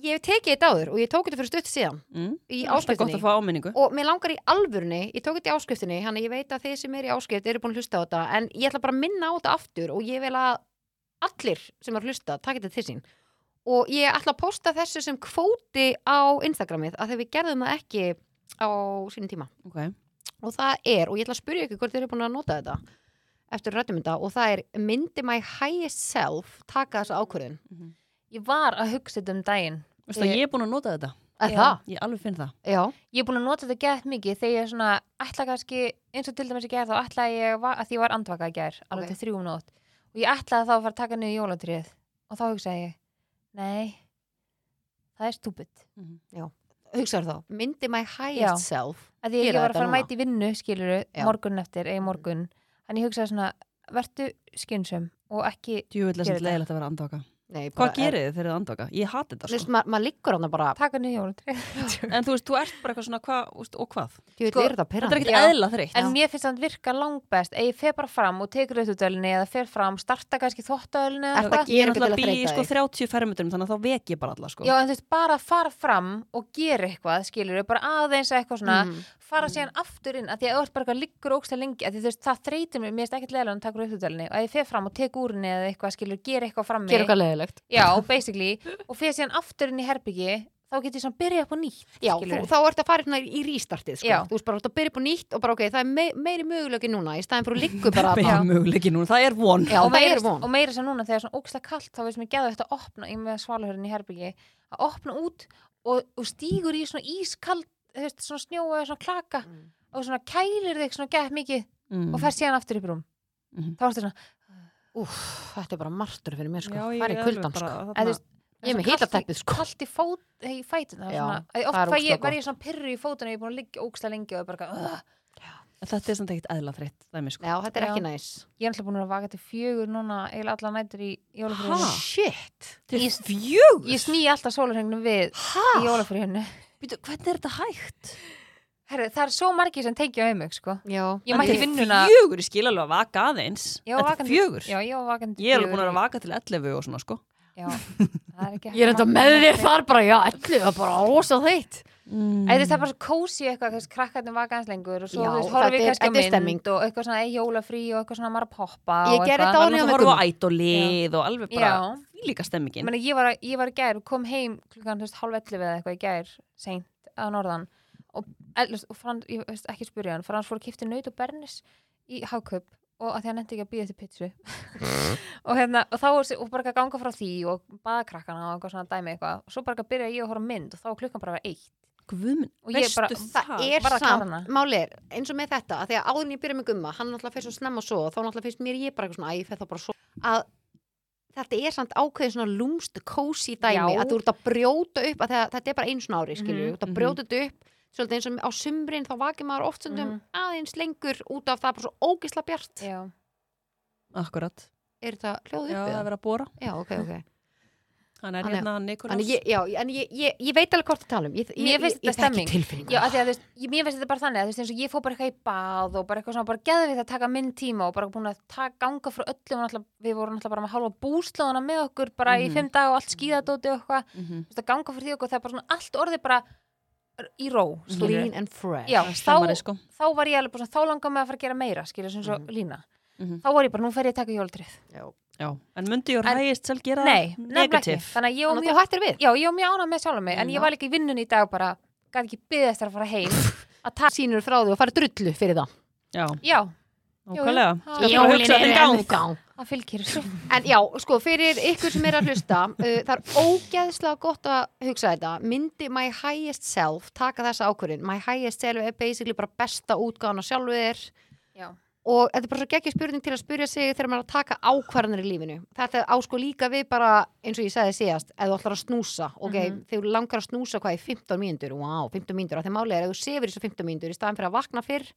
[SPEAKER 5] ég hef tekið þetta áður og ég tók þetta fyrir stutt síðan
[SPEAKER 4] Mm?
[SPEAKER 5] í
[SPEAKER 4] Alltaf gott
[SPEAKER 5] áskriftinni
[SPEAKER 4] að fá áminningu.
[SPEAKER 5] og mér langar í alvörunni, ég tók þetta í áskriftinni hann að ég veit að þeir sem er í áskrift eru búin að hlusta á þetta en ég ætla bara að minna á þetta aftur og ég vil að allir sem er að hlusta takk þetta til sín og ég ætla að posta þessu sem kvóti á Instagramið að þegar við gerðum það ekki á sínum tíma
[SPEAKER 4] Ok.
[SPEAKER 5] og það er, og ég ætla að spyrja ykkur hvort þið eru búin að nota þetta eftir rættum þetta og það er myndi my highest self taka þessa ákvörðun
[SPEAKER 6] ég var að hugsa þetta um daginn
[SPEAKER 4] Veistu að ég er búin að nota þetta.
[SPEAKER 5] er
[SPEAKER 6] Já.
[SPEAKER 5] það?
[SPEAKER 4] Ég alveg finn það.
[SPEAKER 5] Já,
[SPEAKER 6] ég er búin að nota þetta gett mikið þegar ég er svona, ætla kannski eins og til dæmis ég gerð þá ætla ég va- að því ég var andvaka í gerð, alveg
[SPEAKER 5] Ok.
[SPEAKER 6] til þrjúum nótt og ég ætlaði þá að fara að taka niður jólatrið og þá hugsaði ég, nei það er stúbid
[SPEAKER 5] hugsaður þá myndi my highest
[SPEAKER 6] Já.
[SPEAKER 5] self
[SPEAKER 6] að því ég
[SPEAKER 5] Gera
[SPEAKER 6] var að
[SPEAKER 5] þetta
[SPEAKER 6] fara að
[SPEAKER 5] núna.
[SPEAKER 6] mæta í vinnu skiluru,
[SPEAKER 5] Já.
[SPEAKER 6] morgun eftir, eigi morgun en ég hugsaði svona, vertu skynsum og ekki,
[SPEAKER 4] Djúvill er
[SPEAKER 6] Gerðu
[SPEAKER 4] þetta
[SPEAKER 6] þetta.
[SPEAKER 4] leiðilegt að vera andvaka.
[SPEAKER 5] Nei, eh,
[SPEAKER 4] Hvað gerir þið þegar þið andvaka? Ég hati þetta,
[SPEAKER 5] Þú veist,
[SPEAKER 4] sko.
[SPEAKER 5] ma- maður liggur hann bara
[SPEAKER 6] taka niður jólatrið
[SPEAKER 4] En þú veist, þú ert bara eitthvað svona hvað úst, og hvað.
[SPEAKER 5] Þú
[SPEAKER 6] Sko,
[SPEAKER 5] er þetta
[SPEAKER 4] Þetta er
[SPEAKER 5] pyrrandi
[SPEAKER 4] ekkert eðla þreytt.
[SPEAKER 6] en mér finnst það virka langbest að ég fer bara fram og tekur auðvitaðölinni eða fer fram, starta kannski þóttaölinni
[SPEAKER 5] Ertu að
[SPEAKER 4] Ég er náttúrulega
[SPEAKER 5] gera þetta
[SPEAKER 4] að
[SPEAKER 5] til
[SPEAKER 4] býja í
[SPEAKER 5] að
[SPEAKER 4] sko
[SPEAKER 5] þreita þig
[SPEAKER 4] 30 fermetrum, þannig að þá vek ég bara alla, sko.
[SPEAKER 6] Já, en þú veist, bara að fara fram og gera eitthvað, skilur bara aðeins eitthvað svona,
[SPEAKER 5] Mhm.
[SPEAKER 6] fara síðan aftur inn, að því að öll bara eitthvað liggur ógsta lengi, að því þú veist, það þreytir mér, mér finnst ekkert leðilega að taka auðvitaðölinni og að ég fer fram og tek úr henni eða eitthvað, skilur, gera eitthvað frammi,
[SPEAKER 5] Gera eitthvað leðilegt
[SPEAKER 6] já, basically, og fer síðan aftur inn í herbyggi, þá get ég svona byrja upp á nýtt,
[SPEAKER 5] Já, þú,
[SPEAKER 6] skilurðu.
[SPEAKER 5] þá ertu að fara hérna í rístartið sko.
[SPEAKER 6] Já.
[SPEAKER 5] Þú veist bara að byrja upp og nýtt og bara ok, það er me meiri möguleiki núna í staðin fyrir að liggu bara
[SPEAKER 4] Meiri möguleiki núna, það er von.
[SPEAKER 5] Já,
[SPEAKER 6] og
[SPEAKER 5] það
[SPEAKER 6] meira,
[SPEAKER 5] er von
[SPEAKER 6] og meira sem núna þegar svona ókslega kalt þá veist mér geða þetta að opna í með svaluhörðin í herbyggi að opna út og, og stígur í svona ískald þú veist, svona snjóa eða svona klaka
[SPEAKER 5] Mm.
[SPEAKER 6] og svona kælir þig svona gett mikið
[SPEAKER 4] Mm.
[SPEAKER 6] og fer síðan aftur upp í rúm
[SPEAKER 4] Mhm.
[SPEAKER 6] þá ertu svona,
[SPEAKER 5] Úf, þetta er bara martur fyrir mér sko.
[SPEAKER 4] Já, ég
[SPEAKER 5] Það er
[SPEAKER 4] alveg
[SPEAKER 5] kuldan
[SPEAKER 4] bara
[SPEAKER 5] sko.
[SPEAKER 6] eða þú
[SPEAKER 4] þarna-
[SPEAKER 6] veist
[SPEAKER 5] Ég er með
[SPEAKER 6] kalt í-
[SPEAKER 5] hitateppið, sko.
[SPEAKER 6] kalt í, fót, í fætina
[SPEAKER 5] Já,
[SPEAKER 6] svona, að
[SPEAKER 5] það er
[SPEAKER 6] oft fæ
[SPEAKER 5] ógeðslega
[SPEAKER 6] ég,
[SPEAKER 5] gott.
[SPEAKER 6] verð ég svona pyrru í fótuna ég er búin að liggja ókslega lengi og er bara uh,
[SPEAKER 4] En þetta er samt ekkert eðla þreytt dæmi sko.
[SPEAKER 5] Já, þetta er
[SPEAKER 6] Já.
[SPEAKER 5] ekki næs
[SPEAKER 6] Ég er alltaf búin að vaka til fjögur núna eiginlega alla nætur í jólafríðinu.
[SPEAKER 4] Ha?
[SPEAKER 5] Shit
[SPEAKER 4] Til
[SPEAKER 6] Ég-
[SPEAKER 4] fjögur?
[SPEAKER 6] Ég sný alltaf sólarhengnum við
[SPEAKER 4] Hæ?
[SPEAKER 6] í jólafríðinu.
[SPEAKER 4] Býtu, hvernig er þetta hægt?
[SPEAKER 6] Herri, það er svo margir sem tengja um mig, sko.
[SPEAKER 5] Já,
[SPEAKER 6] Ég mætti
[SPEAKER 4] Þetta er
[SPEAKER 6] vinnuna.
[SPEAKER 4] Fjögur, ég skil alveg að vaka aðeins.
[SPEAKER 6] Ég var
[SPEAKER 4] Þetta
[SPEAKER 6] vakandi-
[SPEAKER 4] er fjögur.
[SPEAKER 6] Já, ég var vakandi til
[SPEAKER 4] Ég er alveg búin
[SPEAKER 6] fjögur
[SPEAKER 4] að
[SPEAKER 6] í-
[SPEAKER 4] vaka til 11 og svona sko.
[SPEAKER 6] Já, það er ekki
[SPEAKER 5] Ég er enda með þér þar bara, já, ætlu, það er bara rosa þeitt
[SPEAKER 4] Mm.
[SPEAKER 6] Eða það er bara svo kósi eitthvað, þess krakkarnir vaka aðeins lengur og
[SPEAKER 5] Já,
[SPEAKER 6] svo þú veist,
[SPEAKER 5] þetta
[SPEAKER 6] horfum við
[SPEAKER 5] er-
[SPEAKER 6] kannski á
[SPEAKER 5] þetta er stemming.
[SPEAKER 6] mynd og eitthvað svona ei, jólafrí og eitthvað svona maður að poppa
[SPEAKER 5] Ég
[SPEAKER 6] og
[SPEAKER 5] gerði
[SPEAKER 6] eitthvað.
[SPEAKER 5] þetta
[SPEAKER 4] Það
[SPEAKER 5] áður
[SPEAKER 4] er
[SPEAKER 5] hjá
[SPEAKER 4] náttúrulega
[SPEAKER 5] mér
[SPEAKER 4] horfa á
[SPEAKER 5] Gumma.
[SPEAKER 4] ædolið og alveg bara
[SPEAKER 6] Já,
[SPEAKER 4] fylíka
[SPEAKER 6] ég,
[SPEAKER 4] stemmingin.
[SPEAKER 6] meina, ég, var, að- ég var í gær og kom heim klukkan þú veist, hálf 11 eða eitthvað í gær seint á norðan og, ellers, og frans, ég veist ekki spyrja hann, frans fór að kipta naut og bernis í hagkaup og að því hann endi ekki að býða til pitsu og hérna, og þá var sér- og bara að ganga frá því og baða krakkana og eitthvað svona dæmi eitthvað og svo bara að byrja ég að horfa á mynd og þá var klukkan bara að vera eitt
[SPEAKER 4] Guðminn,
[SPEAKER 6] og ég bara,
[SPEAKER 5] Það er
[SPEAKER 6] bara að klára hana.
[SPEAKER 5] samt, máli er, eins og með þetta að því að áðin ég byrja með gumma, hann náttúrulega fyrir svo snemma að sofa, þá náttúrulega finnst mér ég bara eitthvað svona, æ, ég fer þá bara svo að þetta er samt ákveðin svona lúmst kósi dæmi,
[SPEAKER 6] Já.
[SPEAKER 5] að þú ert að brjóta upp að það, þetta er bara eins og ári, skilju,
[SPEAKER 6] Mhm,
[SPEAKER 5] þú ert að
[SPEAKER 4] mhm.
[SPEAKER 5] brjóta þetta upp svolítið eins og á sumrin þá vakir maður oft stundum
[SPEAKER 6] Mhm.
[SPEAKER 5] aðeins lengur út af það er bara svo ógisla bjart
[SPEAKER 6] já,
[SPEAKER 4] akkurat.
[SPEAKER 5] er þetta
[SPEAKER 4] Já, það
[SPEAKER 5] hljóð
[SPEAKER 4] er
[SPEAKER 5] uppið?
[SPEAKER 4] verið að bóra.
[SPEAKER 5] Já, ok, ok
[SPEAKER 4] Hann er
[SPEAKER 5] Hann er-
[SPEAKER 4] hérna Nikolas.
[SPEAKER 5] En ég, já, en ég, ég, ég veit alveg hvort það tala um ég, ég,
[SPEAKER 6] Mér finnst
[SPEAKER 5] ég, ég
[SPEAKER 6] þetta
[SPEAKER 5] þekki
[SPEAKER 6] stemming.
[SPEAKER 5] tilfinninguna.
[SPEAKER 6] já af því að þú veist, ég, mér finnst þetta bara þannig að þú veist eins og ég fór bara eitthvað í bað og bara eitthvað svona, bara geðvitt að taka minn tíma og bara búin að taka ganga frá öllum og náttúrulega, við vorum náttúrulega bara með halva búslóðuna með okkur bara í
[SPEAKER 4] Mhm.
[SPEAKER 6] fimm dag og allt skíðadóti og eitthvað,
[SPEAKER 4] Mm
[SPEAKER 6] þú veist að ganga frá því okkur það er bara svona allt orðið bara í ró, skilur
[SPEAKER 5] Clean and fresh
[SPEAKER 6] Já,
[SPEAKER 4] Stammari
[SPEAKER 6] þá,
[SPEAKER 4] sko.
[SPEAKER 6] þá var ég alveg bara svona, þá langar mig að fara að gera meira, skilur, sem svo lína.
[SPEAKER 4] Mhm.
[SPEAKER 6] Þá var ég bara, nú fer ég að taka jólatrið.
[SPEAKER 4] Já. En myndi ég
[SPEAKER 6] En-
[SPEAKER 4] ræðist sjálf gera
[SPEAKER 6] Nei, nefnilega ekki.
[SPEAKER 4] negativ?
[SPEAKER 6] Þannig að ég og
[SPEAKER 5] Þannig
[SPEAKER 6] mjög
[SPEAKER 5] að þú hættir við
[SPEAKER 6] já, ég var mjög ánað með sjálf mig en
[SPEAKER 5] Já.
[SPEAKER 6] ég var líka í vinnunni í dag og bara gæti ekki byggðið eftir að fara heim að ta-
[SPEAKER 5] sínur frá því og farið drullu fyrir það
[SPEAKER 4] Já,
[SPEAKER 6] já,
[SPEAKER 4] nákvæmlega.
[SPEAKER 6] jú.
[SPEAKER 4] Skal bara hugsa þetta í gang.
[SPEAKER 6] það fylgir þessu
[SPEAKER 5] En já, sko, fyrir ykkur sem er að hlusta uh, það er ógeðslega gott að hugsa þetta myndi my highest self taka þessa ákvörðin, my highest self er basically bara besta útgáðan á sjálfu þér
[SPEAKER 6] já,
[SPEAKER 5] og þetta er bara svo geggjur spurning til að spyrja sig þegar maður er að taka ákvarðanir í lífinu þetta á sko líka við bara eins og ég sagði síðast, ef þú ætlar að snúsa ok, mm
[SPEAKER 6] Mhm.
[SPEAKER 5] þú langar að snúsa hvað í 15 mínútur wow, 15 mínútur, af því málið er að þú sefur þessu 15 mínútur í staðan fyrir að vakna fyrr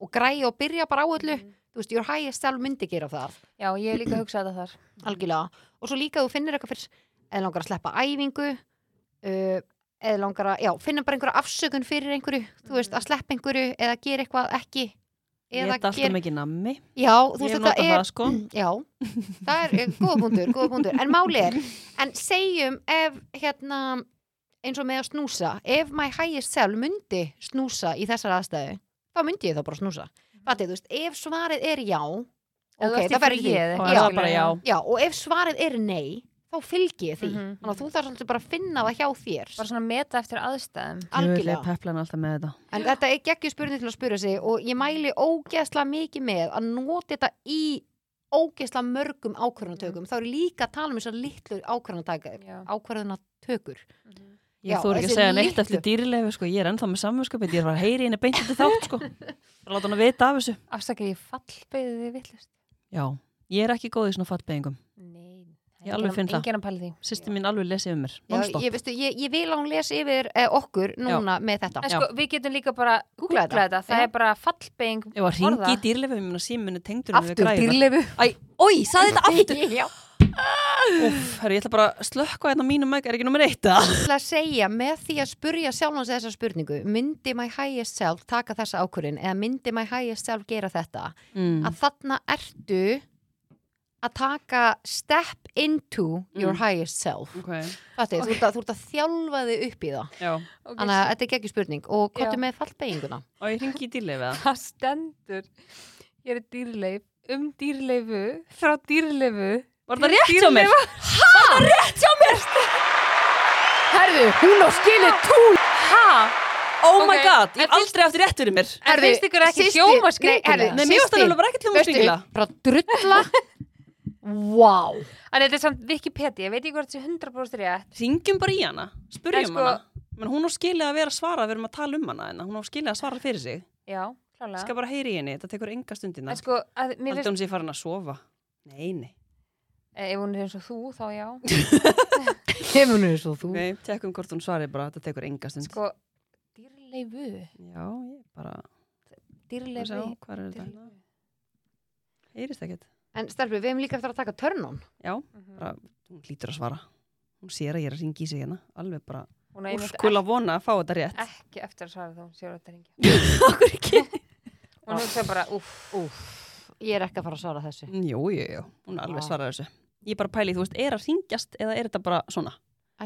[SPEAKER 5] og græja og byrja bara á öllu
[SPEAKER 4] Mhm.
[SPEAKER 5] þú veist, your highest self myndi gera það
[SPEAKER 6] já, ég hef líka hugsað þetta þar
[SPEAKER 5] algjörlega, og svo líka þú finnir eitthvað fyrr eða langar að sleppa æfingu uh, eða langar að, já, finna bara einhverja afsökun fyrir einhverju, þú veist,
[SPEAKER 6] Mm.
[SPEAKER 5] að sleppa einhverju eða gera eitthvað ekki
[SPEAKER 4] Ég
[SPEAKER 5] eða
[SPEAKER 4] er alltaf
[SPEAKER 5] gera
[SPEAKER 4] mikið nammi.
[SPEAKER 5] Já, þú
[SPEAKER 4] Ég
[SPEAKER 5] veist,
[SPEAKER 4] nota
[SPEAKER 5] þetta
[SPEAKER 4] það
[SPEAKER 5] er,
[SPEAKER 4] sko.
[SPEAKER 5] já, það er eh, góða punktur, góða punktur, en máli er, en segjum ef, hérna, eins og með að snúsa, ef my highest self myndi snúsa í þessar aðstæðu, þá myndi ég þá bara snúsa. Fatið, þú veist, ef svarið er já,
[SPEAKER 6] Ef þú
[SPEAKER 5] ok,
[SPEAKER 6] ert í
[SPEAKER 5] það fer
[SPEAKER 6] fríi
[SPEAKER 5] ekki,
[SPEAKER 6] eða
[SPEAKER 4] Þá
[SPEAKER 6] eitthvað,
[SPEAKER 4] er
[SPEAKER 5] já.
[SPEAKER 4] það bara já.
[SPEAKER 5] já, og ef svarið er nei, þá fylgi ég því.
[SPEAKER 6] Mhm.
[SPEAKER 5] Þannig að þú þarf svolítið bara að finna það hjá þér,
[SPEAKER 6] bara svona meta eftir aðstæðum
[SPEAKER 5] algjörlega.
[SPEAKER 4] Ég pepla hann alltaf með þetta.
[SPEAKER 5] En þetta er geggjur spurning til að spyrja sig og ég mæli ógeðslega mikið með að nota þetta í ógeðslega mörgum ákvarðanatökum. Þá er ég líka að tala um þessar litlu ákvarðanatökur.
[SPEAKER 6] Mhm. Já.
[SPEAKER 5] ákvarðanatökur. Já,
[SPEAKER 4] Ég þú ekki að
[SPEAKER 5] þessi
[SPEAKER 4] segja neitt
[SPEAKER 5] litlu.
[SPEAKER 4] eftir dýrlegu sko. Ég er ennþá með samvinskapið. Ég er bara að heyri henni beint eftir þátt sko. Bara láta hann að vita af þessu.
[SPEAKER 6] afsakið ég fallbyggði því vittlust
[SPEAKER 4] Já, ég er ekki góð í svona fattbeðingum. Ég alveg finn það.
[SPEAKER 6] enginn að pæla því
[SPEAKER 4] Sýsti mín alveg lesið um mér.
[SPEAKER 5] Já,
[SPEAKER 4] nonstop.
[SPEAKER 5] ég, veistu, ég, ég vil að hún lesi yfir eh, okkur núna með þetta.
[SPEAKER 6] en sko, við getum líka bara
[SPEAKER 5] Googla
[SPEAKER 6] googlað
[SPEAKER 5] þetta.
[SPEAKER 6] þetta, það
[SPEAKER 5] Já.
[SPEAKER 6] er bara fallbygging
[SPEAKER 4] Ég var hringi í
[SPEAKER 6] orða.
[SPEAKER 4] dýrlefu, ég mun að síminu tengdur
[SPEAKER 5] Aftur dýrlefu.
[SPEAKER 4] Æ, oi, saði þetta aftur
[SPEAKER 5] Já.
[SPEAKER 4] Úff, herru, ég ætla bara að slökka hérna á mínum mæk, er ekki nummer eitt eða?
[SPEAKER 5] Ég ætla að segja með því að spurja sjálfans þessa spurningu, myndi my highest self taka þessa ákvörðin eða myndi my highest self gera þetta?
[SPEAKER 4] Mm.
[SPEAKER 5] að þarna ertu að taka step into your highest self
[SPEAKER 4] Mm. Ok,
[SPEAKER 5] Fattu, þú, ert að, þú ert að þjálfa þig upp í það
[SPEAKER 4] já
[SPEAKER 6] Ok,
[SPEAKER 5] þannig að þetta er ekki spurning og
[SPEAKER 6] Já.
[SPEAKER 5] kottu með fallbeiginguna
[SPEAKER 4] Og ég hringi í dýrlefu eða?
[SPEAKER 6] það stendur ég er dýrleif, um dýrleifu frá dýrleifu
[SPEAKER 4] Var það rétt hjá mér?
[SPEAKER 5] Herðu, hún á skilu tún
[SPEAKER 4] Oh my
[SPEAKER 6] Ok,
[SPEAKER 4] god, ég
[SPEAKER 6] en
[SPEAKER 4] hef aldri aftur rétt fyrir mér
[SPEAKER 6] En finnst ykkur ekki hljóma skringilega?
[SPEAKER 4] Nei, mér varst það alveg bara ekkert hljóma skringilega.
[SPEAKER 5] Bara drulla Wow
[SPEAKER 6] en þetta er samt Wikipedia, ég veit ekki hvort þetta sé 100% rétt
[SPEAKER 4] Ringjum bara í hana,
[SPEAKER 6] En
[SPEAKER 4] spurjum
[SPEAKER 6] sko-
[SPEAKER 4] hana Men hún á skilið að vera að svara, við erum að tala um hana en hún á skilið að svara fyrir sig
[SPEAKER 6] já,
[SPEAKER 4] Ég
[SPEAKER 6] klálega
[SPEAKER 4] skal bara heyri í henni, þetta tekur enga stundina
[SPEAKER 6] en sko, að, mér
[SPEAKER 4] Haldið
[SPEAKER 6] finnst,
[SPEAKER 4] hún sé farin að sofa Nei, nei
[SPEAKER 6] eh, ef hún er eins og þú, þá já
[SPEAKER 5] Kemur nú svo þú
[SPEAKER 4] Nei, tekkum hvort hún svarir bara, þetta tekur enga stund
[SPEAKER 6] sko, dýrleifu
[SPEAKER 4] Já, ég bara
[SPEAKER 6] dýrlefi
[SPEAKER 4] hvað er þetta? Heyrist ekkert.
[SPEAKER 5] En stelpur, við hefum líka eftir að taka törnum
[SPEAKER 4] Já,
[SPEAKER 6] Mhm.
[SPEAKER 4] bara, hún hlýtur að svara. Hún sér að ég er að ringi í sig hérna. Alveg bara
[SPEAKER 6] Hún er einmitt
[SPEAKER 4] úrskula vona að fá þetta rétt.
[SPEAKER 6] ek- ekki eftir að svara þá hún sér þetta ringi
[SPEAKER 4] Akkur ekki?
[SPEAKER 6] Hún hugsa bara, uff,
[SPEAKER 5] Úf, ég er ekki að fara að svara þessu
[SPEAKER 4] Mm, Jú, jú, jú. Hún alveg
[SPEAKER 5] Já.
[SPEAKER 4] svarar þessu. Ég bara pæli, þú veist, er að ringjast eða er þetta bara svona?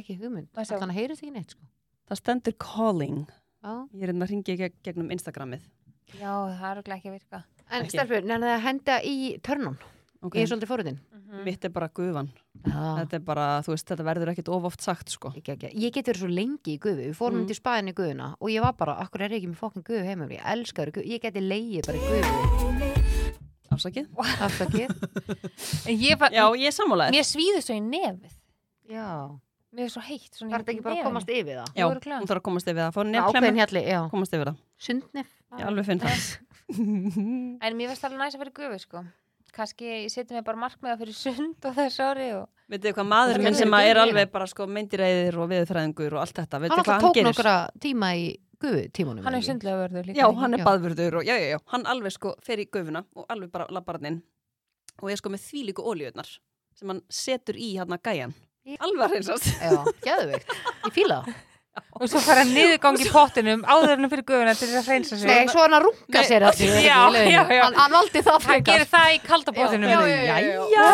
[SPEAKER 5] Ekki hugmynd,
[SPEAKER 6] Má ég sjá?
[SPEAKER 5] þannig að heyrið þig neitt sko
[SPEAKER 4] Það stendur calling.
[SPEAKER 5] Já.
[SPEAKER 4] Ég er hérna að ringja gegn, gegnum Instagramið.
[SPEAKER 6] já það er örugglega ekki að virka
[SPEAKER 5] En
[SPEAKER 4] Ekki.
[SPEAKER 5] stelpur, nefnir að henda í törnum
[SPEAKER 4] Okay.
[SPEAKER 5] Ég er svolítið fóruðin
[SPEAKER 4] Mm. Mitt er bara gufan. Þetta er bara, þú veist, þetta verður ekkit of oft sagt, sko.
[SPEAKER 5] ekki, ekki. Ég get verið svo lengi í gufu, við fórum
[SPEAKER 4] Mm.
[SPEAKER 5] mm. til spaðinni í gufuna og ég var bara, akkur er ég ekki með fokkin gufu heimum, ég elskar gufu, ég geti leið bara í gufu,
[SPEAKER 4] Afsakið.
[SPEAKER 5] afsakið.
[SPEAKER 6] En ég fann,
[SPEAKER 4] Já, ég er sammálaðið.
[SPEAKER 6] mér svíður svo í nefið
[SPEAKER 5] Já,
[SPEAKER 6] Mér er svo heitt svona
[SPEAKER 5] það er ekki bara að komast yfir það.
[SPEAKER 4] Já,
[SPEAKER 6] Þú
[SPEAKER 4] hún
[SPEAKER 6] eru klár.
[SPEAKER 4] þarf að komast yfir það. Fá
[SPEAKER 5] Já, ákveðin hérna.
[SPEAKER 4] nefnklemmu,
[SPEAKER 5] hérli, já.
[SPEAKER 4] komast yfir það.
[SPEAKER 5] Sundnef.
[SPEAKER 4] Ég alveg finn það.
[SPEAKER 6] En mér finnst alveg næst að vera gufi sko Kanski ég seti mig bara markmiða fyrir sund og þessu ári og
[SPEAKER 4] Veitu hvað maður minn sem að er alveg bara sko myndiræðir og viðurfræðingur og allt þetta, veitu
[SPEAKER 5] Hann
[SPEAKER 4] hvað hann
[SPEAKER 5] alltaf tók
[SPEAKER 4] gerir?
[SPEAKER 5] nokkra tíma í gufu tímunum.
[SPEAKER 6] hann er sundlega verður líka
[SPEAKER 4] Já, hann er
[SPEAKER 5] Já.
[SPEAKER 4] baðvörður og já, já, já, hann alveg sko fer í gufuna og alveg bara labbarninn og er sko með þvílíku ólíunar sem hann setur í hérna gæjan. Alveg að reynsast.
[SPEAKER 5] Já, geðveikt. Ég fíla það.
[SPEAKER 6] Og svo fara niðurgang í pottinum áðurinn fyrir gufuna til þess að hreinsa sig
[SPEAKER 5] Nei, svo hann að runga sér að því.
[SPEAKER 6] Já, já, já.
[SPEAKER 5] Hann, hann valdi það
[SPEAKER 6] Hann
[SPEAKER 5] frekar.
[SPEAKER 6] gerir það í kalda pottinum
[SPEAKER 4] Jæja,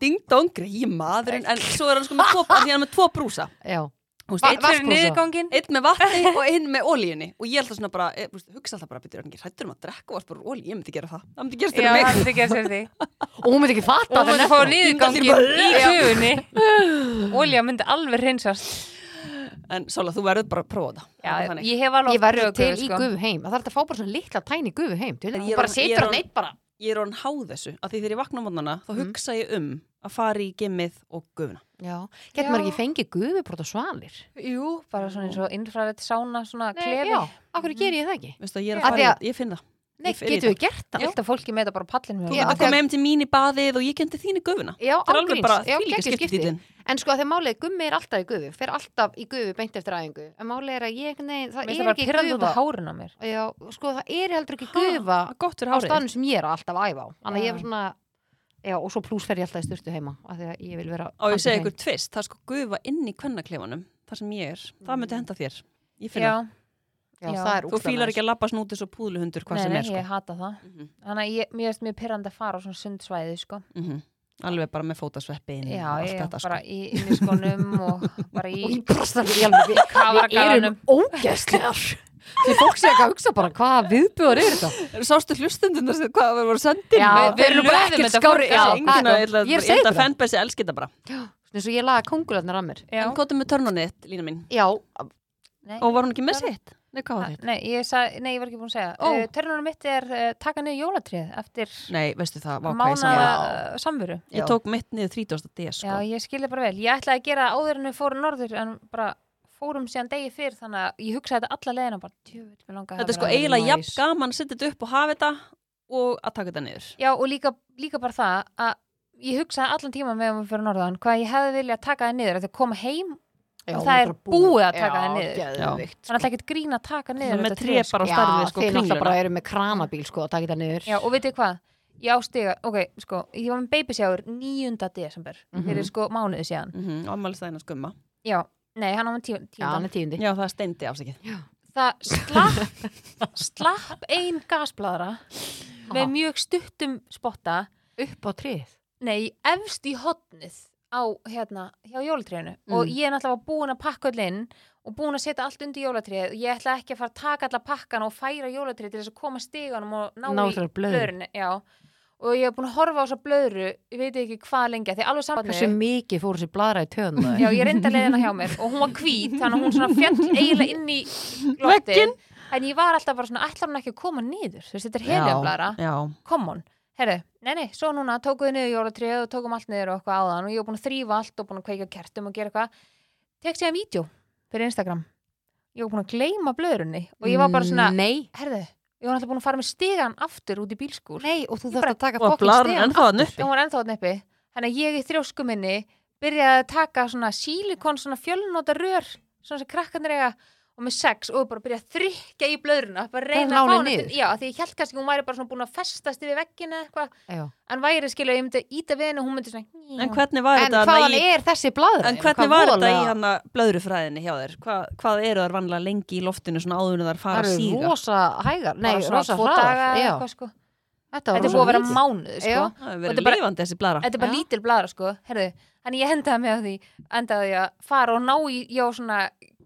[SPEAKER 4] ding dong, greið maðurinn, en svo er hann sko með tvo, af því hann er með tvo brúsa.
[SPEAKER 5] Já,
[SPEAKER 4] Þú veist,
[SPEAKER 5] Va-
[SPEAKER 4] einn
[SPEAKER 5] va-
[SPEAKER 4] fyrir-
[SPEAKER 6] Fyrir niðurgangin
[SPEAKER 4] einn með vatni og einn með ólíunni og ég held það svona bara, e, veist, hugsa alltaf bara, betur hann ekki hrættur um að drekka og varst bara ólíu, ég myndi gera það, það myndi gerast
[SPEAKER 6] Já,
[SPEAKER 4] fyrir
[SPEAKER 6] hann
[SPEAKER 4] mig.
[SPEAKER 6] er ekki að sér því
[SPEAKER 5] og hún myndi ekki fatta
[SPEAKER 6] Og hún myndi
[SPEAKER 5] það.
[SPEAKER 6] fá niðurgangin í gufunni Olja myndi alveg hreinsast
[SPEAKER 4] En Sola, þú verður bara að prófa það. Það er
[SPEAKER 6] Já,
[SPEAKER 4] þannig.
[SPEAKER 6] ég hef alveg sko.
[SPEAKER 5] Ég verður til í
[SPEAKER 6] gufu
[SPEAKER 5] gufu heim. Það þarf þetta að fá bara svona litla tæni gufu heim. Til,
[SPEAKER 4] En ég
[SPEAKER 5] hún
[SPEAKER 4] er
[SPEAKER 5] bara
[SPEAKER 4] orðin- ég er
[SPEAKER 5] situr hann
[SPEAKER 4] orðin-
[SPEAKER 5] eitt bara. Mhm.
[SPEAKER 4] ég er orðin háð þessu að því þegar ég vakna á mótnana þá hugsa ég um að fara í gimmið og gufuna
[SPEAKER 5] Já, getur maður ekki fengið gufubrot og svalir?
[SPEAKER 6] Jú, bara svona eins og innfrarett sána svona klefi
[SPEAKER 5] já, okkur ger ég það ekki?
[SPEAKER 4] Veistu, að ég, er
[SPEAKER 5] Af
[SPEAKER 4] að
[SPEAKER 5] því
[SPEAKER 4] fara,
[SPEAKER 5] að-
[SPEAKER 4] í- ég finn það
[SPEAKER 5] Nei,
[SPEAKER 4] Ég fer í
[SPEAKER 5] getur við gert það?
[SPEAKER 6] Alltaf fólki með þetta bara á
[SPEAKER 4] þú
[SPEAKER 6] pallinum
[SPEAKER 5] Já,
[SPEAKER 6] hjá
[SPEAKER 4] getur að
[SPEAKER 5] af því að-
[SPEAKER 4] koma heim til mín í baðið og ég kendi þín í gufuna
[SPEAKER 5] Já,
[SPEAKER 4] það er alveg
[SPEAKER 5] ángríns.
[SPEAKER 4] bara
[SPEAKER 5] Já,
[SPEAKER 4] þvílíka
[SPEAKER 5] geggjað skipti.
[SPEAKER 4] skiptidýrin.
[SPEAKER 5] En sko að þegar málið er gummi er alltaf í gufu, fer alltaf í gufu beint eftir æfingu. En málið er að ég, nei, það
[SPEAKER 6] Mér
[SPEAKER 5] er
[SPEAKER 6] það bara
[SPEAKER 5] ekki
[SPEAKER 6] pyrrandi út
[SPEAKER 5] gufa.
[SPEAKER 6] af hárin á mér
[SPEAKER 5] Já, sko það er heldur ekki gufa
[SPEAKER 4] Það er gott fyrir
[SPEAKER 5] á
[SPEAKER 4] hárið
[SPEAKER 5] staðnum sem ég er alltaf að æfa á. Þannig að
[SPEAKER 6] Já.
[SPEAKER 5] ég er svona, já, og svo pluss fer ég alltaf í styrtu heima, af því að ég vil vera...
[SPEAKER 4] á ég segi
[SPEAKER 5] handtekinn.
[SPEAKER 4] ykkur tvist, það er sko gufa inn í kvennaklefanum þar sem ég er, það myndi henda þér ég finn
[SPEAKER 6] Já,
[SPEAKER 4] það,
[SPEAKER 5] Já,
[SPEAKER 6] Já.
[SPEAKER 5] það er
[SPEAKER 4] þú
[SPEAKER 5] Mm. ógeðslega
[SPEAKER 4] fílar
[SPEAKER 5] næs.
[SPEAKER 4] ekki að labba snútis og púðluhundur hvað
[SPEAKER 6] nei,
[SPEAKER 4] sem
[SPEAKER 6] nei,
[SPEAKER 4] er sko.
[SPEAKER 6] ég hata það
[SPEAKER 4] Mhm.
[SPEAKER 6] Þannig að ég- mér finnst mjög pyrrandi að fara á svona sundsvæði sko
[SPEAKER 4] Mhm. alveg bara með fótasveppin og
[SPEAKER 6] Já,
[SPEAKER 4] Mm, allt
[SPEAKER 6] ég
[SPEAKER 4] þetta
[SPEAKER 6] bara
[SPEAKER 4] sko.
[SPEAKER 6] í inniskonum og bara
[SPEAKER 5] Og
[SPEAKER 6] í
[SPEAKER 5] ég brosta mér í alveg við. Við erum
[SPEAKER 6] kafaragarðanum
[SPEAKER 5] ógæstlegar. Því fólk sé ekki að hugsa bara hvaða viðbjóður er þetta?
[SPEAKER 4] sástu hlustundunar sem hvað við voru sendin
[SPEAKER 5] Já,
[SPEAKER 6] við-
[SPEAKER 5] við
[SPEAKER 6] við
[SPEAKER 5] erum nú bara
[SPEAKER 6] löðum
[SPEAKER 5] ekkert
[SPEAKER 6] þetta
[SPEAKER 5] skári.
[SPEAKER 6] fólk,
[SPEAKER 5] Já,
[SPEAKER 6] sko.
[SPEAKER 4] enginn að ég ætla-
[SPEAKER 5] ég er
[SPEAKER 4] ég
[SPEAKER 5] segið
[SPEAKER 4] held að
[SPEAKER 5] það.
[SPEAKER 4] fanbase elski þetta bara
[SPEAKER 5] Eins og ég laga kongularnar að mér.
[SPEAKER 6] Já.
[SPEAKER 4] en kóttu með törnunniðitt, Lína mín
[SPEAKER 5] Já,
[SPEAKER 6] Nei.
[SPEAKER 4] Og var hún ekki með sitt? Nei, hvað var
[SPEAKER 6] Ah,
[SPEAKER 4] þetta?
[SPEAKER 6] Nei, ég sa- nei, ég var ekki búin að segja
[SPEAKER 4] Ó.
[SPEAKER 6] oh. Törnunum mitt er uh, taka niður jólatrið eftir
[SPEAKER 4] Nei, veistu það, vá hvað ég
[SPEAKER 6] mána
[SPEAKER 4] sammála.
[SPEAKER 6] uh, samveru
[SPEAKER 4] Ég tók mitt niður 30. DS,
[SPEAKER 6] Já,
[SPEAKER 4] sko.
[SPEAKER 6] ég skilði bara vel, ég ætlaði að gera það áður en við fórum norður en bara fórum síðan degi fyrr þannig að ég hugsaði þetta alla leiðina og bara, djöfull, mér langaði
[SPEAKER 4] þetta er
[SPEAKER 6] að
[SPEAKER 4] sko
[SPEAKER 6] vera öðruvísi.
[SPEAKER 4] eiginlega jafn
[SPEAKER 5] nice.
[SPEAKER 4] gaman að setja þetta upp og hafa þetta og að taka þetta niður.
[SPEAKER 6] Já, og líka, líka bara það að ég hugsaði allan tíma meðan við fyrir norðan hvað ég hefði viljað taka það niður að þau koma heim
[SPEAKER 5] Já,
[SPEAKER 6] og
[SPEAKER 5] hún
[SPEAKER 6] það er
[SPEAKER 5] bara
[SPEAKER 6] búið að taka það
[SPEAKER 5] Já,
[SPEAKER 6] niður
[SPEAKER 5] geðveikt.
[SPEAKER 6] þannig að það ekkert grín að taka
[SPEAKER 4] sko.
[SPEAKER 6] niður
[SPEAKER 4] Svona með
[SPEAKER 6] þetta
[SPEAKER 4] tré
[SPEAKER 6] sko.
[SPEAKER 4] bara á
[SPEAKER 5] Já,
[SPEAKER 4] starfið, sko,
[SPEAKER 5] þeir náttúrulega bara
[SPEAKER 4] kringluna.
[SPEAKER 5] eru með kranabíl sko að taka þetta niður.
[SPEAKER 6] Já, og veitir hvað, ég ástiga, ok, sko ég var með babysjáur 9. desember
[SPEAKER 5] Mhm.
[SPEAKER 6] fyrir sko mánuði síðan
[SPEAKER 4] Mm -hmm. Ammælstæðina skumma.
[SPEAKER 6] Já, nei, hann á með tíu,
[SPEAKER 5] Já, hann
[SPEAKER 6] tíundan
[SPEAKER 5] er tíundi.
[SPEAKER 4] Já, það er steindi afsakið.
[SPEAKER 6] Það slapp, slapp ein gasbladra með mjög stuttum spotta
[SPEAKER 5] Upp á tríð.
[SPEAKER 6] Nei, efst í hotnið á, hérna, hjá jólatrénu og ég er náttúrulega búin að pakka öll inn og búin að setja allt undir jólatréð og ég ætla ekki að fara að taka alla pakkan og færa jólatréð til þess að koma stiganum og ná
[SPEAKER 5] Ná
[SPEAKER 6] í
[SPEAKER 5] þessari blöðru.
[SPEAKER 6] blöðrunni Já, og ég hef búin að horfa á þessa blöðru ég veit ekki hvað lengi, af því alveg
[SPEAKER 5] Hversu
[SPEAKER 6] saman
[SPEAKER 5] mikið fór þessi bladra í töðan
[SPEAKER 6] Já, ég reynda leiðina hjá mér og hún var hvít, þannig að hún svona fjall eiginlega inn í loftin en ég var alltaf bara svona, ætlar hún ekki að koma niður þú veist, þetta er heljablara
[SPEAKER 4] Já,
[SPEAKER 6] come on, herru, nei nei, svo núna tókuðu niður jólatrið og tókum allt niður og eitthvað áðan og ég var búin að þrýfa allt og búin að kveika á kertum og gera eitthvað, tek sér að vídeo fyrir Instagram, ég var búin að gleyma blöðrunni og ég var bara svona
[SPEAKER 5] Nei,
[SPEAKER 6] herru, ég var alltaf búin að fara með stigan aftur út í bílskúr,
[SPEAKER 5] nei, og þú
[SPEAKER 6] Ég
[SPEAKER 5] þarf að taka
[SPEAKER 4] og
[SPEAKER 5] fokkin
[SPEAKER 4] blarun
[SPEAKER 5] stegan.
[SPEAKER 4] ennþá að nuppi.
[SPEAKER 6] hún var ennþá þarna uppi þannig að ég í þrjósku minni byrjaði að taka svona sílikon, svona fjölnóta rör svona sem krakkarnir eiga og með sex og bara byrja að þrykja í blöðruna bara reyna
[SPEAKER 5] Bara
[SPEAKER 6] að fá
[SPEAKER 5] nála
[SPEAKER 6] hana
[SPEAKER 5] niður.
[SPEAKER 6] til- já, af því ég held kannski að hún væri bara svona búin að festast yfir veggin eða eitthvað
[SPEAKER 5] Já.
[SPEAKER 6] en væri skilja, ég myndi íta við henni og hún myndi svona
[SPEAKER 4] En hvernig var
[SPEAKER 5] En
[SPEAKER 4] þetta
[SPEAKER 5] hvaðan
[SPEAKER 4] hana í,
[SPEAKER 5] er þessi blaðra?
[SPEAKER 4] en hvernig var þetta í hana blöðrufræðinni hjá þér? Hva, hvað eru þar vanlega lengi í loftinu svona áður en þar
[SPEAKER 5] Það
[SPEAKER 4] fara að
[SPEAKER 5] eru
[SPEAKER 4] síga?
[SPEAKER 5] rosa hægar, nei,
[SPEAKER 6] bara svona
[SPEAKER 5] rosa
[SPEAKER 6] tvo daga
[SPEAKER 5] hraðar
[SPEAKER 6] eða
[SPEAKER 5] já.
[SPEAKER 6] eitthvað sko
[SPEAKER 5] Þetta var
[SPEAKER 6] þetta er
[SPEAKER 5] rosa
[SPEAKER 6] búið að vera
[SPEAKER 5] lítið.
[SPEAKER 6] mánuð sko
[SPEAKER 5] Já.
[SPEAKER 4] Það hefur
[SPEAKER 6] Þetta
[SPEAKER 4] verið
[SPEAKER 6] er bara-
[SPEAKER 4] lifandi þessi blara.
[SPEAKER 6] Þetta er bara
[SPEAKER 5] Já.
[SPEAKER 6] lítil bladra sko, herðu Þannig ég endaði með því, endaði því að fara og ná í, já svona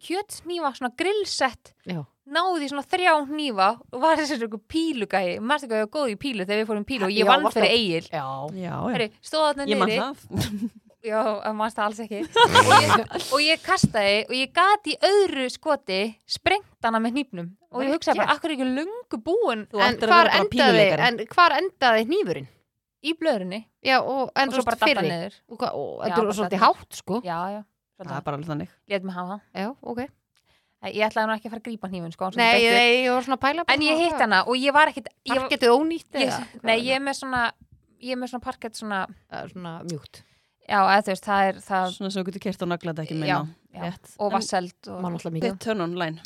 [SPEAKER 6] kjötsnýfa, svona grillsett,
[SPEAKER 5] Já.
[SPEAKER 6] náði í svona þrjá hnífa og var þessi svona pílugæi, maður ekki að ég var góð í pílu þegar við fórum í pílu og ég
[SPEAKER 5] Já,
[SPEAKER 6] vann
[SPEAKER 5] varstu-
[SPEAKER 6] fyrir eigil.
[SPEAKER 5] Já,
[SPEAKER 4] Já, já.
[SPEAKER 6] Herru, stóð þarna
[SPEAKER 4] Ég man
[SPEAKER 6] niðri,
[SPEAKER 4] það.
[SPEAKER 6] já, að mannst það alls ekki, og, ég, og ég kastaði og ég gati í öðru skoti sprengt hana með hnífnum og ég
[SPEAKER 5] Vel
[SPEAKER 6] hugsaði bara,
[SPEAKER 5] gert.
[SPEAKER 6] akkur er ekki löngu búin
[SPEAKER 4] Þú
[SPEAKER 5] en
[SPEAKER 4] ættir að
[SPEAKER 5] hvar,
[SPEAKER 4] vera bara
[SPEAKER 5] endaði,
[SPEAKER 4] píluleikari.
[SPEAKER 5] en hvar endaði hnífurinn?
[SPEAKER 6] í blöðrunni
[SPEAKER 5] Já, og, en,
[SPEAKER 6] og svo bara datta niður.
[SPEAKER 5] Og, hvað- og,
[SPEAKER 6] Já,
[SPEAKER 5] þetta
[SPEAKER 6] bara
[SPEAKER 5] er svolítið
[SPEAKER 6] datt
[SPEAKER 5] hátt, sko.
[SPEAKER 6] Já, já,
[SPEAKER 4] Það er bara alveg þannig.
[SPEAKER 6] létt mig hafa það.
[SPEAKER 5] Já, ok.
[SPEAKER 6] Ég ætlaði nú ekki að fara að grípa hnífun sko, hann sem
[SPEAKER 5] Nei,
[SPEAKER 6] beittur.
[SPEAKER 5] ég, ég var svona að pæla
[SPEAKER 6] En ég hitt hana og ég var ekkit ég, var-
[SPEAKER 5] Parketið ónýtt
[SPEAKER 6] ég,
[SPEAKER 5] eða?
[SPEAKER 6] Nei, ég er með svona Ég er með svona parkett svona
[SPEAKER 5] Það er Svona mjúkt.
[SPEAKER 6] Já, eða þú veist, það er það
[SPEAKER 4] Svona sem þú getur kert á naglaði ekki
[SPEAKER 6] Já,
[SPEAKER 4] minna.
[SPEAKER 6] já. Og vasseld og
[SPEAKER 5] Man alltaf mikið.
[SPEAKER 4] Þetta turn on line.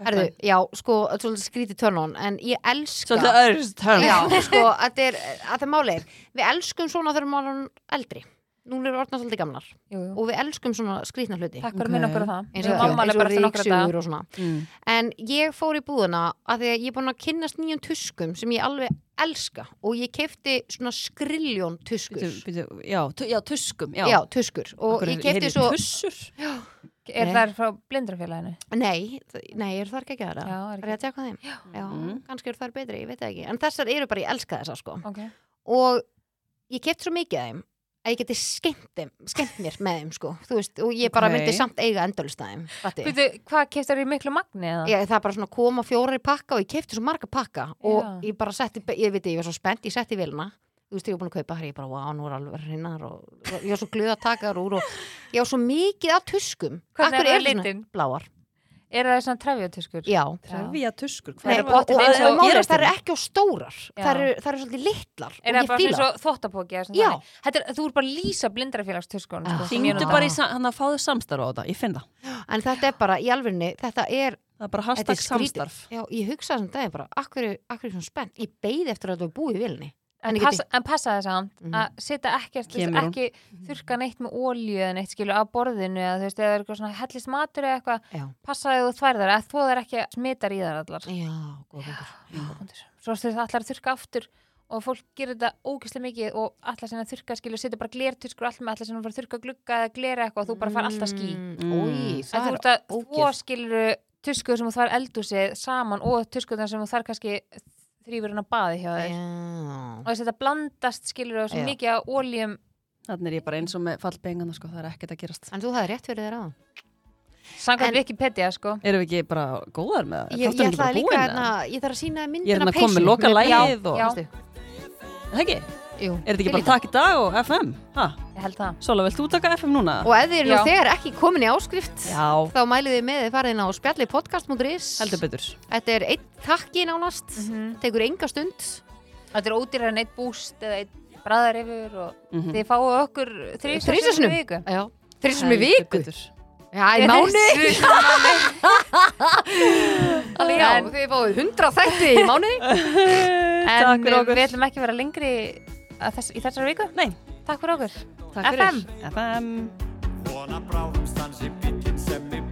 [SPEAKER 5] Herðu, já, sko, þetta er svolítið skrítið törnun, en ég elska...
[SPEAKER 4] Svolítið öðru turn.
[SPEAKER 5] Já, sko, þetta er, að það máli er, við elskum svona þegar maður er eldri. Nú erum við orðna svolítið gamlar
[SPEAKER 6] jú, jú.
[SPEAKER 5] og við elskum svona skrítna hluti.
[SPEAKER 6] Takk fyrir
[SPEAKER 4] Ok.
[SPEAKER 6] að minna okkur á það
[SPEAKER 5] eins
[SPEAKER 6] Ég
[SPEAKER 5] og,
[SPEAKER 6] mamma
[SPEAKER 5] eins
[SPEAKER 6] alveg
[SPEAKER 5] og
[SPEAKER 6] bara eftir nokkra daga
[SPEAKER 5] ríksugur og svona
[SPEAKER 4] Mm.
[SPEAKER 5] en ég fór í búðuna að því að ég er búin að kynnast nýjum tuskum sem ég alveg elska og ég kefti svona skriljón tuskur
[SPEAKER 4] Bíddu, bíddu, Já, tu- já, tuskum. Já,
[SPEAKER 5] já. tuskur og
[SPEAKER 4] Okkur
[SPEAKER 5] ég
[SPEAKER 4] er-
[SPEAKER 5] kefti
[SPEAKER 4] heyrði
[SPEAKER 5] svo
[SPEAKER 4] Tussur?
[SPEAKER 6] Er
[SPEAKER 5] Nei.
[SPEAKER 6] það frá blindrafélaginu?
[SPEAKER 5] nei, þ- nei, eru þar ekki að
[SPEAKER 6] Já,
[SPEAKER 5] gera
[SPEAKER 6] er
[SPEAKER 5] er
[SPEAKER 6] ekki
[SPEAKER 5] ég að tjaka þeim? Já,
[SPEAKER 4] Mm.
[SPEAKER 5] kannski eru þar betri, ég veit það ekki en þessar eru bara, ég elska þessar sko
[SPEAKER 6] Ok,
[SPEAKER 5] og ég kefti svo mikið af þeim að ég geti skemmt, þeim, skemmt mér með þeim sko, þú veist, og ég bara
[SPEAKER 4] Ok.
[SPEAKER 5] vildi samt eiga endalust af þeim, fattu
[SPEAKER 6] Býtu, hvað keftar í miklu magni eða?
[SPEAKER 5] ég, það bara svona koma fjórir í pakka og ég kefti svo marga pakka og
[SPEAKER 6] Já.
[SPEAKER 5] ég bara setti, ég veit, ég var svo spennt, ég setti í vilna þú veist, ég var búin að kaupa þær, ég bara, wow, nú er alveg hreinar og ég var svo glöð að taka þær úr og ég var svo mikið af tuskum
[SPEAKER 6] Hvernig
[SPEAKER 5] Af hverju
[SPEAKER 6] er það
[SPEAKER 5] eru svona
[SPEAKER 6] litin?
[SPEAKER 5] Bláar,
[SPEAKER 6] Er það svona trefjótuskur?
[SPEAKER 5] já
[SPEAKER 4] Trefja tuskur.
[SPEAKER 5] Nei,
[SPEAKER 4] Hvað er
[SPEAKER 5] og, og, og,
[SPEAKER 4] það
[SPEAKER 5] og,
[SPEAKER 4] að
[SPEAKER 5] málið er,
[SPEAKER 4] gerast
[SPEAKER 5] það eru
[SPEAKER 4] hérna?
[SPEAKER 5] ekki á stórar
[SPEAKER 6] Já.
[SPEAKER 5] það eru, það eru svolítið litlar
[SPEAKER 6] Er það
[SPEAKER 5] og
[SPEAKER 6] bara
[SPEAKER 5] ég
[SPEAKER 6] svona
[SPEAKER 5] fíla
[SPEAKER 6] svo þottapóki? eða svona
[SPEAKER 5] Já.
[SPEAKER 6] þannig? Þetta er, þú er bara að lýsa blindrafélagstuskunum
[SPEAKER 5] Já.
[SPEAKER 6] sko, sem ég
[SPEAKER 4] Hringdu
[SPEAKER 6] nota.
[SPEAKER 4] bara í sa- hann að fáðu samstarf á þetta. Ég finn það.
[SPEAKER 5] það en þetta er bara, í alvegni, þetta er
[SPEAKER 4] Það er bara
[SPEAKER 5] Þetta er
[SPEAKER 4] hashtag
[SPEAKER 5] skrítið.
[SPEAKER 4] samstarf.
[SPEAKER 5] Já, ég hugsaði sem daginn bara, akkur er, akkur er svona spennt ég beið eftir að þetta var búið í vilni
[SPEAKER 6] en
[SPEAKER 5] ég
[SPEAKER 6] passa, en passa það samt
[SPEAKER 5] Mhm.
[SPEAKER 6] að setja ekkert, þú
[SPEAKER 4] Kemur
[SPEAKER 6] veist,
[SPEAKER 4] hún.
[SPEAKER 6] ekki þurka neitt með ólju eða neitt skilu á borðinu eða þú veist, eða er eitthvað svona hellist matur eða eitthvað,
[SPEAKER 5] Já.
[SPEAKER 6] passa að þú þvær þar að þú þær ekki smitar í þar allar
[SPEAKER 5] Já, góð punktur.
[SPEAKER 6] svo þú veist, allar að þurka aftur og fólk gerir þetta ógæslega mikið og allar sinna þurka skilu, setja bara glertuskur allt með allar sinna fara að þurka glugga eða glera eitthvað og þú bara far alltaf ský
[SPEAKER 5] Mm, Új,
[SPEAKER 6] en
[SPEAKER 5] það
[SPEAKER 6] þú
[SPEAKER 5] er
[SPEAKER 6] ert að þvó
[SPEAKER 5] ógeð.
[SPEAKER 6] skilur tuskur sem þú þvær eldúsið saman og tuskurna sem þú þar kannski þrýfur hann að baði hjá þér
[SPEAKER 5] Já.
[SPEAKER 6] og þess að þetta blandast skilur og svo
[SPEAKER 5] Já.
[SPEAKER 6] mikið að óljum
[SPEAKER 4] Þannig er ég bara eins og með fallbengana sko, það er ekkert að gerast.
[SPEAKER 5] En þú hafði rétt fyrir þér á
[SPEAKER 6] Samkvæmt
[SPEAKER 5] En-
[SPEAKER 6] Wikipedia, sko.
[SPEAKER 4] Erum við ekki bara góðar með það?
[SPEAKER 5] Ég, ég
[SPEAKER 4] Þátturinn er ekki bara
[SPEAKER 5] ætlaði líka
[SPEAKER 4] búinn,
[SPEAKER 5] hérna,
[SPEAKER 4] eða?
[SPEAKER 5] ég þarf að sína
[SPEAKER 4] Ég er
[SPEAKER 5] myndina
[SPEAKER 4] hérna að koma með loka lægið og...
[SPEAKER 6] Já.
[SPEAKER 4] Veistu? Er Það ekki?
[SPEAKER 5] Jú,
[SPEAKER 4] Er þetta ekki
[SPEAKER 5] ég
[SPEAKER 4] bara
[SPEAKER 5] líka.
[SPEAKER 4] takk í dag og FM? Ha?
[SPEAKER 6] Ég held það.
[SPEAKER 4] Sola, vilt þú taka FM núna?
[SPEAKER 5] Og ef þið eru
[SPEAKER 6] Já.
[SPEAKER 5] nú þegar ekki komin í áskrift
[SPEAKER 4] Já,
[SPEAKER 5] þá mælið þið með þið farið inn á spjallipodcast.is
[SPEAKER 4] heldur betur.
[SPEAKER 5] Þetta er einn takki nánast tekur enga stund
[SPEAKER 6] Þetta er ódýrar en eitt búst eða eitt bræðar yfir og
[SPEAKER 4] Mhm.
[SPEAKER 6] þið fáu okkur þrísar
[SPEAKER 5] Þrisvar sinnum.
[SPEAKER 6] viku.
[SPEAKER 5] Já. Þrísum í
[SPEAKER 4] Heldur
[SPEAKER 5] viku
[SPEAKER 4] betur.
[SPEAKER 5] Já, í mánu Já,
[SPEAKER 6] En-
[SPEAKER 5] þið fáið 100 þætti í mánu
[SPEAKER 6] En
[SPEAKER 4] Takk fyrir
[SPEAKER 6] eh,
[SPEAKER 4] okkur.
[SPEAKER 6] við ætlum ekki að vera lengri að þess, í þessari viku.
[SPEAKER 4] Nei,
[SPEAKER 6] Takk fyrir okkur.
[SPEAKER 4] takk fyrir. FM.
[SPEAKER 8] Vona bráðum stansi bílinn sem í